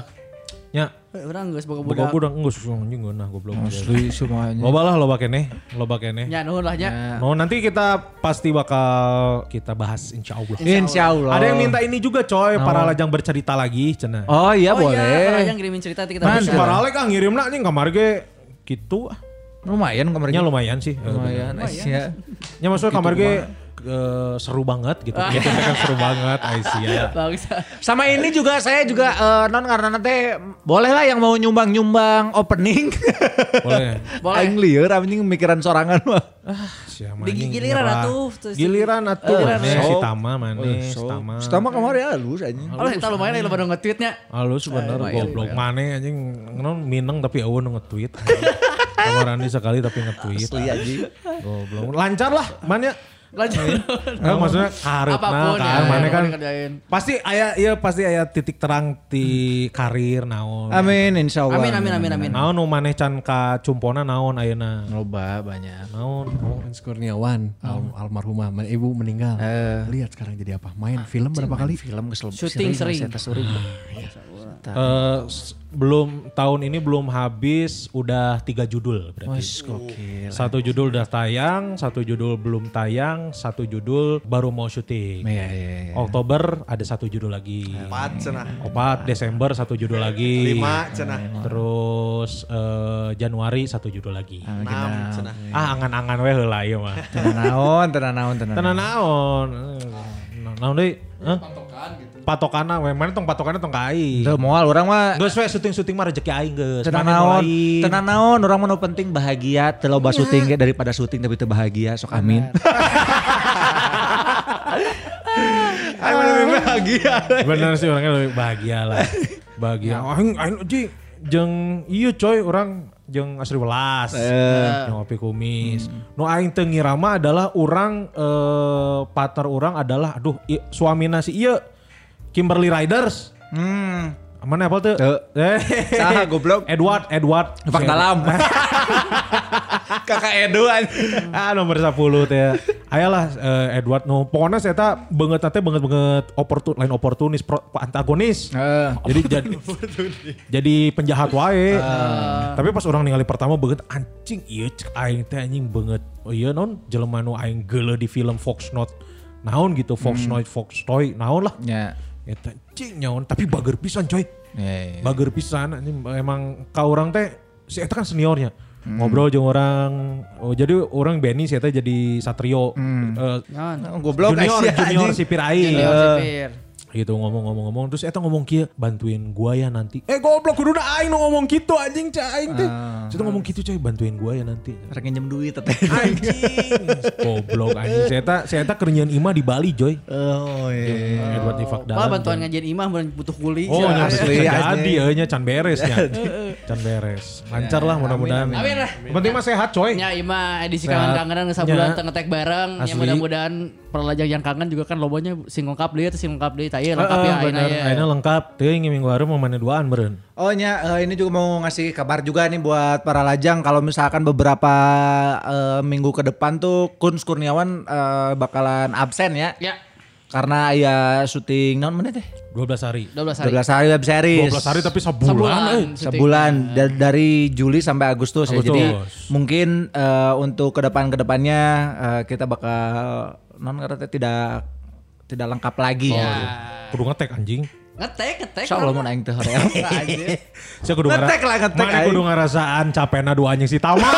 [SPEAKER 4] Nya,
[SPEAKER 5] Eh, Orang nggak sebagai
[SPEAKER 4] boga
[SPEAKER 5] budak.
[SPEAKER 4] budak geus anjing geunah goblok.
[SPEAKER 2] Asli semuanya.
[SPEAKER 4] Loba lah loba keneh, loba keneh.
[SPEAKER 5] Ya, nuhun lah nya.
[SPEAKER 4] No, nanti kita pasti bakal kita bahas insya Allah.
[SPEAKER 2] Insya Allah.
[SPEAKER 4] Ada yang minta ini juga coy, para lajang bercerita lagi cenah.
[SPEAKER 2] Oh iya
[SPEAKER 5] Kalau
[SPEAKER 2] boleh.
[SPEAKER 5] yang gitu. ngirimin cerita nanti kita
[SPEAKER 4] Nah,
[SPEAKER 5] baca.
[SPEAKER 4] si para lek ah ngirimna anjing kamar ge gitu. ah.
[SPEAKER 2] Lumayan
[SPEAKER 4] Nya
[SPEAKER 2] kemarinnya.
[SPEAKER 4] lumayan sih. eh, bener.
[SPEAKER 2] Lumayan. Iya.
[SPEAKER 5] Oh, iya.
[SPEAKER 2] Gitu Aisyah.
[SPEAKER 4] Ya maksudnya kamar gue eh, seru banget gitu. Gitu kan seru banget ya. Aisyah.
[SPEAKER 5] Bagus.
[SPEAKER 2] Sama ini juga saya juga eh, non karena nanti bolehlah yang mau nyumbang nyumbang opening.
[SPEAKER 4] Boleh.
[SPEAKER 5] Boleh.
[SPEAKER 2] Aing lieur anjing mikiran sorangan mah.
[SPEAKER 4] Siapa
[SPEAKER 5] Di
[SPEAKER 4] anjing,
[SPEAKER 5] giliran
[SPEAKER 4] nyerah.
[SPEAKER 5] atuh, tuh, si-
[SPEAKER 4] Giliran atuh.
[SPEAKER 5] Giliran
[SPEAKER 4] Nih,
[SPEAKER 2] atuh.
[SPEAKER 4] si Tama mana?
[SPEAKER 2] Oh,
[SPEAKER 4] Si Tama.
[SPEAKER 5] Ah,
[SPEAKER 2] Pertama kemarin ya halus anjing.
[SPEAKER 5] Halo, kita lumayan lagi lo pada nge-tweetnya.
[SPEAKER 4] Halus bener goblok. Mana anjing non mineng tapi awan nge-tweet. Kamar Andi sekali tapi nge-tweet.
[SPEAKER 2] Asli anjing.
[SPEAKER 4] Goblok. Lancar lah mana.
[SPEAKER 5] Lanjut.
[SPEAKER 4] Nah, maksudnya karir
[SPEAKER 5] Apapun ya,
[SPEAKER 4] kan, mana
[SPEAKER 5] yang
[SPEAKER 4] kan
[SPEAKER 5] dikerjain.
[SPEAKER 4] pasti ayah ya pasti ayah titik terang di karir naon.
[SPEAKER 2] Amin insya Allah.
[SPEAKER 5] Amin amin amin amin.
[SPEAKER 4] Naon nu maneh can ka cumpona naon ayeuna?
[SPEAKER 3] Loba banyak.
[SPEAKER 4] Naon?
[SPEAKER 3] Hans Kurniawan, al- almarhumah, men- ibu meninggal. Lihat sekarang jadi apa? Main film berapa kali? Film kesel.
[SPEAKER 5] Syuting sering.
[SPEAKER 4] Eh, s- belum tahun ini belum habis udah tiga judul berarti. Satu judul udah tayang, satu judul belum tayang, satu judul baru mau syuting.
[SPEAKER 2] Iya.
[SPEAKER 4] Oktober ada satu judul lagi.
[SPEAKER 6] Empat cenah.
[SPEAKER 4] Opat Desember satu judul lagi.
[SPEAKER 6] Lima cenah.
[SPEAKER 4] Terus eh, Januari satu judul lagi.
[SPEAKER 6] Enam cenah.
[SPEAKER 2] iya.
[SPEAKER 4] Ah angan-angan we heula ieu mah.
[SPEAKER 2] Tenan naon, tenan naon, tenan.
[SPEAKER 4] Tenan naon? Eh, Naon deui? Hah? Patokan gitu. we mana tong patokana tong ka aing.
[SPEAKER 2] Teu moal urang mah
[SPEAKER 4] Geus we syuting-syuting mah rezeki aing geus.
[SPEAKER 2] tenan
[SPEAKER 4] Mana nu
[SPEAKER 2] naon,
[SPEAKER 4] lain.
[SPEAKER 2] tenan
[SPEAKER 5] Iya.
[SPEAKER 2] naon urang mah nu penting bahagia, teu loba syuting ge daripada syuting tapi teu bahagia sok amin. Aing mah
[SPEAKER 4] Ah.
[SPEAKER 2] lebih bahagia.
[SPEAKER 4] Bener sih orangnya lebih bahagia lah. Bahagia. Nah, Aing aing aja jeung ieu coy orang jeung asli welas.
[SPEAKER 2] Eh.
[SPEAKER 4] Yang kopi kumis.
[SPEAKER 2] Hmm.
[SPEAKER 4] Nu aing teu ngirama adalah orang eh, partner orang adalah aduh i- suamina si ieu Kimberly Riders.
[SPEAKER 2] Hmm.
[SPEAKER 4] Mana apa tuh?
[SPEAKER 2] Teu.
[SPEAKER 4] Eh,
[SPEAKER 2] Saha, goblok.
[SPEAKER 4] Edward, Edward. Eh.
[SPEAKER 2] Numpak dalam. Kakak Edo anjing.
[SPEAKER 4] ah nomor 10 teh. Ayalah eh, Edward no pokoknya saya tak banget nanti banget banget oportun lain oportunis pro, antagonis.
[SPEAKER 2] Heeh.
[SPEAKER 4] jadi jadi jadi penjahat wae. Tapi pas orang ningali pertama banget anjing iya cek aing teh anjing banget. Oh iya non jelema nu aing geuleuh di film Fox Not. Naon gitu Fox Not Fox Toy naon lah.
[SPEAKER 2] Ya.
[SPEAKER 4] Eta anjing nyaon tapi bager pisan coy.
[SPEAKER 2] Ya, ya.
[SPEAKER 4] Bager pisan anjing emang ka orang teh si eta kan seniornya. Ngobrol jeung orang oh, jadi orang Benny si eta jadi Satrio. Eh,
[SPEAKER 2] Oh, Goblok
[SPEAKER 4] junior,
[SPEAKER 2] Aisyah,
[SPEAKER 4] junior
[SPEAKER 2] anjing.
[SPEAKER 4] sipir aing.
[SPEAKER 5] Junior
[SPEAKER 4] Eh,
[SPEAKER 5] sipir.
[SPEAKER 4] gitu ngomong-ngomong-ngomong terus eta ngomong kia bantuin gua ya nanti. Eh goblok kuduna aing nu ngomong gitu anjing cah aing teh. Saya ngomong gitu coy bantuin gua ya nanti.
[SPEAKER 2] Rek nginjem Ah. duit teteh.
[SPEAKER 4] Anjing. Goblok anjing. Saya eta saya eta kerenyan Ima di Bali coy.
[SPEAKER 2] Oh iya.
[SPEAKER 4] Edward Ifak
[SPEAKER 5] Malah
[SPEAKER 4] Dalan.
[SPEAKER 5] bantuan ngajian imah mun butuh kuli.
[SPEAKER 4] Oh,
[SPEAKER 5] Cenah.
[SPEAKER 4] nya
[SPEAKER 2] Asli,
[SPEAKER 4] jadi
[SPEAKER 2] asli.
[SPEAKER 4] eunya can beresnya. Can beres. Lancar lah mudah-mudahan.
[SPEAKER 5] Ya, amin. Amin lah.
[SPEAKER 4] Yang Penting mah sehat coy.
[SPEAKER 5] Ya ima edisi
[SPEAKER 4] Sehat.
[SPEAKER 5] kangen-kangenan sabulan
[SPEAKER 4] Ya.
[SPEAKER 5] teu ngetek bareng. Ya
[SPEAKER 4] Asli.
[SPEAKER 5] mudah-mudahan perlajang yang kangen juga kan lobanya sing lengkap deui teh sing lengkap deui tah ieu lengkap
[SPEAKER 4] Heeh,
[SPEAKER 5] ya ayeuna
[SPEAKER 4] Eh, bener.
[SPEAKER 5] ya.
[SPEAKER 4] Ayeuna lengkap. Teuing minggu hareum mah mana duaan meureun.
[SPEAKER 2] Oh nya eh, ini juga mau ngasih kabar juga nih buat para lajang kalau misalkan beberapa eh, minggu ke depan tuh Kun Kurniawan eh, bakalan absen ya.
[SPEAKER 5] Ya,
[SPEAKER 2] Karena ya syuting non menit teh?
[SPEAKER 4] 12 hari.
[SPEAKER 5] 12 hari.
[SPEAKER 2] 12 hari web series.
[SPEAKER 4] 12 hari tapi
[SPEAKER 5] Sebulan.
[SPEAKER 4] sebulan. eh.
[SPEAKER 5] syuting.
[SPEAKER 2] sebulan da- dari Juli sampai Agustus, ya.
[SPEAKER 4] Agustus.
[SPEAKER 2] Jadi mungkin eh, untuk ke depan ke depannya eh, kita bakal non karena tidak tidak lengkap lagi
[SPEAKER 4] Oh, Iya.
[SPEAKER 2] ya.
[SPEAKER 4] Kudu ngetek anjing.
[SPEAKER 5] Ngetek, ngetek.
[SPEAKER 2] Insyaallah mun aing teh hoream.
[SPEAKER 4] Saya kudu
[SPEAKER 2] Ngetek
[SPEAKER 4] ngara-
[SPEAKER 2] lah, ngetek,
[SPEAKER 4] Mana
[SPEAKER 2] aing.
[SPEAKER 4] kudu ngarasaan capena dua anjing si Tama.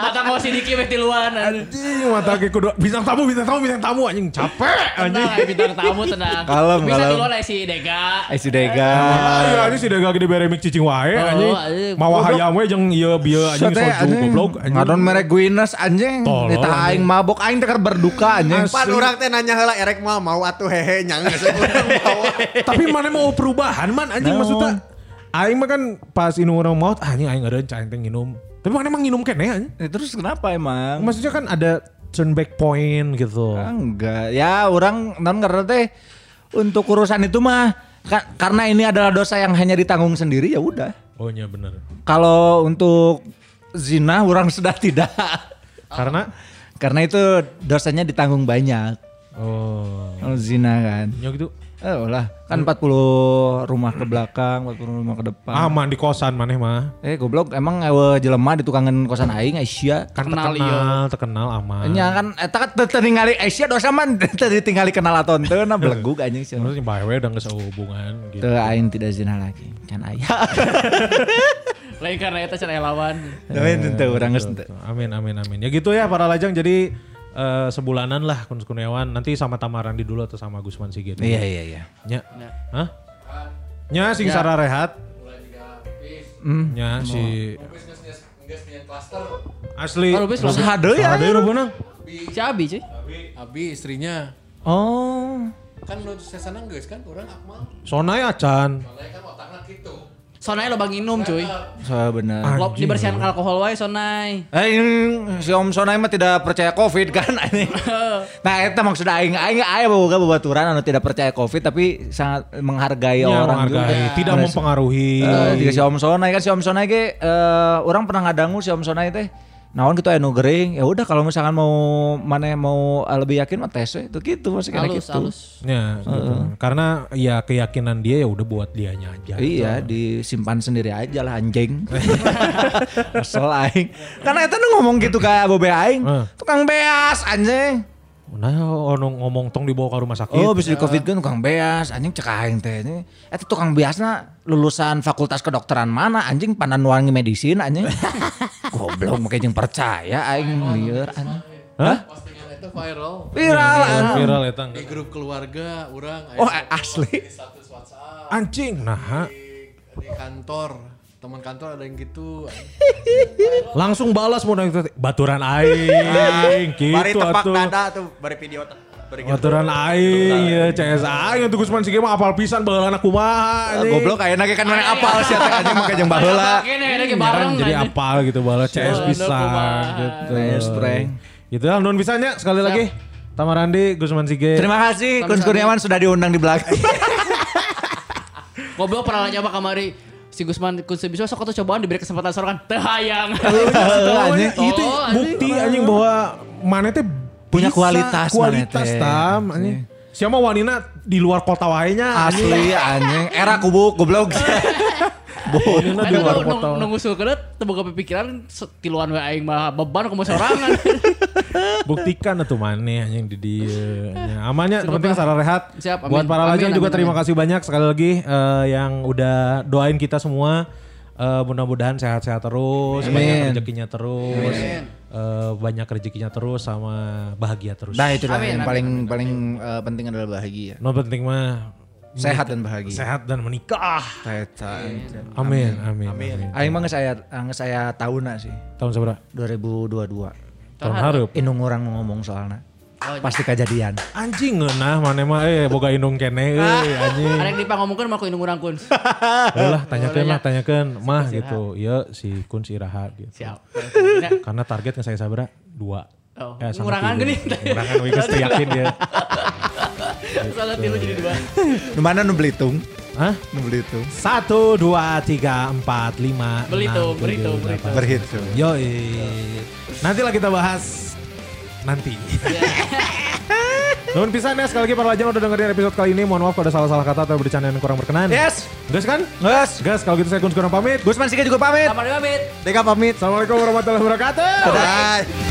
[SPEAKER 5] Mata mau sidiki beti luan.
[SPEAKER 4] anjing mata ge kudu bintang tamu bintang tamu bintang tamu anjing capek anjing.
[SPEAKER 5] Tenang, ay, bintang tamu tenang.
[SPEAKER 2] Kalem,
[SPEAKER 5] Bisa
[SPEAKER 2] kalem.
[SPEAKER 5] di luar ay, si Dega.
[SPEAKER 2] Aing si Dega.
[SPEAKER 4] Ah, ini sudah gak gede beremik cicing wae
[SPEAKER 5] Oh,
[SPEAKER 4] anjing.
[SPEAKER 5] anjing.
[SPEAKER 4] Mawa hayam we jeung ieu bieu anjing
[SPEAKER 2] Sote,
[SPEAKER 4] soju
[SPEAKER 2] ya, eh, anjing.
[SPEAKER 4] goblok anjing.
[SPEAKER 2] Ngadon merek Guinness anjing.
[SPEAKER 4] Tolong,
[SPEAKER 2] Eta aing
[SPEAKER 4] anjing.
[SPEAKER 2] mabok aing teh keur berduka anjing.
[SPEAKER 4] Asli.
[SPEAKER 6] Pan orang teh nanya heula erek mah mau atuh hehe nyang geus urang mau.
[SPEAKER 4] Eh, Tapi mana mau perubahan man anjing
[SPEAKER 2] Naon?
[SPEAKER 4] maksudnya. Aing mah kan pas inum orang maut "Ah, anjing aing ada cai teh nginum. Tapi mana emang nginum keneh anjing.
[SPEAKER 2] Eh, Terus kenapa emang?
[SPEAKER 4] Maksudnya kan ada turn back point gitu.
[SPEAKER 2] Ah, Enggak. Ya orang non karena teh untuk urusan itu mah ka- karena ini adalah dosa yang hanya ditanggung sendiri ya udah.
[SPEAKER 4] Oh iya bener.
[SPEAKER 2] Kalau untuk zina orang sudah tidak.
[SPEAKER 4] Karena
[SPEAKER 2] karena itu dosanya ditanggung banyak.
[SPEAKER 4] oh
[SPEAKER 2] Kalau zina kan.
[SPEAKER 4] nya gitu
[SPEAKER 2] Oh lah, kan 40 rumah ke belakang, 40 rumah ke depan.
[SPEAKER 4] aman Ah, di kosan maneh mah.
[SPEAKER 2] Eh goblok emang ewe jelema di tukangan kosan aing Aisyah.
[SPEAKER 4] Kan
[SPEAKER 5] Kenal iya.
[SPEAKER 4] terkenal, terkenal ah, aman.
[SPEAKER 2] Nya kan eta kan teu teu ningali Aisyah dosa man teu ditinggali kenal aton teu na belegug anjing sih.
[SPEAKER 4] Maksudnya bae we udah nggak sehubungan gitu.
[SPEAKER 2] Teu aing tidak zina lagi. Kan Can aya.
[SPEAKER 5] Lain karena itu cara lawan.
[SPEAKER 2] Lain teu urang geus teu.
[SPEAKER 4] Amin amin amin. Ya gitu ya para lajang jadi eh, sebulanan lah Kun Kurniawan nanti sama Tamaran di dulu atau sama Gusman Sigit.
[SPEAKER 2] Iya iya iya. Ya.
[SPEAKER 4] Nya. Hah? Nya sing Sara Rehat.
[SPEAKER 2] Hmm.
[SPEAKER 4] Nya si Asli.
[SPEAKER 5] Kalau bis belum.
[SPEAKER 2] Hadeu ya.
[SPEAKER 4] Ada lu beunang.
[SPEAKER 5] Si Abi cuy.
[SPEAKER 7] Abi istrinya
[SPEAKER 2] Oh.
[SPEAKER 7] kan lu sesana geus kan orang Akmal.
[SPEAKER 4] Sonai acan.
[SPEAKER 5] Sonai lo bang inum cuy.
[SPEAKER 2] Saya benar.
[SPEAKER 5] Lo
[SPEAKER 4] Anjing,
[SPEAKER 5] dibersihkan alkohol wae sonai.
[SPEAKER 2] Eh ini si Om Sonai mah tidak percaya Covid kan anjing. Nah eta maksud aing aing aya boga babaturan anu tidak percaya Covid tapi sangat menghargai
[SPEAKER 4] Ya,
[SPEAKER 2] Iya, orang
[SPEAKER 4] menghargai,
[SPEAKER 2] juga.
[SPEAKER 4] tidak
[SPEAKER 2] Merasa-
[SPEAKER 4] mempengaruhi.
[SPEAKER 2] Eh, jika si Om Sonai kan si Om Sonai ge eh, orang pernah ngadangu si Om Sonai teh naon gitu anu gering ya udah kalau misalkan mau mana mau eh, lebih yakin mah tes we. itu gitu masih kayak
[SPEAKER 5] Halus,
[SPEAKER 2] gitu.
[SPEAKER 5] halus.
[SPEAKER 4] Nya, gitu. Karena ya keyakinan dia ya udah buat dianya aja. gitu.
[SPEAKER 2] Iya, disimpan sendiri aja lah anjing. Kesel aing. Karena eta nu ngomong gitu ka bobe aing.
[SPEAKER 4] Heeh.
[SPEAKER 2] Tukang beas anjing.
[SPEAKER 4] Nah, ono ngomong tong dibawa ke rumah sakit.
[SPEAKER 2] Oh, bisa di covid kan tukang beas, anjing cek aing teh. Ini, Eta tukang beasna lulusan fakultas kedokteran mana anjing pandan wangi medisin anjing. Goblok make jeung percaya aing lieur anjing.
[SPEAKER 4] Hah?
[SPEAKER 7] Postingan itu viral
[SPEAKER 2] Viral.
[SPEAKER 4] iya.
[SPEAKER 2] anjing.
[SPEAKER 4] Viral ya, eta.
[SPEAKER 7] di grup keluarga orang
[SPEAKER 2] Oh,
[SPEAKER 7] aya
[SPEAKER 2] asli.
[SPEAKER 7] di status WhatsApp
[SPEAKER 4] Anjing. Nah,
[SPEAKER 7] di, di kantor teman kantor ada yang gitu
[SPEAKER 4] langsung balas mau nanya baturan aing gitu
[SPEAKER 6] Bari tepak
[SPEAKER 4] atuh.
[SPEAKER 6] dada tuh, bari gitu. video. te-
[SPEAKER 4] Aturan aing ya CS aing tuh Gusman Sige mah apal pisan baheulana kumaha anjing.
[SPEAKER 2] Goblok ayeuna ge kan mana apal sih eta anjing make jeung baheula.
[SPEAKER 5] Oke nih, ada
[SPEAKER 4] Ya
[SPEAKER 5] kayak
[SPEAKER 4] kan,
[SPEAKER 5] bareng.
[SPEAKER 4] jadi
[SPEAKER 5] anjing.
[SPEAKER 4] apal gitu baheula CS
[SPEAKER 5] Baheula
[SPEAKER 4] pisan
[SPEAKER 5] kumaha.
[SPEAKER 4] gitu.
[SPEAKER 2] Nice, Frank.
[SPEAKER 4] Gitu lah nun pisannya sekali
[SPEAKER 5] Siap.
[SPEAKER 4] lagi. Tamarandi, Gusman Sige.
[SPEAKER 2] Terima kasih Kun
[SPEAKER 5] Sama-sama.
[SPEAKER 2] Kurniawan sudah diundang di belakang.
[SPEAKER 5] Goblok pernah nyoba kamari si Gusman kunci bisa sok atau cobaan diberi kesempatan kan? sorangan tehayang.
[SPEAKER 2] Anjing.
[SPEAKER 4] itu
[SPEAKER 5] Oh, anjing.
[SPEAKER 4] bukti anjing bahwa mana teh
[SPEAKER 2] Punya
[SPEAKER 4] bisa,
[SPEAKER 2] kualitas ya. mana
[SPEAKER 4] kualitas
[SPEAKER 2] teh.
[SPEAKER 4] tam anjing. Siapa wanina di luar kota wainya
[SPEAKER 2] Asli anjing. Era kubu goblok.
[SPEAKER 4] Wanina di
[SPEAKER 5] Aduh,
[SPEAKER 4] luar
[SPEAKER 5] nung-
[SPEAKER 4] kota.
[SPEAKER 5] nung- nunggu sulkedet, terbuka pikiran, tiluan we aing mah beban kumaha sorangan.
[SPEAKER 4] Buktikan atuh mana anjing di dieu. Ya, Amannya yang penting sarang rehat.
[SPEAKER 5] Siap, amin.
[SPEAKER 4] Buat para
[SPEAKER 5] Amin,
[SPEAKER 4] lajang juga
[SPEAKER 5] amin,
[SPEAKER 4] terima
[SPEAKER 5] amin.
[SPEAKER 4] kasih banyak sekali lagi eh, yang udah doain kita semua. Eh, mudah-mudahan sehat-sehat terus, banyak rezekinya terus, eh, banyak rezekinya terus sama bahagia terus.
[SPEAKER 2] Nah itu lah
[SPEAKER 5] Amin,
[SPEAKER 2] yang
[SPEAKER 5] amin,
[SPEAKER 2] paling paling eh, penting adalah bahagia.
[SPEAKER 4] No penting mah
[SPEAKER 2] Sehat dan bahagia.
[SPEAKER 4] Iya. sehat dan menikah.
[SPEAKER 2] Eta.
[SPEAKER 4] Amin, amin. amin.
[SPEAKER 2] Aing mah geus aya geus aya tauna sih.
[SPEAKER 4] Tahun seberapa?
[SPEAKER 2] 2022.
[SPEAKER 4] Tahun hareup.
[SPEAKER 2] Indung orang ngomong soalna.
[SPEAKER 5] Oh,
[SPEAKER 2] Pasti kejadian.
[SPEAKER 4] Anjing ngeunah mana mah eh boga indung kene euy anjing.
[SPEAKER 5] Arek dipa ngomongkeun mah ku indung urang kun.
[SPEAKER 4] Lah tanyakeun lah tanyakeun mah gitu. Iya si Kun si Raha gitu.
[SPEAKER 5] Siap.
[SPEAKER 4] Karena targetnya saya sabra dua. Eh,
[SPEAKER 5] Oh,
[SPEAKER 4] sama
[SPEAKER 5] ngurangan
[SPEAKER 4] tilu.
[SPEAKER 5] gini.
[SPEAKER 4] Ngurangan we geus teu yakin dia.
[SPEAKER 5] Salah tilu jadi dua.
[SPEAKER 2] Nu mana nu Belitung?
[SPEAKER 4] Hah?
[SPEAKER 2] Nu Belitung.
[SPEAKER 4] Satu, dua, tiga, empat, lima,
[SPEAKER 5] Belitung,
[SPEAKER 4] enam,
[SPEAKER 5] Belitung,
[SPEAKER 4] tujuh,
[SPEAKER 5] Belitung.
[SPEAKER 4] delapan.
[SPEAKER 2] Berhitung.
[SPEAKER 4] Yoi. Nantilah kita bahas nanti.
[SPEAKER 2] Iya.
[SPEAKER 4] Nuhun pisan ya sekali lagi para lajang udah dengerin episode kali ini. Mohon maaf kalau ada salah-salah kata atau bercanda yang kurang berkenan.
[SPEAKER 2] Yes.
[SPEAKER 4] Gas kan?
[SPEAKER 2] Gas.
[SPEAKER 4] Gas kalau gitu saya Gun Kurang pamit.
[SPEAKER 2] Gusman Sika juga pamit.
[SPEAKER 5] Kamari pamit.
[SPEAKER 2] Deka pamit.
[SPEAKER 4] Assalamualaikum warahmatullahi wabarakatuh.
[SPEAKER 2] Dadah.